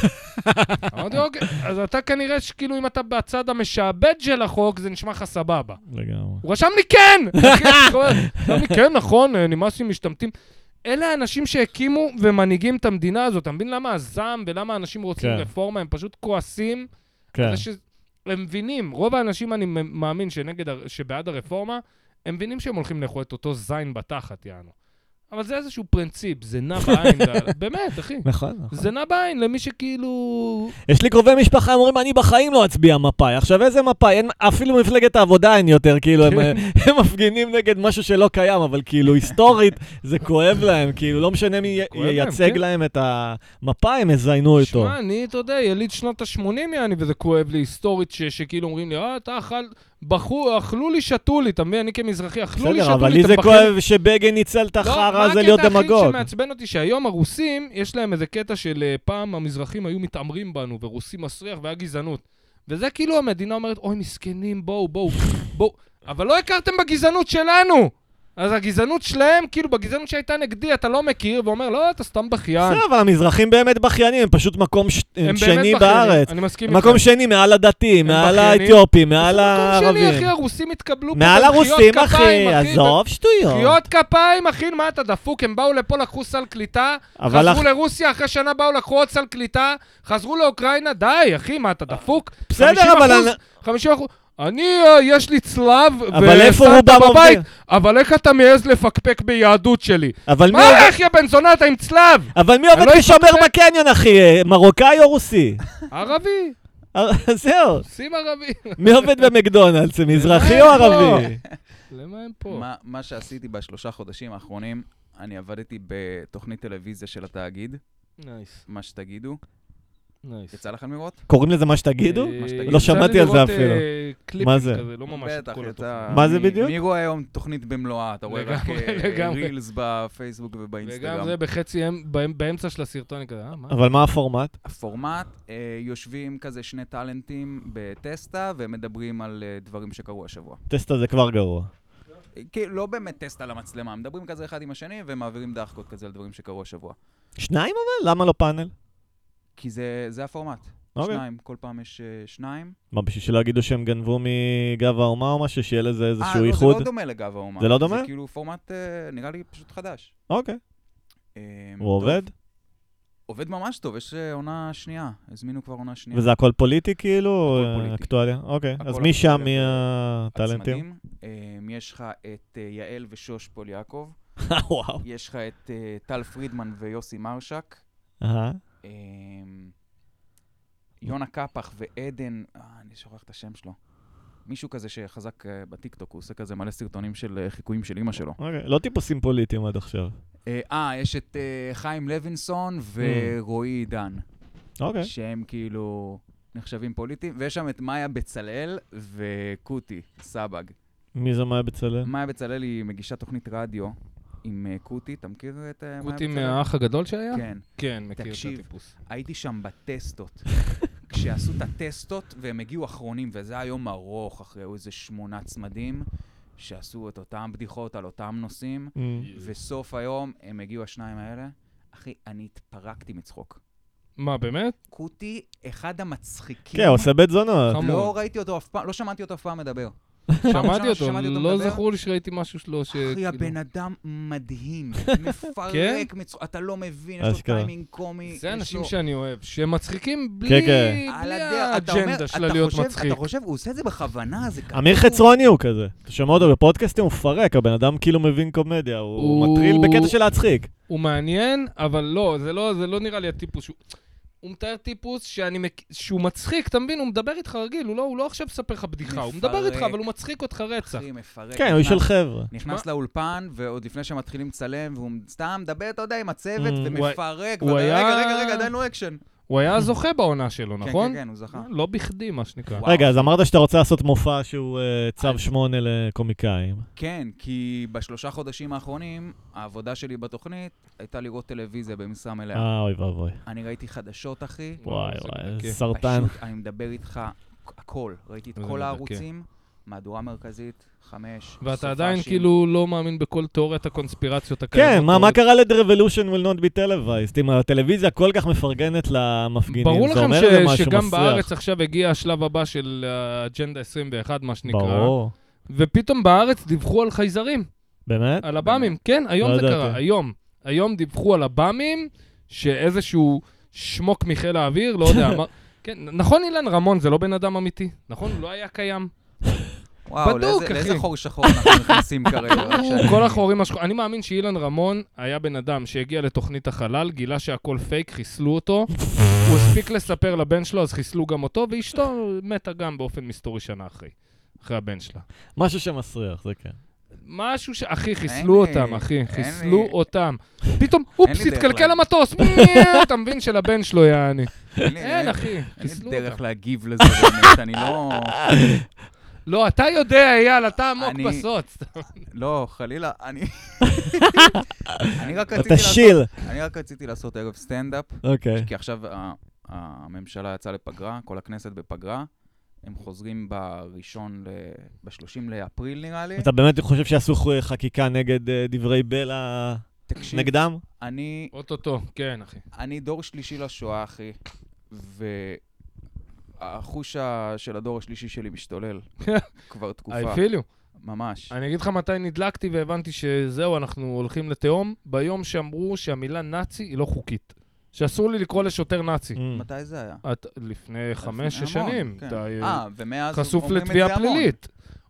Speaker 2: אמרתי, אוקיי, אז אתה כנראה שכאילו אם אתה בצד המשעבד של החוק, זה נשמע לך סבבה.
Speaker 3: לגמרי.
Speaker 2: הוא רשם לי כן! רשם לי כן, נכון, אה, נמאס לי משתמטים. אלה האנשים שהקימו ומנהיגים את המדינה הזאת. אתה מבין למה הזעם ולמה אנשים רוצים
Speaker 3: כן.
Speaker 2: רפורמה? הם פשוט כועסים.
Speaker 3: כן.
Speaker 2: זה ש- הם מבינים, רוב האנשים, אני מאמין, שנגד, הר- שבעד הרפורמה, הם מבינים שהם הולכים לאכול את אותו זין בתחת, יענו. אבל זה איזשהו פרינציפ, זה נע בעין, זה- באמת, אחי.
Speaker 3: נכון, נכון.
Speaker 2: זה נע בעין למי שכאילו...
Speaker 3: יש לי קרובי משפחה, הם אומרים, אני בחיים לא אצביע מפא"י. עכשיו, איזה מפא"י? אין- אפילו מפלגת העבודה אין יותר, כאילו, הם
Speaker 2: כן.
Speaker 3: הם מפגינים נגד משהו שלא קיים, אבל כאילו, היסטורית, זה כואב להם, כאילו, לא משנה מי י-
Speaker 2: כואב להם,
Speaker 3: ייצג
Speaker 2: כן.
Speaker 3: להם את המפא"י, הם יזיינו אותו.
Speaker 2: שמע, אני, אתה יודע, יליד שנות ה-80 יעני, וזה כואב לי היסטורית, ש- שכאילו אומרים לי, אה, אתה אכל, בחו, אכלו לי, שתו לי, אתה מבין? אני כמזרחי, אכלו לי,
Speaker 3: בסדר,
Speaker 2: שתו
Speaker 3: אבל
Speaker 2: לי,
Speaker 3: לי
Speaker 2: אתה
Speaker 3: זה
Speaker 2: בחיים
Speaker 3: כואב שבגין ניצל את החרא הזה להיות
Speaker 2: לא, מה הקטע הכי
Speaker 3: דמגוג.
Speaker 2: שמעצבן אותי? שהיום הרוסים, יש להם איזה קטע של אה, פעם המזרחים היו מתעמרים בנו, ורוסי מסריח והיה גזענות. וזה כאילו המדינה אומרת, אוי, מסכנים, בואו, בואו, בואו. אבל לא הכרתם בגזענות שלנו! אז הגזענות שלהם, כאילו, בגזענות שהייתה נגדי, אתה לא מכיר, ואומר, לא, אתה סתם בכיין.
Speaker 3: בסדר, אבל המזרחים באמת בכיינים, הם פשוט מקום ש-
Speaker 2: הם באמת
Speaker 3: שני
Speaker 2: בכיינים,
Speaker 3: בארץ.
Speaker 2: אני מסכים איתך.
Speaker 3: מקום שני מעל הדתיים,
Speaker 2: הם
Speaker 3: מעל
Speaker 2: בכיינים.
Speaker 3: האתיופים, מעל
Speaker 2: מקום שני,
Speaker 3: הערבים.
Speaker 2: אחי, הרוסים התקבלו פה.
Speaker 3: מעל
Speaker 2: במחיאות
Speaker 3: הרוסים,
Speaker 2: כפיים,
Speaker 3: אחי, עזוב שטויות.
Speaker 2: קריאות כפיים, אחי, מה אתה דפוק? הם באו לפה, לקחו סל קליטה,
Speaker 3: אבל
Speaker 2: חזרו
Speaker 3: אח-
Speaker 2: לרוסיה, אחרי שנה באו, לקחו עוד סל קליטה, חזרו לאוקראינה, די, אחי, מה אתה דפוק?
Speaker 3: בסדר,
Speaker 2: 50
Speaker 3: אבל
Speaker 2: אחוז,
Speaker 3: אני-
Speaker 2: 50 אחוז. אני, אה, יש לי צלב,
Speaker 3: אבל איפה
Speaker 2: וסבתא
Speaker 3: רובם
Speaker 2: בבית,
Speaker 3: עובדים?
Speaker 2: אבל איך אתה מעז לפקפק ביהדות שלי?
Speaker 3: אבל מי
Speaker 2: מה,
Speaker 3: עובד-
Speaker 2: איך יא בן זונה, אתה עם צלב?
Speaker 3: אבל מי
Speaker 2: אני
Speaker 3: עובד
Speaker 2: לא
Speaker 3: כשומר
Speaker 2: אפקפק.
Speaker 3: בקניון, אחי? אה, מרוקאי או רוסי?
Speaker 2: ערבי,
Speaker 3: זהו.
Speaker 2: שים ערבי.
Speaker 3: מי עובד במקדונלדס, מזרחי או
Speaker 2: אה, לא.
Speaker 3: ערבי?
Speaker 2: למה הם פה?
Speaker 1: מה, מה שעשיתי בשלושה חודשים האחרונים, אני עבדתי בתוכנית טלוויזיה של התאגיד,
Speaker 2: נייס,
Speaker 1: מה שתגידו.
Speaker 2: נייס.
Speaker 1: יצא לכם לראות?
Speaker 3: קוראים לזה מה שתגידו?
Speaker 2: אה,
Speaker 1: שתגידו.
Speaker 3: לא שמעתי על זה
Speaker 2: יצא לי
Speaker 3: אפילו.
Speaker 2: לראות, אה, קליפים
Speaker 3: מה זה?
Speaker 2: כזה, לא ממש את
Speaker 1: בטח,
Speaker 2: כל
Speaker 1: יצא...
Speaker 2: התוכנית.
Speaker 3: מה זה
Speaker 1: מי-
Speaker 3: בדיוק?
Speaker 1: מי רואה היום תוכנית במלואה? אתה רואה רק
Speaker 2: לגמרי,
Speaker 1: אה,
Speaker 2: לגמרי.
Speaker 1: רילס בפייסבוק
Speaker 2: וגם
Speaker 1: ובאינסטגרם.
Speaker 2: זה בחצי, אמ- באמ- באמצע של הסרטון, אני כזה, אה, מה?
Speaker 3: אבל מה הפורמט?
Speaker 1: הפורמט, אה, יושבים כזה שני טאלנטים בטסטה ומדברים על אה, דברים שקרו השבוע.
Speaker 3: טסט הזה כבר גרוע.
Speaker 1: אה, כי לא באמת טסטה למצלמה, מדברים כזה אחד עם השני ומעבירים דחקות כזה על דברים שקרו השבוע.
Speaker 3: שניים אבל? למה לא פאנל?
Speaker 1: כי זה זה הפורמט.
Speaker 3: אוקיי.
Speaker 1: שניים, כל פעם יש אה, שניים.
Speaker 3: מה, בשביל שלא יגידו שהם גנבו מגב האומה או משהו? שיהיה לזה
Speaker 1: אה,
Speaker 3: איזשהו
Speaker 1: לא,
Speaker 3: איחוד?
Speaker 1: זה לא דומה לגב האומה.
Speaker 3: זה לא דומה?
Speaker 1: זה כאילו פורמט, אה, נראה לי, פשוט חדש.
Speaker 3: אוקיי.
Speaker 1: אה,
Speaker 3: הוא
Speaker 1: טוב.
Speaker 3: עובד?
Speaker 1: עובד ממש טוב, יש אה, עונה שנייה. הזמינו כבר עונה שנייה.
Speaker 3: וזה הכל פוליטי כאילו?
Speaker 1: הכל
Speaker 3: אה,
Speaker 1: פוליטי.
Speaker 3: אקטואליה? אוקיי.
Speaker 1: הכל
Speaker 3: אז מי שם,
Speaker 1: אקטואליה
Speaker 3: מי
Speaker 1: ו-
Speaker 3: הטאלנטים?
Speaker 1: הצמדים. אה, יש לך את אה, יעל ושוש פול יעקב.
Speaker 3: וואו.
Speaker 1: יש לך את אה, טל פרידמן ויוסי מרשק.
Speaker 3: אהה.
Speaker 1: אה, יונה קפח ועדן, אה, אני שוכח את השם שלו. מישהו כזה שחזק אה, בטיקטוק, הוא עושה כזה מלא סרטונים של אה, חיקויים של אימא שלו.
Speaker 3: אוקיי. לא טיפוסים פוליטיים עד עכשיו.
Speaker 1: אה, אה, יש את אה, חיים
Speaker 3: Mm.
Speaker 1: לוינסון ורועי עידן,
Speaker 3: אוקיי.
Speaker 1: שהם כאילו נחשבים פוליטיים, ויש שם את מאיה בצלאל וקוטי, סבג.
Speaker 3: מי זה מאיה בצלאל?
Speaker 1: מאיה בצלאל היא מגישה תוכנית רדיו עם אה, קוטי, אתה מכיר את אה, מאיה
Speaker 2: קוטי
Speaker 1: בצלאל?
Speaker 2: מהאח הגדול שהיה?
Speaker 1: כן.
Speaker 2: כן, מכיר את
Speaker 1: תקשיב.
Speaker 2: הטיפוס.
Speaker 1: הייתי שם בטסטות. כשעשו את הטסטות, והם הגיעו אחרונים, וזה היה יום ארוך, אחרי היו איזה שמונה צמדים, שעשו את אותם בדיחות על אותם נושאים,
Speaker 3: אמ.
Speaker 1: וסוף היום הם הגיעו השניים האלה. אחי, אני התפרקתי מצחוק.
Speaker 2: מה, באמת?
Speaker 1: קוטי, אחד המצחיקים.
Speaker 3: כן, עושה בית זונות.
Speaker 2: חמוד.
Speaker 1: לא ראיתי אותו אף פעם, לא שמעתי אותו אף פעם מדבר.
Speaker 2: שמעתי
Speaker 1: ראשונה
Speaker 2: אותו,
Speaker 1: ששמעתי אותו
Speaker 2: לא
Speaker 1: מדבר?
Speaker 2: זכור לי שראיתי משהו שלו ש...
Speaker 1: אחי,
Speaker 2: כאילו-
Speaker 1: הבן אדם מדהים,
Speaker 2: כן?
Speaker 1: מפרק מצחוק, אתה לא מבין, יש לו
Speaker 3: אשכרה.
Speaker 1: טיימינג קומי.
Speaker 2: זה
Speaker 1: יש
Speaker 2: אנשים
Speaker 1: לו-
Speaker 2: שאני אוהב, שמצחיקים בלי
Speaker 3: כן, כן.
Speaker 1: על
Speaker 2: בלי
Speaker 1: הדרך, אתה אומר-
Speaker 2: האג'נדה
Speaker 1: אתה
Speaker 2: שלה להיות
Speaker 1: חושב-
Speaker 2: מצחיק.
Speaker 1: אתה חושב, הוא עושה את זה בכוונה, זה כתוב.
Speaker 3: אמיר חצרוני הוא כזה. אתה שומע אותו בפודקאסטים, הוא מפרק, הבן אדם כאילו מבין קומדיה, הוא
Speaker 2: הוא-
Speaker 3: מטריל בקטע של להצחיק.
Speaker 2: הוא מעניין, אבל לא, זה לא, זה לא נראה לי הטיפוס שהוא... הוא מתאר טיפוס שאני מק... שהוא מצחיק, אתה מבין? הוא מדבר איתך רגיל, הוא לא, הוא לא עכשיו מספר לך בדיחה, הוא מדבר
Speaker 1: מפרק.
Speaker 2: איתך, אבל הוא מצחיק אותך רצח.
Speaker 1: אחי, מפרק.
Speaker 3: כן, הוא איש
Speaker 1: נכנס-
Speaker 3: של חבר'ה.
Speaker 1: נכנס לאולפן, ועוד לפני שמתחילים לצלם, והוא סתם מדבר, אתה יודע, עם הצוות,
Speaker 3: Mm,
Speaker 1: ומפרק.
Speaker 2: הוא
Speaker 1: ואתה, רגע,
Speaker 2: היה-
Speaker 1: רגע, רגע, עדיין לא אקשן.
Speaker 2: הוא היה זוכה בעונה שלו,
Speaker 1: כן,
Speaker 2: נכון?
Speaker 1: כן, כן, הוא זכה.
Speaker 2: לא בכדי, מה שנקרא.
Speaker 1: וואו.
Speaker 3: רגע, אז אמרת שאתה רוצה לעשות מופע שהוא אה, צו שמונה לקומיקאים.
Speaker 1: כן, כי בשלושה חודשים האחרונים, העבודה שלי בתוכנית הייתה לראות טלוויזיה במשרה מלאה.
Speaker 3: אה, אוי ואבוי.
Speaker 1: אני ראיתי חדשות, אחי.
Speaker 3: וואי
Speaker 2: זה
Speaker 3: וואי,
Speaker 2: מדכא.
Speaker 3: סרטן.
Speaker 1: פשוט, אני מדבר איתך הכל. ראיתי את
Speaker 2: זה
Speaker 1: כל
Speaker 2: מדכא.
Speaker 1: הערוצים, מהדורה מרכזית, חמש,
Speaker 2: ואתה
Speaker 1: סופה
Speaker 2: עדיין
Speaker 1: שלי.
Speaker 2: כאילו לא מאמין בכל תיאוריית הקונספירציות הקיימות.
Speaker 3: כן, מה- מה
Speaker 2: תיאוריית-
Speaker 3: קרה ל-The Revolution will not be televised? אם הטלוויזיה כל כך מפרגנת למפגינים,
Speaker 2: ברור
Speaker 3: זה
Speaker 2: לכם
Speaker 3: אומר
Speaker 2: ש-
Speaker 3: איזה משהו
Speaker 2: שגם
Speaker 3: מסריח.
Speaker 2: בארץ עכשיו הגיע השלב הבא של אה, האג'נדה 21, מה שנקרא.
Speaker 3: ברור.
Speaker 2: ופתאום בארץ דיווחו על חייזרים,
Speaker 3: באמת?
Speaker 2: על עב"מים. כן, היום
Speaker 3: לא
Speaker 2: זה
Speaker 3: ידעתי.
Speaker 2: קרה, היום. היום דיווחו על עב"מים, שאיזשהו שמוק מחיל האוויר, לא יודע, אמר... כן, נכון אילן רמון זה לא בן אדם אמיתי? נכון? הוא לא היה קיים.
Speaker 1: וואו,
Speaker 2: בדוק,
Speaker 1: לאיזה- לאיזה
Speaker 2: אחי.
Speaker 1: חור שחור אנחנו נכנסים כרגע. כשאני-
Speaker 2: כל החורים השחורים. אני מאמין שאילן רמון היה בן אדם שהגיע לתוכנית החלל, גילה שהכל פייק, חיסלו אותו. הוא הספיק לספר לבן שלו, אז חיסלו גם אותו, ואשתו מתה גם באופן מסתורי שנה אחרי. אחרי הבן שלה.
Speaker 3: משהו שמסריח, זה כן.
Speaker 2: משהו ש... אחי, חיסלו
Speaker 1: אין לי-
Speaker 2: אותם, אחי,
Speaker 1: אין
Speaker 2: חיסלו
Speaker 1: לי-
Speaker 2: אותם. פתאום,
Speaker 1: אין
Speaker 2: אופס,
Speaker 1: לי דרך
Speaker 2: התקלקל
Speaker 1: לה-
Speaker 2: המטוס, אתה מבין שלבן שלו יעני.
Speaker 1: אין לי-
Speaker 2: אין, אחי,
Speaker 1: אין
Speaker 2: חיסלו
Speaker 1: לי דרך
Speaker 2: אותם.
Speaker 1: להגיב לזה באמת, אני לא...
Speaker 2: לא, אתה יודע, אייל, אתה עמוק
Speaker 1: אני-
Speaker 2: בסוץ.
Speaker 1: לא, חלילה, אני... אני רק רציתי
Speaker 3: אתה
Speaker 1: לעשות...
Speaker 3: שיל.
Speaker 1: אני רק רציתי לעשות ערב סטנדאפ,
Speaker 3: אוקיי.
Speaker 1: כי עכשיו ה- הממשלה יצאה לפגרה, כל הכנסת בפגרה. הם חוזרים בראשון, ל- ב-30 לאפריל נראה לי.
Speaker 3: אתה באמת חושב שעשו ח- חקיקה נגד אה, דברי בלע
Speaker 1: תקשיב,
Speaker 3: נגדם?
Speaker 1: אני,
Speaker 2: אוטוטו, כן, אחי.
Speaker 1: אני דור שלישי לשואה, אחי, והחוש ה- של הדור השלישי שלי משתולל כבר תקופה,
Speaker 2: I feel you.
Speaker 1: ממש.
Speaker 2: אני אגיד לך מתי נדלקתי והבנתי שזהו, אנחנו הולכים לתהום, ביום שאמרו שהמילה נאצי היא לא חוקית. שאסור לי לקרוא לשוטר נאצי.
Speaker 3: Mm.
Speaker 1: מתי זה היה?
Speaker 2: את- לפני חמש, שש
Speaker 1: המון,
Speaker 2: שנים.
Speaker 1: כן.
Speaker 2: אתה, אה,
Speaker 1: אה, ומאז
Speaker 2: חשוף
Speaker 1: אומרים את זה
Speaker 2: לתביעה
Speaker 1: המון.
Speaker 2: פלילית.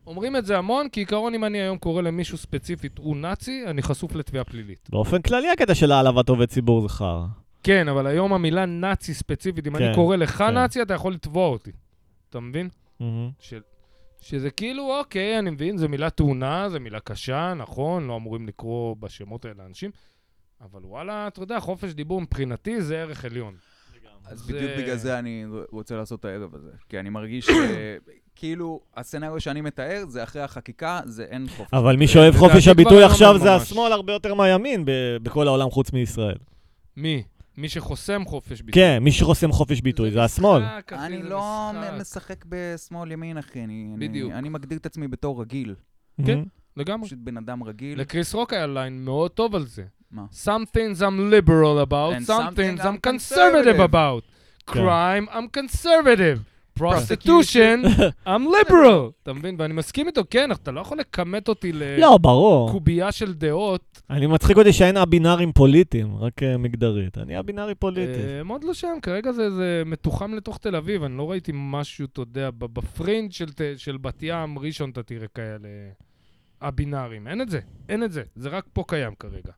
Speaker 2: אומרים את זה המון, כי עיקרון אם אני היום קורא למישהו ספציפית הוא נאצי, אני חשוף לתביעה פלילית.
Speaker 3: באופן כללי הקטע של העלבת עובד ציבור זה חרא.
Speaker 2: כן, אבל היום המילה נאצי ספציפית, אם
Speaker 3: כן,
Speaker 2: אני קורא לך
Speaker 3: כן.
Speaker 2: נאצי, אתה יכול לתבוע אותי. אתה מבין?
Speaker 3: מהמם.
Speaker 2: של... שזה כאילו, אוקיי, אני מבין, זו מילה תאונה, זו מילה קשה, נכון, לא אמורים לקרוא בשמות האלה לאנשים, אבל וואלה, אתה יודע, חופש דיבור מבחינתי זה ערך עליון.
Speaker 1: אז
Speaker 2: זה-
Speaker 1: בדיוק בגלל זה אני רוצה לעשות את הערב הזה. כי אני מרגיש שכאילו, הסצנריו שאני מתאר זה אחרי החקיקה, זה אין חופש.
Speaker 3: אבל מי שאוהב
Speaker 2: אה, לדעתי
Speaker 3: חופש
Speaker 2: כבר
Speaker 3: הביטוי
Speaker 2: היום
Speaker 3: עכשיו זה
Speaker 2: ממש.
Speaker 3: השמאל הרבה יותר מהימין ב- בכל העולם חוץ מישראל.
Speaker 2: מי? מי שחוסם חופש ביטוי.
Speaker 3: כן, מי שחוסם חופש ביטוי
Speaker 2: אה,
Speaker 3: זה השמאל.
Speaker 2: משחק, אחי,
Speaker 1: אני
Speaker 2: זה
Speaker 1: לא
Speaker 2: משחק.
Speaker 1: משחק בשמאל ימין, אחי. אני- אני-
Speaker 2: בדיוק.
Speaker 1: אני מגדיר את עצמי בתור רגיל.
Speaker 2: כן.
Speaker 3: Mhm.
Speaker 2: לגמרי.
Speaker 1: פשוט בן אדם רגיל.
Speaker 2: כאילו- לקריס רוק היה ליין מאוד טוב על זה.
Speaker 1: מה?
Speaker 2: Some things I'm liberal about,
Speaker 1: And
Speaker 2: some
Speaker 1: some
Speaker 2: things
Speaker 1: things
Speaker 2: I'm
Speaker 1: I'm
Speaker 2: conservative
Speaker 1: conservative.
Speaker 2: about.
Speaker 3: כן.
Speaker 2: crime, I'm conservative. prostitution, I'm liberal. אתה מבין? ואני מסכים איתו, כן, אתה לא יכול לכמת אותי
Speaker 3: לא, ברור.
Speaker 2: לקובייה של דעות.
Speaker 3: אני מצחיק אותי שאין א-בינארים פוליטיים, רק אה, מגדרית. אני א-בינארי פוליטי.
Speaker 2: אה, הם עוד לא שם, כרגע זה- זה מתוחם לתוך תל אביב, אני לא ראיתי משהו, אתה יודע, ב- בפרינג' של ת- של בת ים, ראשון אתה תראה כאלה הבינארים. אין את זה, אין את זה, זה רק פה קיים כרגע.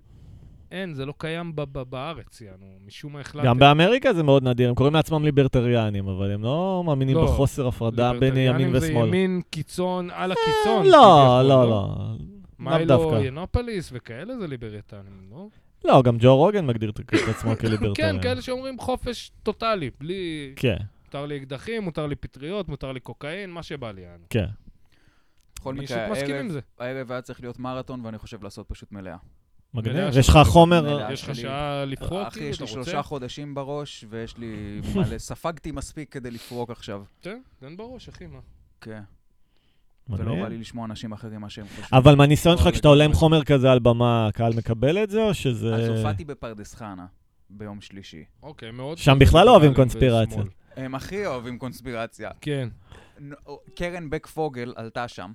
Speaker 2: אין, זה לא קיים ב- ב- בארץ, יענו, משום מה החלטתם.
Speaker 3: גם באמריקה זה מאוד נדיר, הם קוראים לעצמם ליברטריאנים, אבל הם לא מאמינים
Speaker 2: לא.
Speaker 3: בחוסר הפרדה בין
Speaker 2: ליברטריאנים
Speaker 3: ימין ושמאל.
Speaker 2: זה ימין קיצון על
Speaker 3: לא,
Speaker 2: הקיצון.
Speaker 3: לא,
Speaker 2: כביכול,
Speaker 3: לא. לאו
Speaker 2: מיילו
Speaker 3: דווקא.
Speaker 2: ינופוליס וכאלה זה ליברטנים, לא?
Speaker 3: לא, גם ג'ו רוגן מגדיר את עצמו כליברטריאן.
Speaker 2: כן, כאלה שאומרים חופש טוטאלי, בלי...
Speaker 3: כן,
Speaker 2: מותר לי אקדחים, מותר לי פטריות, מותר לי קוקאין, מה שבא לי. יענו.
Speaker 3: כן.
Speaker 1: בכל
Speaker 2: אני
Speaker 1: מקרה,
Speaker 2: אישית מסכים עם
Speaker 1: הערב-
Speaker 2: זה.
Speaker 1: הערב היה צריך להיות מרתון, ואני חושב לעשות פשוט מלאה.
Speaker 3: מגניב.
Speaker 2: מלאה
Speaker 3: יש לך
Speaker 2: שם.
Speaker 3: חומר...
Speaker 1: מלאה.
Speaker 2: יש לך
Speaker 1: שלי.
Speaker 2: שעה לבחור,
Speaker 1: לא, אחי,
Speaker 2: כאילו,
Speaker 1: יש
Speaker 2: אתה
Speaker 1: לי
Speaker 2: רוצה?
Speaker 1: שלושה חודשים בראש, ויש לי מלא... ספגתי מספיק כדי לפרוק עכשיו.
Speaker 2: תן, תן בראש, כן, אחי, מה?
Speaker 1: כן.
Speaker 2: לא
Speaker 1: ולא
Speaker 3: מגניב.
Speaker 1: בא לי לשמוע אנשים אחרים מה שהם חושבים.
Speaker 3: אבל מהניסיון שלך,
Speaker 1: לא,
Speaker 3: כשאתה עולה עם
Speaker 1: לגמרי.
Speaker 3: חומר כזה על במה, הקהל מקבל את זה, או שזה...
Speaker 1: אז
Speaker 2: אה,
Speaker 1: הופעתי בפרדס חנה ביום שלישי.
Speaker 2: אוקיי, מאוד... אה,
Speaker 3: שם בכלל לא אוהבים
Speaker 2: שמאל.
Speaker 3: קונספירציות.
Speaker 1: הם הכי אוהבים קונספירציה.
Speaker 2: כן.
Speaker 1: נ- קרן בק פוגל עלתה שם,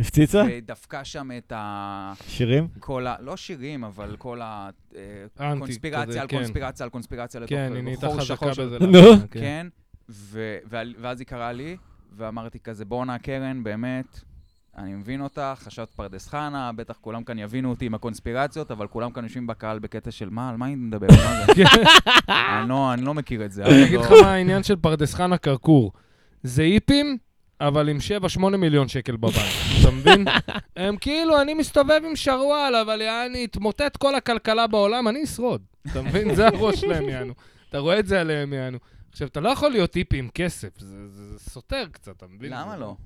Speaker 3: הפציצה?
Speaker 2: אה.
Speaker 1: ודפקה שם את ה...
Speaker 3: שירים?
Speaker 1: כל ה... לא שירים, אבל כל ה... אה,
Speaker 2: אנטי כזה,
Speaker 1: קונספירציה על
Speaker 2: כן.
Speaker 1: קונספירציה על קונספירציה לתוך
Speaker 2: כן, היא נהייתה
Speaker 1: חור
Speaker 2: חזקה
Speaker 1: שחור של-
Speaker 2: בזה.
Speaker 3: נו.
Speaker 2: לאחרונה, כן.
Speaker 1: כן, ו- ועל- ואז היא קראה לי, ואמרתי כזה, בואנה קרן, באמת, אני מבין אותך, חשבת פרדס חנה, בטח כולם כאן יבינו אותי עם הקונספירציות, אבל כולם כאן יושבים בקהל בקטע של מה, על מה היא מדברת? מה זה?" אני לא- אני לא מכיר את זה. אבל
Speaker 2: כן. אני אגיד
Speaker 1: לא-
Speaker 2: לך מה העניין של פרדס חנה כרכור. זה היפים, אבל עם 7-8 מיליון שקל בבנק, אתה מבין? הם כאילו, אני מסתובב עם שרוואל, אבל יעני, תמוטט כל הכלכלה בעולם, אני אשרוד. אתה מבין? זה הראש שלהם, יענו. אתה רואה את זה עליהם, יענו. עכשיו, אתה לא יכול להיות היפי עם כסף, זה- זה זה סותר קצת, אתה מבין?
Speaker 1: למה
Speaker 2: זה-
Speaker 1: לא?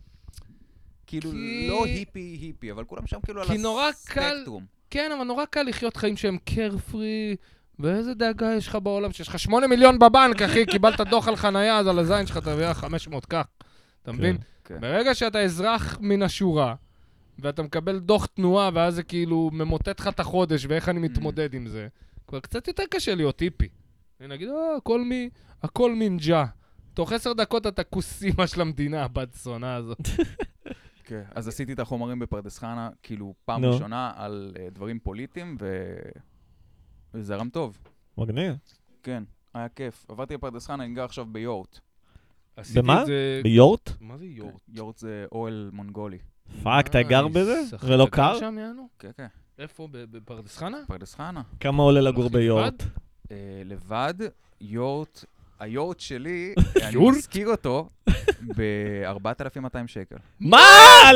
Speaker 1: כאילו,
Speaker 2: כי-
Speaker 1: לא היפי היפי, אבל כולם שם כאילו על
Speaker 2: כי נורא קל-
Speaker 1: הספקטרום.
Speaker 2: כן, אבל נורא קל לחיות חיים שהם carefree, ואיזה דאגה יש לך בעולם, שיש לך 8 מיליון בבנק, אחי, קיבלת דוח על חנייה, אז על הזין שלך אתה מביא 500 כך. אתה מבין?
Speaker 1: כן.
Speaker 2: ברגע שאתה אזרח מן השורה, ואתה מקבל דוח תנועה, ואז זה כאילו ממוטט לך את החודש, ואיך אני מתמודד עם זה, כבר קצת יותר קשה להיות טיפי. אני נגיד, אה, הכל מי, הכל מנג'ה. תוך עשר דקות אתה כוס אימא של המדינה, הבת זונה הזאת.
Speaker 1: כן, אז עשיתי את החומרים בפרדס חנה, כאילו, פעם
Speaker 3: נו.
Speaker 1: ראשונה על אה, דברים פוליטיים, ו- וזרם טוב.
Speaker 3: מגניב.
Speaker 1: כן, היה כיף. עברתי לפרדס חנה, אני גר עכשיו ביורט.
Speaker 2: עשיתי
Speaker 3: במה?
Speaker 2: את זה...
Speaker 3: ביורט?
Speaker 2: מה זה יורט?
Speaker 1: יורט זה אוהל מונגולי.
Speaker 3: פאק, אתה גר
Speaker 2: אה,
Speaker 3: בזה?
Speaker 2: סחטן.
Speaker 3: זה לא
Speaker 2: אתה גר
Speaker 3: קר?
Speaker 2: שם, יענו?
Speaker 1: כן, כן.
Speaker 2: איפה? ב- בפרדס חנה?
Speaker 1: פרדס חנה.
Speaker 3: כמה עולה לגור
Speaker 2: אנחנו
Speaker 3: ביורט?
Speaker 1: אה, לבד, יורט, היורט שלי, אני
Speaker 2: יורט?
Speaker 1: מזכיר אותו ב-4,200 שקל.
Speaker 3: מה?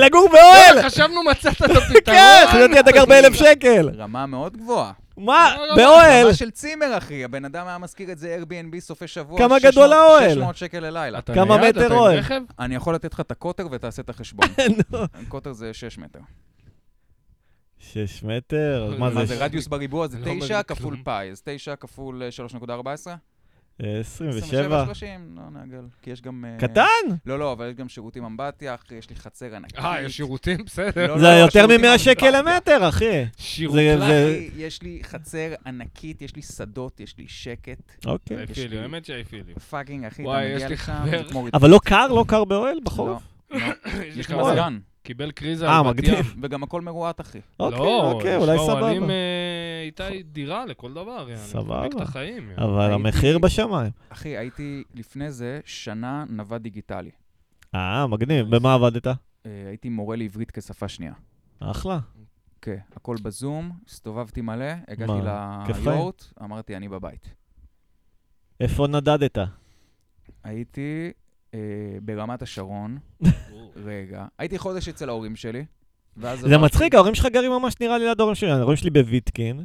Speaker 3: לגור באוהל!
Speaker 2: אה, חשבנו מצאת את הפתרון.
Speaker 3: כן, חשבתי אתה גר באלף שקל.
Speaker 1: רמה מאוד גבוהה.
Speaker 3: מה?
Speaker 2: לא, לא,
Speaker 3: באוהל?
Speaker 1: רמה של צימר, אחי. הבן אדם היה מזכיר את זה Airbnb סופי שבוע.
Speaker 3: כמה
Speaker 1: 600
Speaker 3: גדול האוהל?
Speaker 1: 600 שקל ללילה.
Speaker 2: אתה
Speaker 3: כמה
Speaker 2: נייד? אתה
Speaker 3: מטר
Speaker 2: עם
Speaker 3: אוהל?
Speaker 2: רכב?
Speaker 1: אני יכול לתת לך את הקוטר ותעשה את החשבון.
Speaker 3: נו.
Speaker 1: קוטר זה 6 מטר.
Speaker 3: שש מטר? מה
Speaker 1: מה
Speaker 3: זה?
Speaker 1: לא, זה
Speaker 2: ש-
Speaker 1: רדיוס בריבוע? זה
Speaker 2: אני לא אומר
Speaker 1: 9
Speaker 2: כלום.
Speaker 1: כפול פאי. אז 9 כפול אה, 3.14?
Speaker 3: אה, עשרים
Speaker 1: 27,
Speaker 3: ושבע?
Speaker 1: 30, לא נעגל. כי יש גם... אה,
Speaker 3: קטן?
Speaker 1: לא, לא, אבל יש גם שירותים אמבטיה, אחי, יש לי חצר ענקית.
Speaker 2: אה, יש שירותים?
Speaker 1: לא,
Speaker 2: בסדר.
Speaker 1: לא,
Speaker 3: זה
Speaker 1: לא,
Speaker 3: יותר
Speaker 1: שירותים
Speaker 3: מ-100 שקל
Speaker 1: אמבטיה.
Speaker 3: למטר, אחי.
Speaker 2: שירות.
Speaker 3: זה-
Speaker 1: לא,
Speaker 3: זה-
Speaker 1: אחי, יש לי חצר ענקית, יש לי שדות, יש לי שקט.
Speaker 3: אוקיי.
Speaker 1: יש לי-
Speaker 2: האפילים, האמת שהאפילים.
Speaker 1: פאקינג, אחי, אתה
Speaker 2: וואי, יש
Speaker 1: מגיע
Speaker 2: לי
Speaker 1: לשם,
Speaker 2: חבר.
Speaker 1: זה כמו ריצה.
Speaker 3: אבל לא קר? לא קר באוהל בחורף?
Speaker 1: לא, לא. יש לי
Speaker 3: וואלה.
Speaker 1: מזגן,
Speaker 2: קיבל קריזה
Speaker 3: אה,
Speaker 2: על בת
Speaker 3: מגניב.
Speaker 2: ים.
Speaker 1: וגם הכל מרואט, אחי.
Speaker 3: אוקיי,
Speaker 2: לא,
Speaker 3: אוקיי, אולי
Speaker 2: יש לך אוהלים,
Speaker 3: סבבה.
Speaker 2: אה, איתי דירה לכל דבר, יעני.
Speaker 3: סבבה.
Speaker 2: מחזיק את החיים, יעני.
Speaker 3: אבל
Speaker 1: הייתי-
Speaker 3: המחיר בשמיים.
Speaker 1: אחי, הייתי לפני זה שנה נווד דיגיטלי.
Speaker 3: אה, מגניב. במה עבדת?
Speaker 1: אה, הייתי מורה לעברית כשפה שנייה.
Speaker 3: אחלה.
Speaker 1: כן, הכל בזום, הסתובבתי מלא, הגעתי
Speaker 3: מה, כיף חיים?
Speaker 1: ליורט, אמרתי, אני בבית.
Speaker 3: איפה נדדת?
Speaker 1: הייתי אה, ברמת השרון, רגע, הייתי חודש אצל ההורים שלי, ואז
Speaker 3: זה
Speaker 1: עברתי-
Speaker 3: מצחיק, ההורים שלך גרים ממש נראה לי ליד ההורים שלי. ההורים שלי בוויטקין.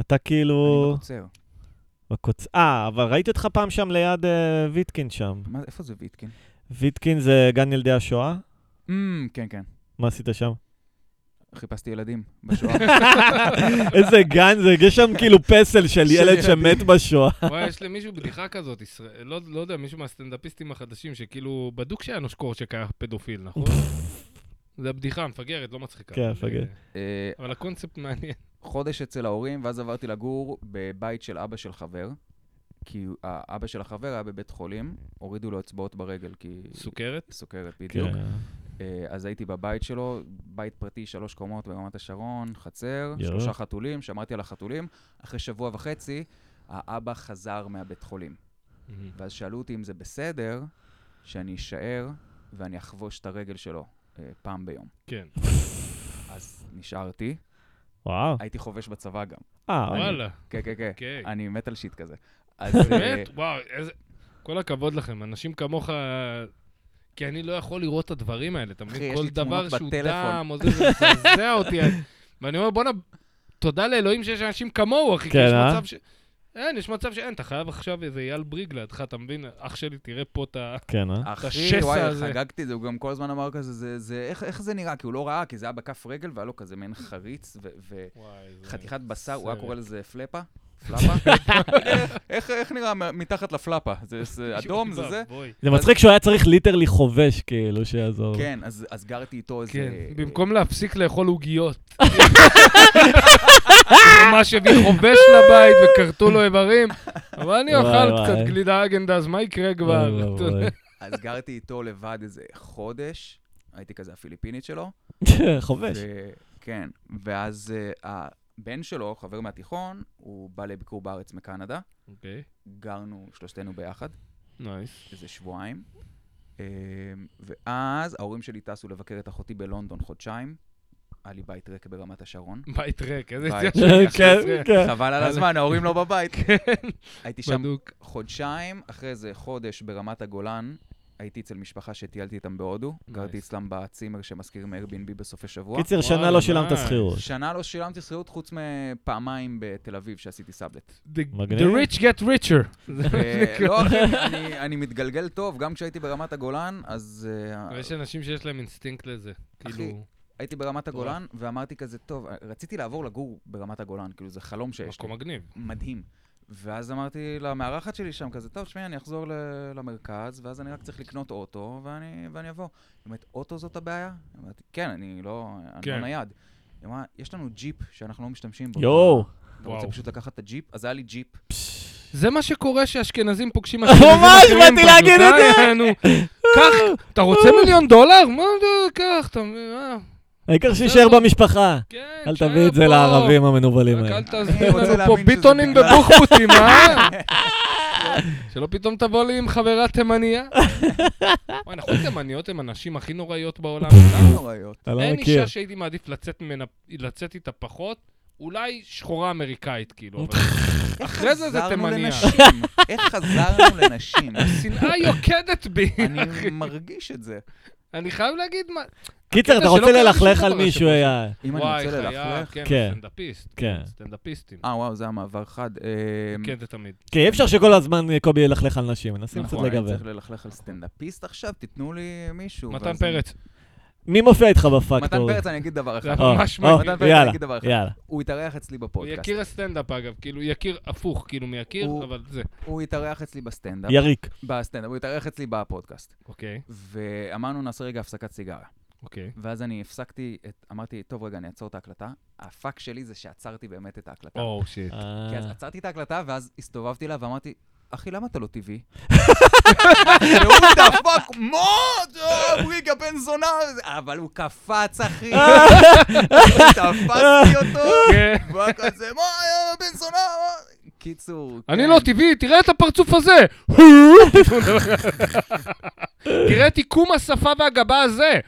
Speaker 3: אתה
Speaker 1: אני
Speaker 3: כאילו...
Speaker 1: בקוצר.
Speaker 3: בקוצ... אה, אבל ראיתי אותך פעם שם ליד אה, ויטקין שם.
Speaker 1: מה- איפה זה ויטקין?
Speaker 3: ויטקין זה גן ילדי השואה?
Speaker 1: אמ, כן, כן.
Speaker 3: מה עשית שם?
Speaker 1: חיפשתי ילדים בשואה.
Speaker 3: איזה גן זה, יש שם כאילו פסל של ילד שמת בשואה.
Speaker 2: וואי, יש למישהו בדיחה כזאת, ישראל- לא לא יודע, מישהו מהסטנדאפיסטים החדשים, שכאילו, בדוק שהיה נושקור שהיה פדופיל, נכון? זו הבדיחה המפגרת, לא מצחיקה.
Speaker 3: כן,
Speaker 2: אבל,
Speaker 3: מפגרת.
Speaker 2: אה,
Speaker 1: אה,
Speaker 2: אבל הקונספט מעניין.
Speaker 1: חודש אצל ההורים, ואז עברתי לגור בבית של אבא של חבר, כי ה- אבא של החבר היה בבית חולים, הורידו לו אצבעות ברגל, כי...
Speaker 2: סוכרת?
Speaker 1: סוכרת, בדיוק.
Speaker 3: כן,
Speaker 1: אה, אז הייתי בבית שלו, בית פרטי, שלוש קומות ברמת השרון, חצר,
Speaker 3: יואו.
Speaker 1: שלושה חתולים, שמרתי על החתולים. אחרי שבוע וחצי, האבא חזר מהבית חולים. ואז שאלו אותי אם זה בסדר שאני אשאר ואני אחבוש את הרגל שלו אה, פעם ביום.
Speaker 2: כן.
Speaker 1: אז נשארתי,
Speaker 3: וואו.
Speaker 1: הייתי חובש בצבא גם.
Speaker 3: אה,
Speaker 2: וואלה.
Speaker 1: כן, כן, כן.
Speaker 2: אוקיי.
Speaker 1: אני מת על שיט כזה. אז... אה,
Speaker 2: באמת? וואו, איזה... כל הכבוד לכם, אנשים כמוך... כי אני לא יכול לראות את הדברים האלה, אתה
Speaker 1: אחי,
Speaker 2: מבין?
Speaker 1: יש
Speaker 2: כל
Speaker 1: לי תמונות
Speaker 2: דבר שהוא
Speaker 1: בטלפון.
Speaker 2: דם, או זה, זה מזעזע אותי. ואני אומר, בואנה, תודה לאלוהים שיש אנשים כמוהו, אחי, כי
Speaker 3: כן,
Speaker 2: יש
Speaker 3: אה?
Speaker 2: מצב ש... אין, יש מצב שאין, אתה חייב עכשיו איזה אייל בריג לידך, אתה מבין? אח שלי, תראה פה את ה...
Speaker 3: כן, אה?
Speaker 1: אחי,
Speaker 2: השסע
Speaker 1: וואי,
Speaker 2: הזה.
Speaker 1: חגגתי את זה, הוא גם כל הזמן אמר כזה, זה, זה, איך, איך זה נראה? כי הוא לא ראה, כי זה היה בכף רגל, והיה לו כזה מעין חריץ וחתיכת
Speaker 2: וואי, זה-
Speaker 1: בשר, הוא היה
Speaker 2: סרט.
Speaker 1: קורא לזה פלאפה. פלאפה? איך- איך, איך נראה מ- מתחת לפלאפה? זה, זה אדום, זה זה?
Speaker 2: בואי.
Speaker 3: זה מצחיק שהוא היה צריך ליטרלי חובש, כאילו, שיעזור.
Speaker 1: כן, אז, אז גרתי איתו איזה...
Speaker 2: כן, במקום להפסיק לאכול עוגיות. ממש הביא חובש לבית וכרתו לו איברים, אבל אני
Speaker 3: וואי,
Speaker 2: אוכל
Speaker 3: וואי.
Speaker 2: קצת גלידה אגנדז, מה יקרה
Speaker 3: וואי,
Speaker 2: כבר? אתה
Speaker 3: וואי, וואי.
Speaker 1: אז גרתי איתו לבד איזה חודש, הייתי כזה הפיליפינית שלו.
Speaker 3: חובש.
Speaker 1: ו- כן, ואז אה, הבן שלו, חבר מהתיכון, הוא בא לביקור בארץ מקנדה.
Speaker 2: אוקיי,
Speaker 1: גרנו שלושתנו ביחד.
Speaker 2: נייס.
Speaker 1: איזה שבועיים. אמ, ואז ההורים שלי טסו לבקר את אחותי בלונדון חודשיים. היה לי בית ריק ברמת השרון.
Speaker 2: בית ריק, איזה
Speaker 1: בית
Speaker 2: יציאה
Speaker 1: ריק.
Speaker 2: של
Speaker 3: כן,
Speaker 2: יחס
Speaker 3: כן.
Speaker 1: חבל על הזמן, ההורים לא בבית. הייתי שם
Speaker 2: כן. בדוק.
Speaker 1: חודשיים, אחרי זה חודש ברמת הגולן. הייתי אצל משפחה שטיילתי איתם בהודו. גרתי
Speaker 2: Nice.
Speaker 1: אצלם בצימר שמשכירים איירבינבי בסופי שבוע.
Speaker 3: קיצר, שנה
Speaker 2: וואלה,
Speaker 3: לא שילמת
Speaker 2: נייס.
Speaker 3: שכירות.
Speaker 1: שנה לא שילמתי שכירות חוץ מפעמיים בתל אביב שעשיתי סאבלט.
Speaker 2: The
Speaker 3: מגניב.
Speaker 2: the rich get richer.
Speaker 1: ו- לא, אחי, אני- אני מתגלגל טוב, גם כשהייתי ברמת הגולן, אז... אה,
Speaker 2: יש אנשים שיש להם אינסטינקט לזה. כאילו,
Speaker 1: הייתי ברמת הגולן, ואמרתי כזה, טוב, רציתי לעבור לגור ברמת הגולן, כאילו, זה חלום שיש לי,
Speaker 2: מקום מגניב.
Speaker 1: מדהים. ואז אמרתי למארחת שלי שם כזה, טוב, שמעי, אני אחזור ל- למרכז, ואז אני רק צריך לקנות אוטו, ואני, ואני אבוא. היא אומרת, אוטו זאת הבעיה? אמרתי, כן, אני לא, אני
Speaker 2: כן.
Speaker 1: לא נייד. היא אמרה, יש לנו ג'יפ שאנחנו לא משתמשים בו.
Speaker 3: יואו.
Speaker 1: אתה רוצה
Speaker 2: וואו.
Speaker 1: פשוט לקחת את הג'יפ? אז היה לי ג'יפ.
Speaker 2: זה מה שקורה שאשכנזים פוגשים אשכנזים
Speaker 3: ממש, באתי להגיד את
Speaker 2: זה. קח, אתה רוצה מיליון דולר? מה זה, קח, אתה מבין, אה,
Speaker 3: העיקר שיישאר במשפחה.
Speaker 2: כן,
Speaker 3: אל
Speaker 2: תשאר
Speaker 3: תביא את זה
Speaker 2: פה.
Speaker 3: לערבים המנוולים
Speaker 2: רק
Speaker 3: האלה.
Speaker 2: אל תעזבי
Speaker 1: רוצה
Speaker 2: לנו פה
Speaker 1: להאמין שזה
Speaker 2: ביטונים
Speaker 1: בגלל-
Speaker 2: ובוחבוטים, אה? שלא פתאום תבוא לי עם חברה תימניה. וואי, נכון, תימניות הן הנשים הכי נוראיות בעולם.
Speaker 1: לא נוראיות.
Speaker 3: אני לא
Speaker 2: אין
Speaker 3: מכיר.
Speaker 2: אישה שהייתי מעדיף לצאת ממנה, לצאת איתה פחות, אולי שחורה אמריקאית, כאילו. אבל אחרי זה זה
Speaker 1: חזרנו
Speaker 2: תימניה.
Speaker 1: לנשים. איך חזרנו לנשים?
Speaker 2: שנאה יוקדת בי.
Speaker 1: אני מרגיש את זה.
Speaker 2: אני חייב להגיד מה... הקטע
Speaker 3: קיצר, אתה
Speaker 2: שלא
Speaker 3: רוצה
Speaker 2: קרה לי שום
Speaker 3: ללכלך
Speaker 2: דבר
Speaker 3: על מישהו, אה,
Speaker 2: השבוע.
Speaker 3: היה...
Speaker 1: אם אני
Speaker 2: וואי,
Speaker 1: רוצה
Speaker 2: חייב,
Speaker 1: ללכלך...
Speaker 2: כן,
Speaker 3: כן.
Speaker 2: סטנדאפיסט.
Speaker 3: כן.
Speaker 2: סטנדאפיסטים.
Speaker 1: אה, וואו, זה המעבר חד. אמ,
Speaker 2: כן, זה תמיד.
Speaker 3: כן, אי אפשר שכל הזמן אה, קובי ילכלך על נשים, מנסים קצת
Speaker 1: נכון, אני
Speaker 3: לגוון.
Speaker 1: צריך ללכלך על סטנדאפיסט עכשיו, תיתנו לי מישהו.
Speaker 2: מתן
Speaker 1: ואז-
Speaker 2: פרץ.
Speaker 3: מי מופיע איתך
Speaker 1: מתן
Speaker 3: בפקטור?
Speaker 1: פרץ, אני אגיד דבר אחד.
Speaker 2: זה
Speaker 3: או,
Speaker 2: ממש
Speaker 3: או,
Speaker 2: מגניב.
Speaker 1: מתן פרץ, אני
Speaker 3: יאללה,
Speaker 1: אגיד דבר אחד.
Speaker 3: יאללה.
Speaker 1: הוא התארח אצלי
Speaker 2: הוא
Speaker 1: בפודקאסט.
Speaker 2: יקיר הסטנדאפ, אגב. כאילו, יקיר הפוך, כאילו, מייקיר,
Speaker 1: הוא-
Speaker 2: אבל זה.
Speaker 1: הוא התארח אצלי בסטנדאפ.
Speaker 3: יריק.
Speaker 2: כן,
Speaker 1: בסטנדאפ, הוא התארח אצלי בפודקאסט.
Speaker 2: אוקיי,
Speaker 1: ואמרנו, נעשה רגע הפסקת סיגריה.
Speaker 2: אוקיי.
Speaker 1: ואז אני הפסקתי, את- אמרתי, טוב, רגע, אני אעצור את ההקלטה. הפאק שלי זה שעצרתי באמת את ההקלטה.
Speaker 2: או, שיט.
Speaker 1: כי
Speaker 3: אה.
Speaker 1: אז עצרתי את ההקלטה, ואז הסתובבתי אליו ואמרתי, אחי, למה אתה לא טבעי? והוא דפק, מה? אה, בריגה בן זונה! אבל הוא קפץ, אחי. תפסתי אותו,
Speaker 2: כן.
Speaker 1: והוא היה כזה, מה, אה, בן זונה? מה?" קיצור,
Speaker 2: אני
Speaker 1: כן.
Speaker 2: לא טבעי, תראה את הפרצוף הזה! תראה את עיקום השפה והגבה הזה!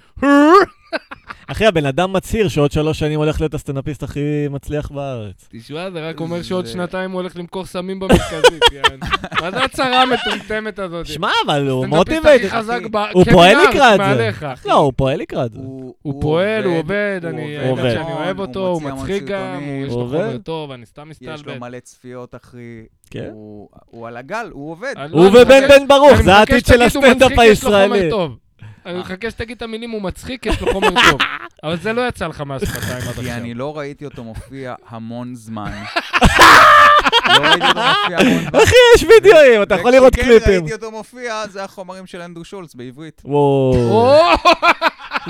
Speaker 3: אחי, הבן אדם מצהיר שעוד שלוש שנים הולך להיות הסטנדאפיסט הכי מצליח בארץ.
Speaker 2: תשמע, זה רק אומר
Speaker 1: זה-
Speaker 2: שעוד שנתיים הוא הולך למכור סמים במרכזית, יעני. מה זה הצהרה המטומטמת הזאת?
Speaker 3: שמע, אבל הוא
Speaker 2: הסטנדאפיסט הכי
Speaker 3: מוטיבייט.
Speaker 2: חזק ב...
Speaker 3: הוא
Speaker 2: כן,
Speaker 3: פועל
Speaker 2: לארץ,
Speaker 3: לקראת
Speaker 2: מעליך.
Speaker 3: זה. לא, הוא פועל לקראת זה.
Speaker 2: הוא פועל, הוא עובד, אני...
Speaker 3: הוא
Speaker 2: האמת
Speaker 3: עובד.
Speaker 2: שאני אוהב אותו, הוא
Speaker 1: מוציא המון
Speaker 2: מצחיק גם,
Speaker 1: סרטונים,
Speaker 2: הוא- יש
Speaker 3: הוא
Speaker 2: לו חומר
Speaker 3: עובד.
Speaker 2: טוב, אני סתם
Speaker 1: יש לו
Speaker 2: מסתלבט.
Speaker 1: מלא צפיות, אחי.
Speaker 3: כן.
Speaker 1: הוא- הוא על הגל, הוא עובד.
Speaker 2: אני לא-
Speaker 3: הוא
Speaker 2: אני
Speaker 3: ובן
Speaker 2: מחכה-
Speaker 3: בן ברוך,
Speaker 2: אני
Speaker 3: זה
Speaker 2: מחכה
Speaker 3: העתיד של
Speaker 2: שתגיד, הוא מצחיק,
Speaker 3: הסטנדאפ
Speaker 2: יש לו חומר
Speaker 3: הישראלי.
Speaker 2: טוב. אני מחכה שתגיד את המילים, הוא מצחיק, יש לו חומר טוב. אבל זה לא יצא לך מהשפתיים עד
Speaker 1: כי
Speaker 2: עכשיו.
Speaker 1: אני לא ראיתי אותו מופיע המון זמן. לא ראיתי אותו מופיע המון זמן.
Speaker 3: אחי, יש וידאוים, אתה יכול לראות
Speaker 1: וכשכן
Speaker 3: קליפים.
Speaker 1: כן, ראיתי אותו מופיע, זה החומרים של אנדרו שולץ בעברית.
Speaker 3: וואו,
Speaker 2: או,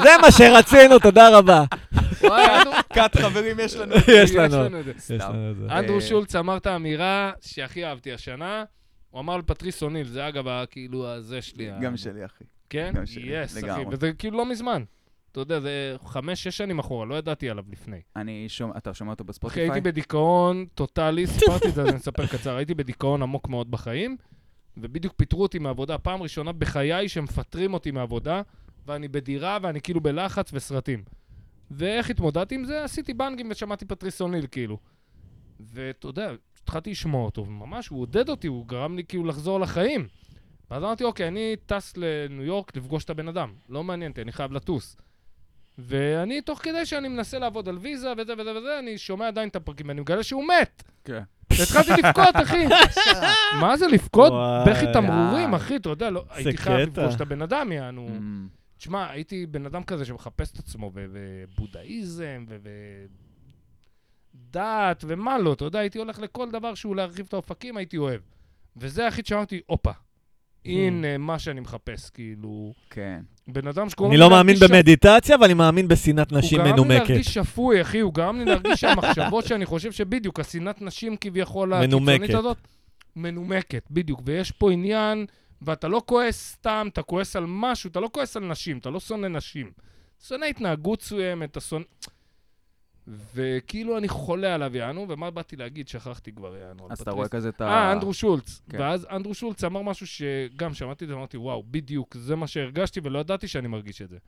Speaker 3: זה מה שרצינו, תודה רבה.
Speaker 2: וואי, אנדרו-
Speaker 1: קאט חברים לא- יש לנו.
Speaker 3: יש לנו.
Speaker 2: את זה.
Speaker 3: יש לנו את זה.
Speaker 2: אנדרו
Speaker 1: אה,
Speaker 2: שולץ אמר את האמירה שהכי אהבתי השנה. הוא אמר לפטריס אוניל, זה אגב, ה- כאילו, הזה שלי. ה-
Speaker 1: גם שלי, אחי.
Speaker 2: כן?
Speaker 1: גם שלי,
Speaker 2: יס, אחי.
Speaker 1: לגמרי.
Speaker 2: וזה כאילו לא מזמן. אתה יודע, זה חמש, שש שנים אחורה, לא ידעתי עליו לפני.
Speaker 1: אני שומע, אתה שומע אותו
Speaker 2: אחי,
Speaker 1: בספוטיפיי?
Speaker 2: הייתי בדיכאון טוטאלי, סיפרתי את זה, אז אני אספר קצר. הייתי בדיכאון עמוק מאוד בחיים, ובדיוק פיטרו אותי מהעבודה, פעם ראשונה בחיי שמפטרים אותי מהעבודה, ואני בדירה, ואני כאילו בלחץ וסרטים. ואיך התמודדתי עם זה? עשיתי בנגים ושמעתי פטריס אוניל, כאילו. ואתה יודע, התחלתי לשמוע אותו, וממש, הוא עודד אותי, הוא גרם לי כאילו לחזור לחיים. ואז אמרתי, אוקיי, אני טס לניו יורק לפגוש את הבן אדם. לא מעניין אותי, אני חייב לטוס. ואני, תוך כדי שאני מנסה לעבוד על ויזה וזה וזה וזה, אני שומע עדיין את הפרקים, ואני מגלה שהוא מת.
Speaker 1: כן.
Speaker 2: והתחלתי לבכות, אחי. מה זה לבכות?
Speaker 3: וואי.
Speaker 2: בכי תמרורים, אחי, אתה יודע, לא, הייתי חייב
Speaker 3: קטע. Mm.
Speaker 2: לפגוש את הבן אדם, יענו.
Speaker 1: אמ,
Speaker 2: תשמע, הייתי בן אדם כזה שמחפש את עצמו ב- בבודהיזם ו... ו- דת ומה לא, אתה יודע, הייתי הולך לכל דבר שהוא להרחיב את האופקים, הייתי אוהב. וזה היחיד שאמרתי, הופה,
Speaker 3: Mm.
Speaker 2: הנה מה שאני מחפש, כאילו...
Speaker 1: כן.
Speaker 2: בן אדם שקוראים
Speaker 3: אני לא מאמין במדיטציה, אבל אני מאמין בשנאת נשים
Speaker 2: הוא גרם לי
Speaker 3: מנומקת.
Speaker 2: להרגיש שפוי, אחי, הוא גרם לי להרגיש שהמחשבות שאני חושב שבדיוק, השנאת נשים כביכול הקיצונית
Speaker 3: מנומקת.
Speaker 2: הזאת, מנומקת, בדיוק. ויש פה עניין, ואתה לא כועס סתם, אתה כועס על משהו, אתה לא כועס על נשים, אתה לא שונא נשים. שונא התנהגות מסוימת, אתה שונא... וכאילו אני חולה עליו, יענו, ומה באתי להגיד? שכחתי כבר, יענו. על
Speaker 1: אז אתה
Speaker 2: פטריס.
Speaker 1: רואה כזה את ה...
Speaker 2: אה, אנדרו שולץ.
Speaker 1: כן.
Speaker 2: ואז אנדרו שולץ אמר משהו שגם שמעתי את זה, אמרתי, וואו, בדיוק, זה מה שהרגשתי ולא ידעתי שאני מרגיש את זה.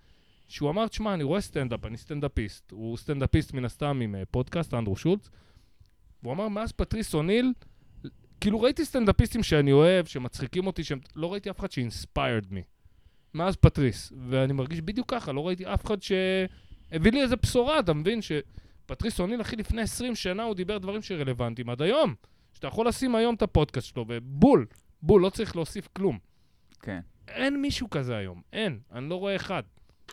Speaker 2: שהוא אמר, תשמע, אני רואה סטנדאפ, אני סטנדאפיסט. הוא סטנדאפיסט מן הסתם עם אה, פודקאסט, אנדרו שולץ. והוא אמר, מאז פטריס אוניל, כאילו ראיתי סטנדאפיסטים שאני אוהב, שמצחיקים אותי, שהם... לא ראיתי אף אחד ש-inspired me. מאז פטריס. ואני מרגיש בדיוק ככה, לא ראיתי אף אחד שהביא לי איזה בשורה, אתה מבין? שפטריס אוניל, אחי, לפני 20 שנה הוא דיבר דברים שרלוונטיים עד היום. שאתה יכול לשים היום את הפודקאסט שלו, ובול, בול, לא צריך להוסיף כלום.
Speaker 1: כן.
Speaker 2: אין מישהו כזה היום, אין, אני לא רואה אחד.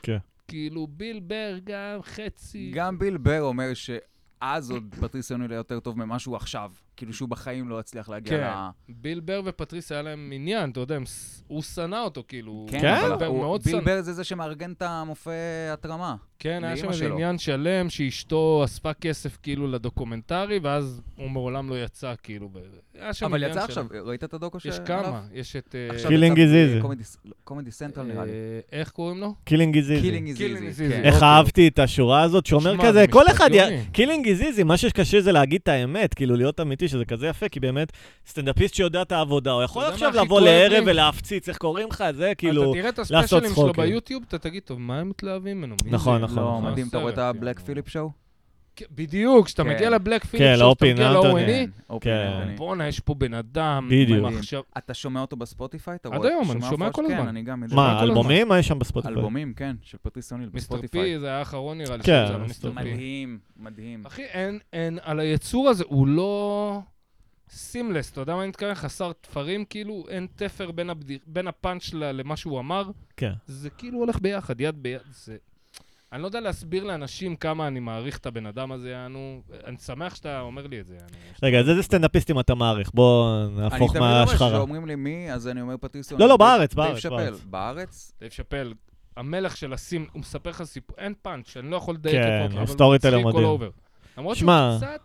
Speaker 3: כן.
Speaker 2: כאילו, ביל בר גם חצי...
Speaker 1: גם ביל בר אומר שאז עוד פטריס יוניל היה יותר טוב ממה שהוא עכשיו. כי כאילו שהוא בחיים לא יצליח להגיע
Speaker 2: כן.
Speaker 1: ל...
Speaker 2: ביל בר ופטריס היה להם עניין, אתה יודע, הם ס- הוא שנא אותו, כאילו.
Speaker 3: כן?
Speaker 1: אבל
Speaker 2: ביל בר
Speaker 1: הוא-
Speaker 2: מאוד
Speaker 1: ביל
Speaker 2: שנא.
Speaker 1: בר זה זה שמארגן את המופעי התרמה.
Speaker 2: כן, היה
Speaker 1: לאמא
Speaker 2: שם איזה
Speaker 1: שלו.
Speaker 2: עניין שלם שאשתו אספה כסף כאילו לדוקומנטרי, ואז הוא מעולם לא יצא, כאילו. ב- היה שם
Speaker 1: אבל
Speaker 2: עניין
Speaker 1: יצא
Speaker 2: שלם.
Speaker 1: עכשיו, ראית את הדוקו
Speaker 2: יש
Speaker 1: שעליו?
Speaker 2: כמה, יש את... אה,
Speaker 1: לא. עכשיו
Speaker 3: Killing
Speaker 1: יצא
Speaker 3: is easy.
Speaker 1: ב- קומדי סנטרל נראה לי.
Speaker 2: אה, איך קוראים לו?
Speaker 3: קילינג איז איזי.
Speaker 1: קילינג איז
Speaker 2: Killing is
Speaker 1: איזי.
Speaker 2: easy.
Speaker 3: איך
Speaker 2: אוקיי.
Speaker 3: אהבתי את השורה הזאת שאומר
Speaker 2: שמע,
Speaker 3: כזה,
Speaker 2: זה
Speaker 3: כל
Speaker 2: משפט
Speaker 3: אחד,
Speaker 2: גאוני.
Speaker 3: קילינג איז איזי, מה שקשה זה להגיד את האמת, כאילו להיות אמיתי, שזה כזה יפה, כי באמת, סטנדאפיסט שיודע את העבודה, הוא יכול
Speaker 2: יודע מה
Speaker 3: עכשיו
Speaker 2: הכי
Speaker 3: לבוא
Speaker 2: כואב לי?
Speaker 3: לערב ולהפציץ, איך קוראים לך, זה
Speaker 2: אתה
Speaker 3: כאילו...
Speaker 2: תראה את
Speaker 3: לעשות
Speaker 2: הספיישלים שלו
Speaker 3: צחוקים.
Speaker 2: ביוטיוב, אתה תגיד, טוב, מה הם מתלהבים ממנו? מי
Speaker 3: נכון,
Speaker 2: זה?"
Speaker 3: נכון,
Speaker 2: זה
Speaker 1: לא,
Speaker 3: נכון.
Speaker 1: מדהים, אתה רואה את
Speaker 2: הסרט,
Speaker 1: הבלק
Speaker 2: כאילו.
Speaker 1: פיליפ שואו?
Speaker 2: כן, בדיוק, כשאתה
Speaker 1: כן.
Speaker 2: מגיע לבלק פיליפ,
Speaker 3: כן,
Speaker 2: כשאתה
Speaker 3: לאופן
Speaker 2: מגיע
Speaker 3: אנטוני.
Speaker 2: לאורני,
Speaker 1: כן, אופן
Speaker 3: כן.
Speaker 1: אורני.
Speaker 2: בואנה, יש פה בן אדם.
Speaker 3: בדיוק.
Speaker 2: עם מחשב-
Speaker 1: אתה שומע אותו בספוטיפיי? אתה
Speaker 2: עד
Speaker 1: רואה-
Speaker 2: היום, אני שומע
Speaker 1: הופעות?
Speaker 2: כל
Speaker 1: כן,
Speaker 2: הזמן.
Speaker 1: אני גם... מדי פעם.
Speaker 3: מה,
Speaker 2: כל הזמן.
Speaker 3: אלבומים? מה יש שם בספוטיפיי?
Speaker 1: אלבומים, כן, של פטריס אוניל
Speaker 2: מיסטר
Speaker 1: בספוטיפיי.
Speaker 2: פי, זה היה האחרון נראה לי,
Speaker 3: כן,
Speaker 2: שזה היה
Speaker 3: מיסטר
Speaker 2: מיסטר פי.
Speaker 1: מדהים,
Speaker 3: Mm.
Speaker 1: מדהים.
Speaker 2: אחי, אין, אין, על היצור הזה, הוא לא... סימלס, אתה יודע מה אני מתכוון? חסר תפרים, כאילו, אין תפר בין, הבדיר, בין הפאנץ' ל- למה שהוא אמר.
Speaker 3: כן.
Speaker 2: זה כאילו הולך ביחד, יד ביד. זה... אני לא יודע להסביר לאנשים כמה אני מעריך את הבן אדם הזה, יענו. אני שמח שאתה אומר לי את זה, יענו.
Speaker 3: רגע, אז איזה סטנדאפיסטים אתה מעריך? בוא
Speaker 1: אני
Speaker 3: נהפוך
Speaker 1: תמיד אומר
Speaker 3: מהשחרה.
Speaker 1: שאומרים לי מי, אז אני אומר פטריס
Speaker 3: לא,
Speaker 1: אוניל.
Speaker 3: בארץ,
Speaker 1: דייב
Speaker 3: בארץ,
Speaker 1: שאפל.
Speaker 3: בארץ.
Speaker 1: בארץ?
Speaker 2: דייב שאפל, המלך של הסים, הוא מספר לך סיפור, אין פאנץ', אני לא יכול לדייק
Speaker 3: כן,
Speaker 2: אותו, אבל הוא
Speaker 3: הסטורי טלר
Speaker 2: מצחיק all
Speaker 3: מדהים.
Speaker 2: over. למרות שהוא
Speaker 3: שמע,
Speaker 2: קצת...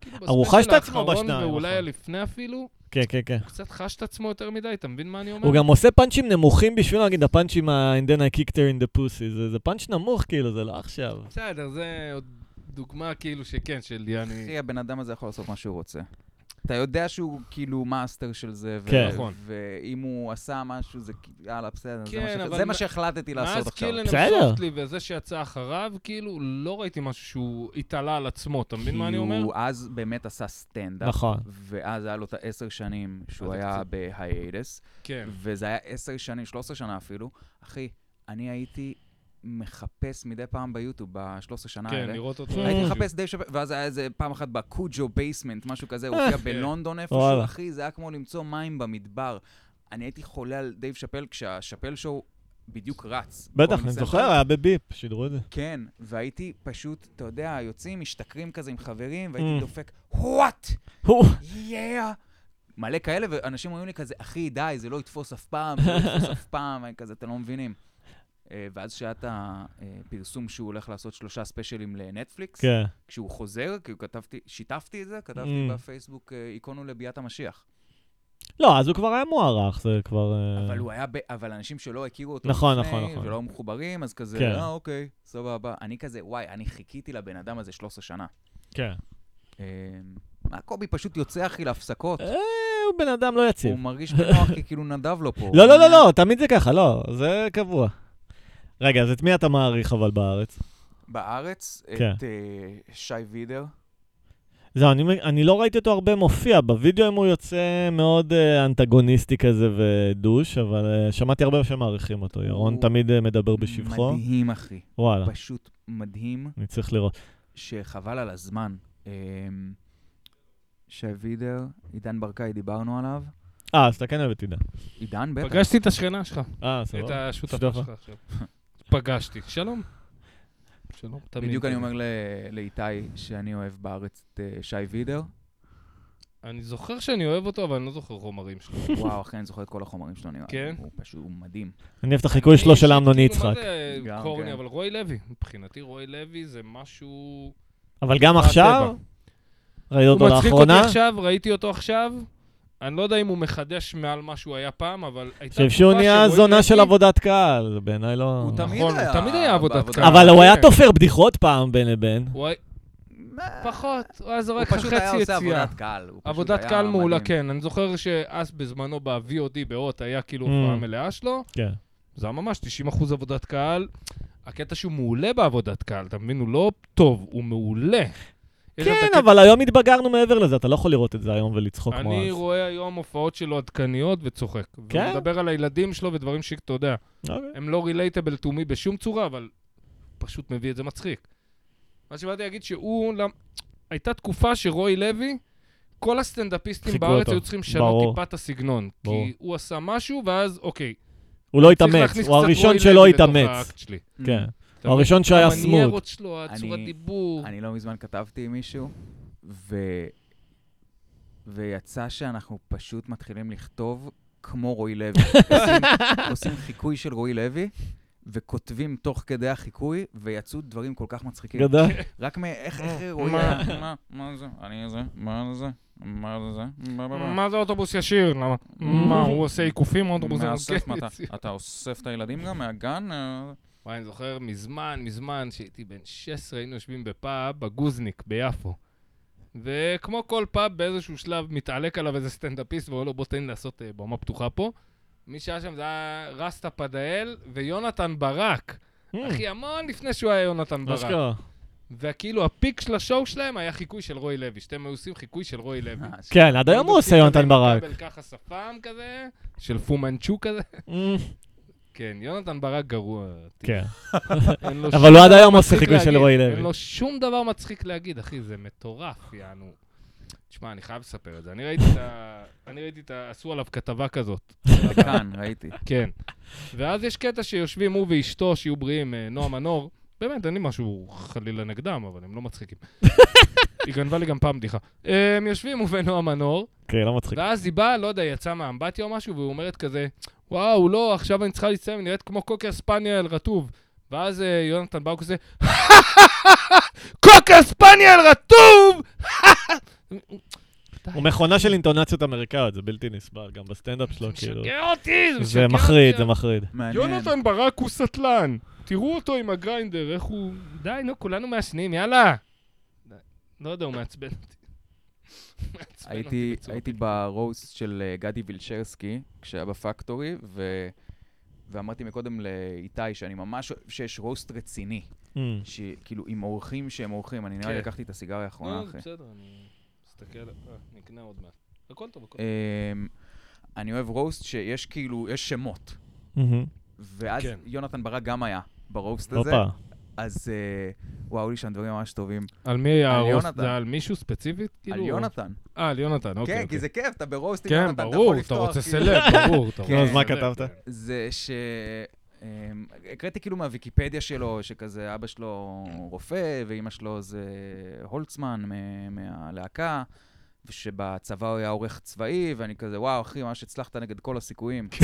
Speaker 2: כאילו,
Speaker 3: ארוחה
Speaker 2: בספיישל
Speaker 3: שאתה עצמו
Speaker 2: האחרון,
Speaker 3: בשניים,
Speaker 2: ואולי
Speaker 3: נכון.
Speaker 2: לפני אפילו,
Speaker 3: כן, כן, כן.
Speaker 2: הוא קצת חש את עצמו יותר מדי, אתה מבין מה אני אומר?
Speaker 3: הוא גם עושה פאנצ'ים נמוכים בשביל להגיד, הפאנצ'ים ה- And then I kicked her in the pussy, זה- זה פאנץ' נמוך, כאילו, זה לא עכשיו.
Speaker 2: בסדר, זה עוד דוגמה כאילו שכן, של יעני...
Speaker 1: אחי, הבן אדם הזה יכול לעשות מה שהוא רוצה. אתה יודע שהוא כאילו מאסטר של זה, ו-
Speaker 3: כן.
Speaker 2: נכון.
Speaker 1: ואם הוא עשה משהו, זה כאילו, יאללה, בסדר, זה
Speaker 2: כן,
Speaker 1: מה ש-
Speaker 2: אבל
Speaker 1: זה מה
Speaker 2: מה-
Speaker 1: שהחלטתי לעשות
Speaker 2: מאז
Speaker 1: עכשיו.
Speaker 2: קילן
Speaker 3: בסדר.
Speaker 2: אמסופטלי וזה שיצא אחריו, כאילו, לא ראיתי משהו שהוא התעלה על עצמו, אתה מבין מה אני אומר?
Speaker 1: כי הוא כאילו, אז באמת עשה סטנדאפ,
Speaker 3: נכון.
Speaker 1: ואז היה לו את העשר שנים שהוא
Speaker 2: אז זה
Speaker 1: היה
Speaker 2: קצת-
Speaker 1: בהיידס,
Speaker 2: כן.
Speaker 1: וזה היה עשר שנים, 13 שנה אפילו. אחי, אני הייתי מחפש מדי פעם ביוטיוב, ב-13 שנה
Speaker 2: כן,
Speaker 1: האלה.
Speaker 2: לראות אותו.
Speaker 3: Mm.
Speaker 1: הייתי מחפש די שווה, ואז היה איזה פעם אחת בקוג'ו בייסמנט, משהו כזה, הוא
Speaker 3: אה,
Speaker 1: הופיע
Speaker 2: כן.
Speaker 1: בלונדון איפשהו,
Speaker 3: וואלה.
Speaker 1: אחי, זה היה כמו למצוא מים במדבר. אני הייתי חולה על דייב שאפל כשהשאפל שואו בדיוק רץ.
Speaker 3: בטח,
Speaker 1: בקומיקס
Speaker 3: אני
Speaker 1: סנטר.
Speaker 3: זוכר, היה בביפ, שידרו את זה.
Speaker 1: כן, והייתי פשוט, אתה יודע, יוצאים, משתכרים כזה עם חברים,
Speaker 3: Mm.
Speaker 1: והייתי דופק, וואט!
Speaker 3: הוא-
Speaker 1: יאה! מלא כאלה, ואנשים אומרים לי כזה, אחי, די, זה לא יתפוס אף פעם, זה לא יתפוס אף פעם, אני כזה, אתם לא מבינים. אה, ואז שהיה את הפרסום שהוא הולך לעשות שלושה ספיישלים לנטפליקס,
Speaker 3: כן.
Speaker 1: כשהוא חוזר, כאילו כתבתי, שיתפתי את זה, כתבתי
Speaker 3: Mm.
Speaker 1: בפייסבוק אה, איקונו לביאת המשיח.
Speaker 3: לא, אז הוא כבר היה מוערך, זה כבר... אה,
Speaker 1: אבל הוא היה, ב... אבל אנשים שלא הכירו אותו
Speaker 3: נכון,
Speaker 1: לפני,
Speaker 3: נכון, נכון.
Speaker 1: שלא מחוברים, אז כזה,
Speaker 3: כן.
Speaker 1: אה, אוקיי, סבבה. אני כזה, וואי, אני חיכיתי לבן אדם הזה 13 שנה.
Speaker 3: כן.
Speaker 1: אה, מה, קובי פשוט יוצא, אחי, להפסקות.
Speaker 3: אה, הוא בן אדם לא יציב.
Speaker 1: הוא מרגיש בנוח, כי כאילו נדב לו פה.
Speaker 3: לא, לא, לא, לא, תמיד זה ככה, לא, זה קבוע. רגע, אז את מי אתה מעריך אבל בארץ?
Speaker 1: בארץ,
Speaker 3: כן.
Speaker 1: את אה, שי וידר.
Speaker 3: זהו, אני, אני לא ראיתי אותו הרבה מופיע, בווידאוים הוא יוצא מאוד אה, אנטגוניסטי כזה ודוש, אבל אה, שמעתי הרבה שמעריכים אותו, ירון
Speaker 1: הוא
Speaker 3: תמיד אה, מדבר בשבחו. אה.
Speaker 1: מדהים, אחי.
Speaker 3: וואלה,
Speaker 1: פשוט מדהים.
Speaker 3: אני צריך לראות.
Speaker 1: שחבל על הזמן. אמ, שי וידר, עידן ברקאי, דיברנו עליו.
Speaker 3: אה, אז אתה כן אוהב את עידן.
Speaker 1: עידן, בטח.
Speaker 2: פגשתי את השכנה שלך,
Speaker 3: אה,
Speaker 2: את
Speaker 3: סבבה.
Speaker 2: השותפה
Speaker 3: שותפה.
Speaker 2: שלך עכשיו. פגשתי. שלום. שלום. תמיד
Speaker 1: בדיוק אני
Speaker 2: כזה.
Speaker 1: אומר ל- לאיתי שאני אוהב בארץ את אה, שי וידר.
Speaker 2: אני זוכר שאני אוהב אותו, אבל אני לא זוכר חומרים שלו.
Speaker 1: וואו, אחי, אני זוכר את כל החומרים שלו, נראה. לי.
Speaker 2: כן?
Speaker 1: הוא פשוט הוא מדהים.
Speaker 3: אני אוהב את החיקוי שלו של אמנון
Speaker 2: כאילו, מה
Speaker 3: יצחק.
Speaker 2: זה
Speaker 1: גם,
Speaker 2: קורני,
Speaker 1: כן.
Speaker 2: אבל רוי לוי. מבחינתי רוי לוי זה משהו...
Speaker 3: אבל גם
Speaker 2: מהטבע.
Speaker 3: עכשיו, ראית
Speaker 2: הוא
Speaker 3: אותו
Speaker 2: מצחיק אותי
Speaker 3: לאחרונה,
Speaker 2: עכשיו, ראיתי אותו עכשיו. אני לא יודע אם הוא מחדש מעל מה שהוא היה פעם, אבל הייתה
Speaker 3: חושב שהוא
Speaker 2: תקופה
Speaker 3: נהיה
Speaker 2: שרוי
Speaker 3: זונה
Speaker 2: לוי-
Speaker 3: של עבודת קהל, זה בעיניי לא...
Speaker 1: הוא תמיד
Speaker 2: נכון,
Speaker 1: היה...
Speaker 2: הוא תמיד היה עבודת
Speaker 1: בעבודה.
Speaker 2: קהל.
Speaker 3: אבל הוא היה
Speaker 2: כן.
Speaker 3: תופר בדיחות פעם בין לבין.
Speaker 2: הוא היה-
Speaker 1: מה?
Speaker 2: פחות, הוא היה
Speaker 1: הוא
Speaker 2: זורק לך
Speaker 1: פשוט היה
Speaker 2: חצי
Speaker 1: עושה
Speaker 2: יציאה.
Speaker 1: עבודת קהל. הוא פשוט
Speaker 2: עבודת
Speaker 1: היה
Speaker 2: קהל
Speaker 1: מדהים.
Speaker 2: מעולה, כן. אני זוכר שאז בזמנו ב-VOD באות היה כאילו
Speaker 3: Mm.
Speaker 2: הופעה מלאה שלו.
Speaker 3: כן.
Speaker 2: זה היה ממש 90% עבודת קהל. הקטע שהוא מעולה בעבודת קהל, אתה מבין? הוא לא טוב, הוא מעולה. יש שם את
Speaker 3: כן,
Speaker 2: הקטע-
Speaker 3: אבל היום התבגרנו מעבר לזה, אתה לא יכול לראות את זה היום ולצחוק כמו
Speaker 2: אני
Speaker 3: אז.
Speaker 2: רואה היום הופעות שלו עדכניות וצוחק.
Speaker 3: כן?
Speaker 2: והוא מדבר על הילדים שלו ודברים שאתה יודע,
Speaker 3: אוקיי.
Speaker 2: הם לא רילייטבל to me בשום צורה, אבל פשוט מביא את זה מצחיק. מה שבאתי להגיד שהוא, למ- הייתה תקופה שרוי לוי, כל הסטנדאפיסטים
Speaker 3: חיכו
Speaker 2: בארץ
Speaker 3: אותו.
Speaker 2: היו צריכים לשנות
Speaker 3: ברור.
Speaker 2: טיפה את הסגנון.
Speaker 3: ברור.
Speaker 2: כי הוא עשה משהו, ואז אוקיי.
Speaker 3: הוא לא
Speaker 2: צריך
Speaker 3: התאמץ,
Speaker 2: להכניס
Speaker 3: הוא
Speaker 2: קצת
Speaker 3: הראשון
Speaker 2: רוי
Speaker 3: שלא
Speaker 2: לוי לתוך
Speaker 3: התאמץ.
Speaker 2: האקט שלי.
Speaker 3: כן.
Speaker 2: אתה
Speaker 3: הוא
Speaker 2: מבין?
Speaker 3: הראשון שהיה סמוט.
Speaker 2: המניירות שלו, הצורת
Speaker 1: אני-
Speaker 2: דיבור.
Speaker 1: אני לא מזמן כתבתי עם מישהו, ו... ויצא שאנחנו פשוט מתחילים לכתוב כמו רועי לוי. עושים, עושים חיקוי של רועי לוי, וכותבים תוך כדי החיקוי, ויצאו דברים כל כך מצחיקים.
Speaker 3: גדל.
Speaker 1: רק מאיך איך רועי
Speaker 2: מה?
Speaker 1: לוי... אה, מה? מה זה? אני זה? מה זה? מה זה? מה, מה, מה?
Speaker 2: מה זה אוטובוס ישיר? למה? מה, הוא כן. עושה עיקופים, אוטובוס
Speaker 1: מאסף, מה,
Speaker 2: ישיר?
Speaker 1: אתה- אתה אוסף את הילדים גם מהגן? אה,
Speaker 2: וואי, אני זוכר מזמן, מזמן, כשהייתי בן 16, היינו יושבים בפאב בגוזניק ביפו. וכמו כל פאב, באיזשהו שלב מתעלק עליו איזה סטנדאפיסט ואומר לו, בוא תן לי לעשות אה, במה פתוחה פה. מי שהיה שם זה היה רסטה פדאל ויונתן ברק. אחי, המון לפני שהוא היה יונתן
Speaker 3: אה. Mm. מה
Speaker 2: ברק.
Speaker 3: שקרה?
Speaker 2: וכאילו הפיק של השואו שלהם היה חיקוי של רוי לוי. שתיהם היו עושים חיקוי של רוי לוי.
Speaker 1: אה,
Speaker 3: כן, עד היום הוא עושה יונתן ברק.
Speaker 2: כבל ככה שפם כזה, של פומנצ'ו כזה. כן, יונתן ברק גרוע.
Speaker 3: Mm, כן.
Speaker 2: אין לו
Speaker 3: אבל
Speaker 2: שום
Speaker 3: הוא עד
Speaker 2: דבר
Speaker 3: היום עושה
Speaker 2: לא מצחיק לא-
Speaker 3: חיקוי של
Speaker 2: להגיד.
Speaker 3: רועי לוי.
Speaker 2: אין לו שום דבר מצחיק להגיד, אחי, זה מטורף, יענו. תשמע, אני חייב לספר את זה. אני ראיתי את ה... אני ראיתי את ה... עשו עליו כתבה כזאת.
Speaker 1: כאן, ראיתי.
Speaker 2: כן. ואז יש קטע שיושבים הוא ואשתו, שיהיו בריאים, אה, נועה מנור. באמת, אין לי משהו חלילה נגדם, אבל הם לא מצחיקים. היא גנבה לי גם פעם בדיחה. אה, הם יושבים הוא ונועה מנור,
Speaker 3: כן, לא מצחיק.
Speaker 2: ואז היא באה, לא יודע, היא יצאה מהאמבטיה או משהו, והיא אומרת כזה, וואו, לא, עכשיו אני צריכה להצטלם, היא נראית כמו קוקר ספניאל רטוב. ואז אה, יונתן באו כזה, קוקר ספניאל רטוב! די,
Speaker 3: הוא מכונה של אינטונציות אמריקאיות, זה בלתי נסבל, גם בסטנדאפ שלו,
Speaker 2: זה
Speaker 3: כאילו.
Speaker 2: משגע אותי, זה משגע
Speaker 3: זה
Speaker 2: אותי.
Speaker 3: מחריד, זה מחריד.
Speaker 1: מעניין.
Speaker 2: יונתן ברק הוא סטלן, תראו אותו עם הגריינדר, איך הוא... די, נו, כולנו מעשנים, יאללה. די, לא יודע, הוא מעצבן אותי. מעצבן אותי
Speaker 1: הייתי,
Speaker 2: בצורה-
Speaker 1: הייתי ברוסט של אה, גדי וילשרסקי, כשהיה בפקטורי, ו... ואמרתי מקודם לאיתי שאני ממש אוהב שיש רוסט רציני,
Speaker 3: אמ.
Speaker 2: Mm-hmm.
Speaker 1: שכאילו עם אורחים שהם אורחים, אני נראה לי
Speaker 2: כן.
Speaker 1: לקחתי את הסיגריה האחרונה
Speaker 2: לא,
Speaker 1: אחרי.
Speaker 2: בסדר, אני אסתכל, אה, אני אקנה עוד מעט. הכל טוב, הכל טוב.
Speaker 1: אמ, אני אוהב רוסט שיש כאילו, יש שמות.
Speaker 3: אמ.
Speaker 1: ואז
Speaker 2: כן.
Speaker 1: יונתן ברק גם היה ברוסט הזה,
Speaker 3: הופה.
Speaker 1: אז אה, וואו, היו לי שם דברים ממש טובים.
Speaker 2: על מי היה
Speaker 1: על
Speaker 2: הרוסט?
Speaker 1: יונתן.
Speaker 2: זה על מישהו ספציפית?
Speaker 1: על
Speaker 2: כאילו?
Speaker 1: יונתן.
Speaker 2: אה, על יונתן, אוקיי.
Speaker 1: כן,
Speaker 2: אוקיי.
Speaker 1: כי זה כיף, אתה ברוסט עם
Speaker 2: כן,
Speaker 1: יונתן, אתה
Speaker 2: ברור,
Speaker 1: יכול
Speaker 2: אתה
Speaker 1: לפתוח.
Speaker 2: רוצה
Speaker 1: כאילו.
Speaker 2: סלב, ברור. אתה
Speaker 1: כן.
Speaker 2: רוצה
Speaker 1: אז מה
Speaker 2: סלב.
Speaker 3: כתבת?
Speaker 1: זה ש... אמ, הקראתי כאילו מהוויקיפדיה שלו, שכזה אבא שלו רופא, ואימא שלו זה הולצמן מ- מהלהקה, ושבצבא הוא היה עורך צבאי, ואני כזה, וואו, אחי, ממש הצלחת נגד כל הסיכויים. אה,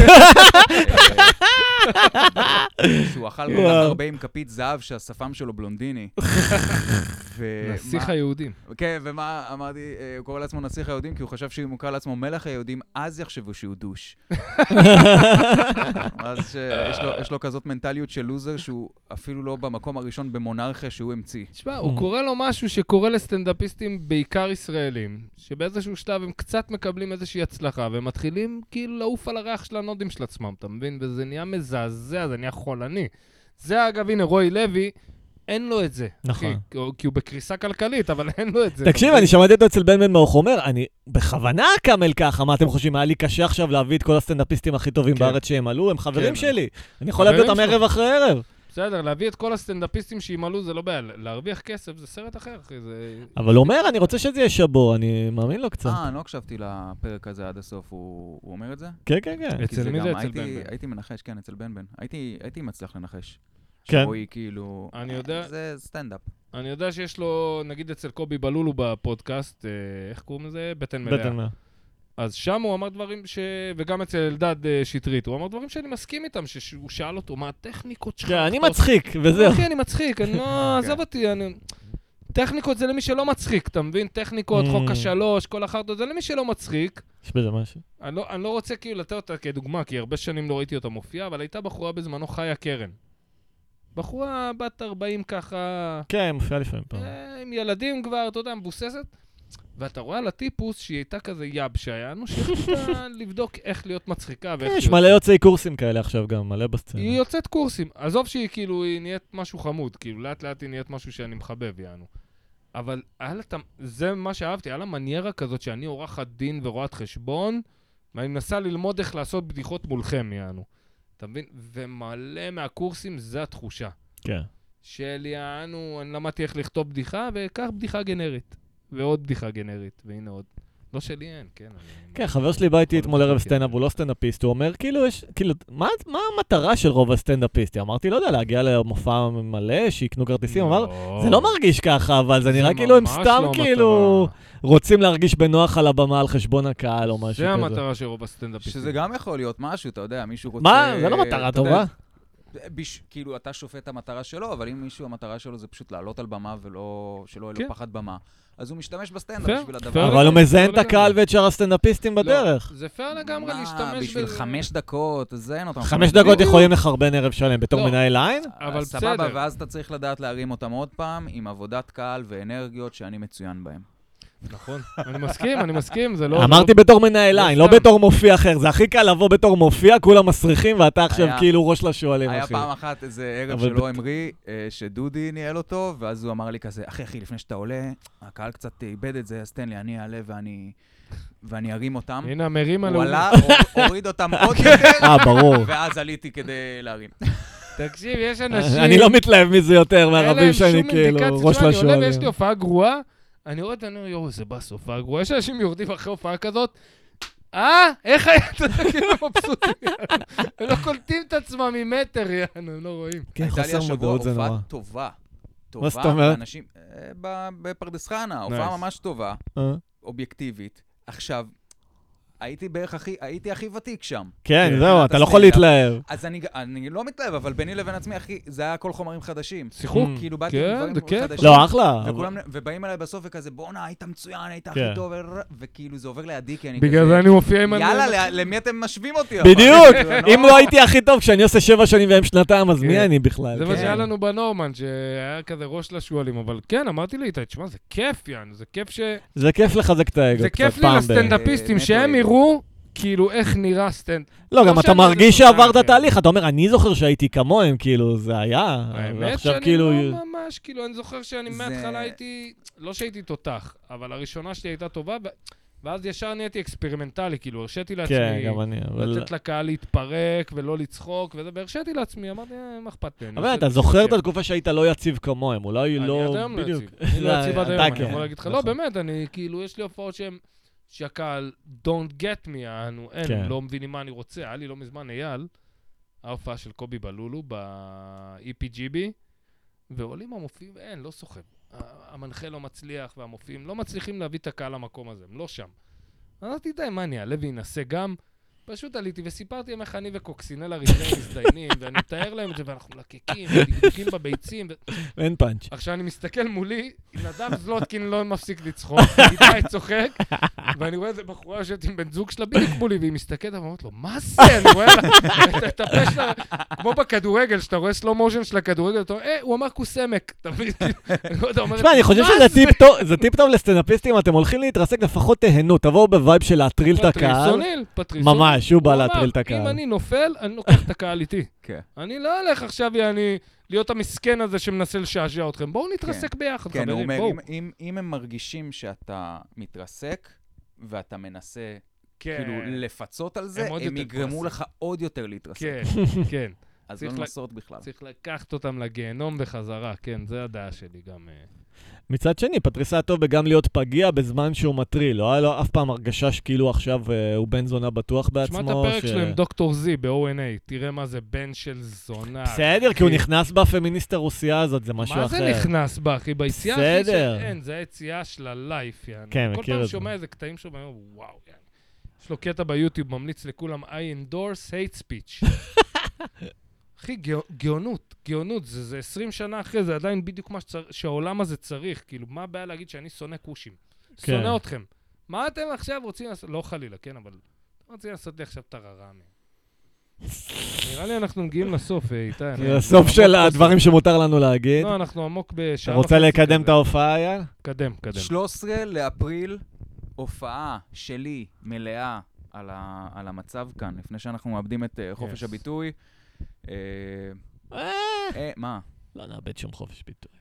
Speaker 1: שהוא אכל כל כך
Speaker 3: וואו.
Speaker 1: הרבה עם כפית זהב שהשפם שלו בלונדיני. ומה-
Speaker 2: נסיך היהודים.
Speaker 1: כן, ומה אמרתי, אה, הוא קורא לעצמו נסיך היהודים, כי הוא חשב שאם הוא קרא לעצמו מלך היהודים, אז יחשבו שהוא דוש. אז שיש לו, יש לו כזאת מנטליות של לוזר, שהוא אפילו לא במקום הראשון במונרכיה שהוא המציא.
Speaker 2: תשמע,
Speaker 3: Mm.
Speaker 2: הוא קורא לו משהו שקורה לסטנדאפיסטים, בעיקר ישראלים, שבאיזשהו שלב הם קצת מקבלים איזושהי הצלחה, והם מתחילים כאילו לעוף על הריח של הנודים של עצמם, אתה מבין? וזה נהיה מזעזע, זה נהיה חולני. זה אגב, הנה, רוי לוי, אין לו את זה.
Speaker 3: נכון.
Speaker 2: אחי, כי הוא- כי הוא בקריסה כלכלית, אבל אין לו את זה.
Speaker 3: תקשיב, אני שמעתי אותו אצל בן בן מאור, הוא אומר, אני בכוונה אקמל ככה, מה אתם חושבים? היה לי קשה עכשיו להביא את כל הסטנדאפיסטים הכי טובים
Speaker 2: כן.
Speaker 3: בארץ שהם עלו, הם חברים
Speaker 2: כן.
Speaker 3: שלי. אני יכול להביא
Speaker 2: חברים
Speaker 3: אותם
Speaker 2: שלך.
Speaker 3: ערב אחרי ערב.
Speaker 2: בסדר, להביא את כל הסטנדאפיסטים שימלאו זה לא בעיה, להרוויח כסף זה סרט אחר, אחי, זה...
Speaker 3: אבל הוא אומר, אני רוצה שזה יהיה שבו, אני מאמין לו קצת.
Speaker 1: אה, אני לא הקשבתי לפרק הזה עד הסוף, הוא, הוא אומר את זה?
Speaker 3: כן, כן, כן.
Speaker 1: כי
Speaker 2: אצל מי זה?
Speaker 1: גם-
Speaker 2: אצל
Speaker 1: הייתי,
Speaker 2: בן בן.
Speaker 1: הייתי מנחש, כן, אצל בן בן. הייתי, הייתי מצליח לנחש.
Speaker 3: כן.
Speaker 1: שרועי כאילו...
Speaker 2: אני יודע-
Speaker 1: אה, זה סטנדאפ.
Speaker 2: אני יודע שיש לו, נגיד אצל קובי בלולו בפודקאסט, אה, איך קוראים לזה? בטן מלאה.
Speaker 3: בטן מאה.
Speaker 2: אז שם הוא אמר דברים ש... וגם אצל אלדד אה, שטרית, הוא אמר דברים שאני מסכים איתם, שהוא שאל אותו, מה הטכניקות שלך?
Speaker 3: כן, אני
Speaker 2: לכתוב?"
Speaker 3: מצחיק, וזהו.
Speaker 2: אחי, אני מצחיק, אני לא...
Speaker 1: כן.
Speaker 2: עזוב אותי, אני... טכניקות זה למי שלא מצחיק, אתה מבין? טכניקות, חוק
Speaker 3: Mm.
Speaker 2: השלוש, כל החרטות, זה למי שלא מצחיק.
Speaker 3: יש בזה משהו.
Speaker 2: אני לא, אני לא רוצה כאילו לתת אותה כדוגמה, כי הרבה שנים לא ראיתי אותה מופיעה, אבל הייתה בחורה בזמנו חיה קרן. בחורה בת 40 ככה,
Speaker 3: כן, מופיע לפעמים פעם.
Speaker 2: אה, עם ילדים כבר, אתה יודע, מבוססת. ואתה רואה על הטיפוס שהיא הייתה כזה יבשה, יענו שהחליטה לבדוק איך להיות מצחיקה ואיך...
Speaker 3: יש
Speaker 2: להיות-
Speaker 3: מלא יוצאי קורסים כאלה עכשיו גם, מלא בסצנה.
Speaker 2: היא יוצאת קורסים. עזוב שהיא כאילו, היא נהיית משהו חמוד, כאילו, לאט לאט היא נהיית משהו שאני מחבב, יענו. אבל היה לה, את ה- זה מה שאהבתי, היה לה מניירה כזאת שאני עורכת דין ורואת חשבון, ואני מנסה ללמוד איך לעשות בדיחות מולכם, יענו. אתה מבין? ומלא מהקורסים, זה התחושה.
Speaker 3: כן.
Speaker 2: של יענו, אני למדתי איך לכתוב בדיחה, וקח בדיחה גנרית. ועוד בדיחה גנרית, והנה עוד. לא שלי אין, כן. אני-
Speaker 3: כן, חבר שלי בא איתי
Speaker 2: יכול
Speaker 3: אתמול ערב
Speaker 2: להיות, כן.
Speaker 3: סטנדאפ, הוא לא סטנדאפיסט, הוא אומר, כאילו, יש, כאילו, מה, מה המטרה של רוב הסטנדאפיסטים? אמרתי, לא יודע, להגיע למופע מלא, שיקנו כרטיסים, אמר, זה לא מרגיש ככה, לא אבל זה נראה כאילו הם
Speaker 2: לא. ממש
Speaker 3: סתם
Speaker 2: לא
Speaker 3: כאילו
Speaker 2: מטרה.
Speaker 3: רוצים להרגיש בנוח על הבמה על חשבון הקהל או משהו כזה.
Speaker 2: זה המטרה של רוב הסטנדאפיסטים.
Speaker 1: שזה גם יכול להיות משהו, אתה יודע, מישהו רוצה...
Speaker 3: מה? זה לא מטרה
Speaker 1: אתה יודע,
Speaker 3: טובה.
Speaker 1: בש... כאילו, אתה שופט את המטרה שלו, אבל אם מישהו, המטרה שלו זה פשוט לעלות על במה ולא... שלא יהיה
Speaker 2: כן.
Speaker 1: לו פחד במה, אז הוא משתמש
Speaker 2: פייר,
Speaker 1: בסטנדאפ בשביל הדבר
Speaker 2: פייר.
Speaker 1: הזה.
Speaker 3: אבל הוא
Speaker 2: לגמרי,
Speaker 3: מזיין
Speaker 2: לא
Speaker 3: את הקהל
Speaker 2: לגמרי.
Speaker 3: ואת שאר הסטנדאפיסטים בדרך.
Speaker 2: לא, זה פייר לגמרי
Speaker 1: מה,
Speaker 2: להשתמש...
Speaker 1: בשביל
Speaker 2: ב-
Speaker 1: חמש דקות, תזיין אותם.
Speaker 3: חמש דקות
Speaker 2: לא, בדיוק.
Speaker 3: יכולים לחרבן ערב שלם בתור
Speaker 2: לא.
Speaker 3: מנהל עין?
Speaker 2: אבל
Speaker 1: אז אה, סבבה,
Speaker 2: בסדר.
Speaker 1: ואז אתה צריך לדעת להרים אותם עוד פעם, עם עבודת קהל ואנרגיות שאני מצוין בהן.
Speaker 2: נכון. אני מסכים, אני מסכים, זה לא...
Speaker 3: אמרתי בתור מנהל
Speaker 2: לא
Speaker 3: עין, לא
Speaker 2: סתם.
Speaker 3: בתור מופיע אחר. זה הכי קל לבוא בתור מופיע, כולם מסריחים, ואתה עכשיו
Speaker 1: היה-
Speaker 3: כאילו ראש לשועלים,
Speaker 1: היה
Speaker 3: אחי.
Speaker 1: פעם אחת איזה ערב
Speaker 3: אבל
Speaker 1: שלא המריא, אה, שדודי ניהל אותו, ואז הוא אמר לי כזה, אחי, אחי, לפני שאתה עולה, הקהל קצת איבד את זה, אז תן לי, אני אעלה ואני... ואני ארים אותם.
Speaker 2: הנה, המרים על
Speaker 1: הוא
Speaker 2: האומה.
Speaker 1: עלה, הור- הוריד אותם עוד יותר,
Speaker 3: אה, ברור.
Speaker 1: ואז עליתי כדי להרים.
Speaker 2: תקשיב, יש אנשים...
Speaker 3: אני לא מתלהב מזה יותר
Speaker 2: אין להם
Speaker 3: מהרבים שאני
Speaker 2: שום
Speaker 3: כאילו
Speaker 2: אינדיקציה.
Speaker 3: ראש
Speaker 2: תשמע, אני עולה
Speaker 3: לשועלים.
Speaker 2: ויש לי הופעה גרועה, אני רואה את זה, אני אומר, יואו, איזה באס, הופעה גרועה. יש אנשים יורדים אחרי הופעה כזאת, אה, איך היה את זה? כאילו מבסוטים. הם לא קולטים את עצמם ממטר, יענו, הם לא רואים.
Speaker 3: כן, חוסר מודעות זה
Speaker 1: הייתה לי
Speaker 3: נורא.
Speaker 1: השבוע הופעה טובה.
Speaker 3: מה זאת
Speaker 1: טובה,
Speaker 3: אומרת?
Speaker 1: ואנשים- אה, ב- בפרדס חנה, הופעה
Speaker 2: Nice.
Speaker 1: ממש טובה,
Speaker 3: אה.
Speaker 1: אובייקטיבית. עכשיו, הייתי בערך הכי, הייתי הכי ותיק שם.
Speaker 3: כן,
Speaker 2: כן,
Speaker 3: זהו,
Speaker 1: מבחינת
Speaker 3: אתה לא יכול
Speaker 1: הסטנדאפ.
Speaker 3: להתלהב.
Speaker 1: אז אני, אני לא מתלהב, אבל ביני לבין עצמי, אחי, זה היה הכל חומרים חדשים.
Speaker 2: שיחוק.
Speaker 1: כאילו, באתי
Speaker 2: כן,
Speaker 1: עם דברים
Speaker 2: זה כיף.
Speaker 1: חדשים.
Speaker 3: לא, אחלה. אבל-
Speaker 1: וכולם, ובאים אליי בסוף וכזה, בואנה, היית מצוין, היית הכי
Speaker 3: כן.
Speaker 1: טוב, וכאילו זה עובר לידי, כי אני כזה...
Speaker 2: בגלל זה אני מופיע עם...
Speaker 1: יאללה, ל- למי אתם משווים אותי? אבל?
Speaker 3: בדיוק,
Speaker 1: כאילו, אני
Speaker 3: אם לא הייתי הכי טוב כשאני עושה שבע שנים והם שנתיים, אז מי
Speaker 2: כן.
Speaker 3: אני בכלל?
Speaker 2: זה מה
Speaker 3: כן.
Speaker 2: שהיה לנו בנורמן, שהיה כזה ראש לשועלים, אבל כן, אמרתי לי, תשמע, זה כיף, יענו, זה כיף ש...
Speaker 3: זה כיף לחזק את האגו
Speaker 2: זה
Speaker 3: קצת
Speaker 2: כיף לי
Speaker 3: פעם ב-
Speaker 2: לסטנדאפיסטים,
Speaker 1: אה, נטו
Speaker 2: שהם
Speaker 1: אגו.
Speaker 2: יראו כאילו איך נראה סטנד...
Speaker 3: לא,
Speaker 2: לא
Speaker 3: גם אתה
Speaker 2: שאני
Speaker 3: מרגיש
Speaker 2: איזה תותח,
Speaker 3: שעברת
Speaker 2: כן.
Speaker 3: תהליך, אתה אומר, אני זוכר שהייתי כמוהם, כאילו, זה היה.
Speaker 2: האמת
Speaker 3: ועכשיו
Speaker 2: שאני
Speaker 3: כאילו...
Speaker 2: לא ממש, כאילו, אני זוכר שאני
Speaker 1: זה-
Speaker 2: מההתחלה הייתי, לא שהייתי תותח, אבל הראשונה שלי הייתה טובה, ו- ואז ישר נהייתי אקספרימנטלי, כאילו, הרשיתי
Speaker 3: כן,
Speaker 2: לעצמי
Speaker 3: גם אני, אבל...
Speaker 2: לתת לקהל להתפרק ולא לצחוק, וזה, והרשיתי לעצמי, אמרתי, "אה, מה אכפת לי? אני
Speaker 3: אבל
Speaker 2: עושה
Speaker 3: אתה
Speaker 2: את זה
Speaker 3: זוכר את
Speaker 2: בכיף."
Speaker 3: התקופה שהיית לא יציב כמוהם, אולי
Speaker 2: אני
Speaker 3: לא...
Speaker 2: עד היום לא
Speaker 3: בדיוק.
Speaker 2: יציב. אני לא
Speaker 3: זה-
Speaker 2: יציב עד
Speaker 3: אתה
Speaker 2: היום, אני
Speaker 3: כן.
Speaker 2: יכול להגיד לך, לא,
Speaker 3: נכון.
Speaker 2: באמת, אני, כאילו, יש לי הופעות שהן... שהקהל, don't get me, אנו, אין,
Speaker 3: כן.
Speaker 2: הם לא מבינים מה אני רוצה. היה לי לא מזמן אייל, ההופעה של קובי בלולו ב-EPGB, ועולים המופיעים, אין, לא סוחב. ה- המנחה לא מצליח והמופיעים לא מצליחים להביא את הקהל למקום הזה, הם לא שם. אז אמרתי, די, מה אני אעלה ואנסה גם? פשוט עליתי וסיפרתי להם איך אני וקוקסינל הראשון מזדיינים, ואני מתאר להם את זה, ואנחנו מלקקים, ודקדוקים בביצים, ו...
Speaker 3: אין פאנץ'.
Speaker 2: עכשיו אני מסתכל מולי, נדב זלוטקין לא מפסיק לצחוק, איתי צוחק, ואני רואה איזה בחורה יושבת עם בן זוג שלה בדיוק מולי, והיא מסתכלת ואומרת לו, מה זה? אני רואה לה, את- את הפה שלה, כמו בכדורגל, שאתה רואה סלו מושן של הכדורגל, אתה אומר, אה, הוא אמר כוס עמק, אתה מבין? כאילו, אני לא יודע, אומרת,
Speaker 3: תשמע, אני חושב
Speaker 2: "מה
Speaker 3: שזה
Speaker 2: זה?"
Speaker 3: טיפ טוב, זה טיפ טוב לסטנדאפיסטים, אתם הולכים להתרסק, לפחות תהנו, תבואו בווייב של להטריל את הקהל.
Speaker 2: פטריסוניל, פטריסוניל.
Speaker 3: ממש, הוא בא
Speaker 2: אמר,
Speaker 3: להטריל את
Speaker 2: אם
Speaker 3: הקהל.
Speaker 2: אני נופל, אני לוקח את הקהל איתי.
Speaker 1: כן.
Speaker 2: אני לא אלך עכשיו, אני, להיות המסכן הזה שמנסה לשעשע אתכם. בואו נתרסק ביחד,
Speaker 1: כן, הוא
Speaker 2: חברים,
Speaker 1: אומר,
Speaker 2: בואו.
Speaker 1: אם- אם- אם הם מרגישים שאתה מתרסק, ואתה מנסה
Speaker 2: כן.
Speaker 1: כאילו לפצות על
Speaker 2: הם
Speaker 1: זה,
Speaker 2: עוד
Speaker 1: הם
Speaker 2: יותר
Speaker 1: יגרמו
Speaker 2: כועסים.
Speaker 1: לך עוד יותר להתרסק.
Speaker 2: כן, כן.
Speaker 1: אז
Speaker 2: צריך
Speaker 1: לא
Speaker 2: ל-
Speaker 1: לנסות בכלל.
Speaker 2: צריך לקחת אותם לגיהנום בחזרה, כן, זו הדעה שלי גם. אה.
Speaker 3: מצד שני, פטריס היה טוב בגם להיות פגיע בזמן שהוא מטריל. לא היה לו אף פעם הרגשה שכאילו עכשיו אה, הוא בן זונה בטוח בעצמו.
Speaker 2: תשמע את הפרק
Speaker 3: ש-
Speaker 2: שלו עם דוקטור זי ב-O&A, תראה מה זה בן של זונה.
Speaker 3: בסדר, כי הוא
Speaker 2: אחי.
Speaker 3: נכנס בפמיניסט הרוסיה הזאת, זה משהו אחר.
Speaker 2: מה זה נכנס בה, אחי? ביציאה הכי
Speaker 3: בסדר.
Speaker 2: שאין, זה היציאה של הלייף, יענו.
Speaker 3: כן, מכיר
Speaker 2: כל
Speaker 3: את
Speaker 2: פעם
Speaker 3: זה.
Speaker 2: שומע איזה קטעים שלו, ואני אומר, וואו, יענו. יש לו קטע ביוטיוב, ממליץ לכולם, I endorse hate speech. אחי, גאו- גאונות, גאונות, זה, זה 20 שנה אחרי, זה עדיין בדיוק מה שצר... שהעולם הזה צריך. כאילו, מה הבעיה להגיד שאני שונא כושים?
Speaker 3: כן.
Speaker 2: שונא אתכם. מה אתם עכשיו רוצים לעשות? לא חלילה, כן, אבל... אתם רוצים לעשות לי עכשיו טררם. נראה לי אנחנו מגיעים לסוף, אה, איתי.
Speaker 3: זה
Speaker 2: אנחנו
Speaker 3: הסוף
Speaker 2: עמוק
Speaker 3: של
Speaker 2: בסוף.
Speaker 3: הדברים שמותר לנו להגיד.
Speaker 2: לא, אנחנו עמוק
Speaker 3: אתה
Speaker 2: בשעה
Speaker 3: רוצה
Speaker 2: וחצי
Speaker 3: לקדם
Speaker 2: כזה.
Speaker 3: את ההופעה, אייל?
Speaker 2: קדם, קדם.
Speaker 1: 13 לאפריל, הופעה שלי מלאה על, ה, על המצב כאן, לפני שאנחנו מאבדים את uh, חופש
Speaker 2: Yes.
Speaker 1: הביטוי. אה, אה, מה?
Speaker 3: לא נאבד שום חופש ביטוי.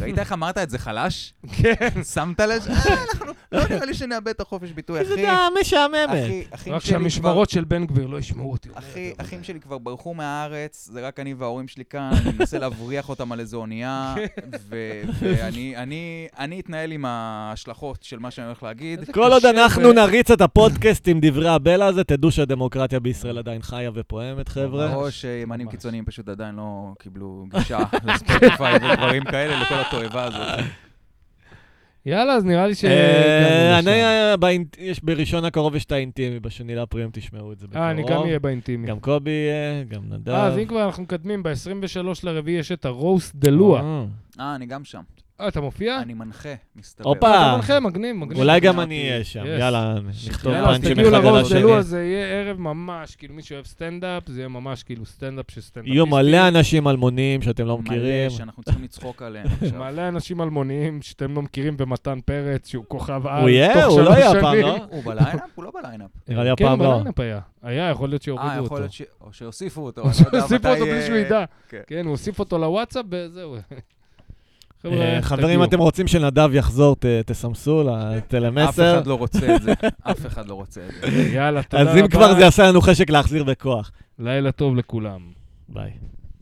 Speaker 1: ראית איך אמרת את זה חלש?
Speaker 2: כן.
Speaker 1: שמת לב? ש- אה, אנחנו, לא נראה לי שנאבד את החופש ביטוי,
Speaker 3: איזה
Speaker 1: אחי.
Speaker 3: דעה משעממת.
Speaker 1: אחי, אחים
Speaker 2: רק
Speaker 1: שלי כבר...
Speaker 2: שהמשמרות של בן גביר לא ישמעו אותי.
Speaker 1: אחי, אחים שלי כבר ברחו מהארץ, זה רק אני וההורים שלי כאן, אני מנסה להבריח אותם על איזו אונייה,
Speaker 2: כן.
Speaker 1: ו- ואני אני- אני אתנהל עם ההשלכות של מה שאני הולך להגיד.
Speaker 2: איזה
Speaker 3: כל עוד
Speaker 2: קשה
Speaker 3: אנחנו
Speaker 2: ו-
Speaker 3: נריץ את הפודקאסט עם דברי הבלע הזה, תדעו שהדמוקרטיה בישראל עדיין חיה ופועמת, חבר'ה.
Speaker 1: או שימנים
Speaker 2: ממש.
Speaker 1: קיצוניים פשוט עדיין לא קיבלו גישה לספוטיפיי ודברים כאלה, לכל התועבה הזאת.
Speaker 2: יאללה, אז נראה לי ש...
Speaker 3: אה,
Speaker 2: הגענו
Speaker 3: אני,
Speaker 2: לשם.
Speaker 3: אה, באינט- יש בראשון הקרוב יש את האינטימי, בשני לאפריל הם תשמעו את זה בקרוב.
Speaker 2: אה, אני גם אהיה באינטימי.
Speaker 3: גם קובי יהיה, גם נדב.
Speaker 2: אה, אז אם כבר אנחנו מקדמים, ב-23 לרביעי יש את הרוסט דה לואה.
Speaker 3: אה.
Speaker 1: אה, אני גם שם.
Speaker 2: אה, אתה מופיע?
Speaker 1: אני מנחה, מסתבר.
Speaker 3: הופה.
Speaker 2: אתה מנחה, מגניב, מגניב.
Speaker 3: אולי גם
Speaker 1: אמרתי,
Speaker 3: אני אהיה שם,
Speaker 2: yes.
Speaker 3: יאללה, נכתוב
Speaker 2: יאללה, אז
Speaker 3: פאנצ'ים
Speaker 2: תגיעו
Speaker 3: אחד על
Speaker 2: לרוסט דה לואה,
Speaker 3: השני.
Speaker 2: זה יהיה ערב ממש, כאילו מי שאוהב סטנדאפ, זה יהיה ממש כאילו סטנדאפ של סטנדאפ.
Speaker 3: יהיו מלא אנשים אלמונים שאתם לא מכירים.
Speaker 1: מלא שאנחנו צריכים לצחוק עליהם עכשיו.
Speaker 2: מלא אנשים אלמוניים שאתם לא מכירים במתן פרץ, שהוא כוכב על,
Speaker 3: הוא יהיה,
Speaker 2: תוך
Speaker 3: הוא לא
Speaker 2: שלוש
Speaker 3: יהיה הפעם,
Speaker 2: שנים.
Speaker 3: לא?
Speaker 1: הוא בליינאפ? הוא לא בליינאפ.
Speaker 3: נראה לי הפעם
Speaker 2: כן,
Speaker 3: לא.
Speaker 2: בליינאפ היה. היה, יכול להיות שיורידו
Speaker 1: אה,
Speaker 2: אותו.
Speaker 1: יכול להיות ש... או שהוסיפו אותו.
Speaker 2: הוא
Speaker 1: אני לא יודע
Speaker 2: הוסיף אותו
Speaker 1: מתי,
Speaker 2: בלי
Speaker 1: אה,
Speaker 2: שהוא ידע.
Speaker 1: כן.
Speaker 2: כן, הוא הוסיף אותו לוואטסאפ, וזהו. חבר'ה,
Speaker 3: אה, חברים,
Speaker 2: תגיעו.
Speaker 3: אתם רוצים שנדב יחזור, ת- תסמסו
Speaker 1: אף
Speaker 3: לטלמסר.
Speaker 1: אחד לא רוצה את זה. אף אחד לא רוצה את זה.
Speaker 2: יאללה, תודה
Speaker 3: אז
Speaker 2: רבה.
Speaker 3: אם כבר זה עשה לנו חשק להחזיר בכוח.
Speaker 2: לילה טוב לכולם.
Speaker 3: ביי.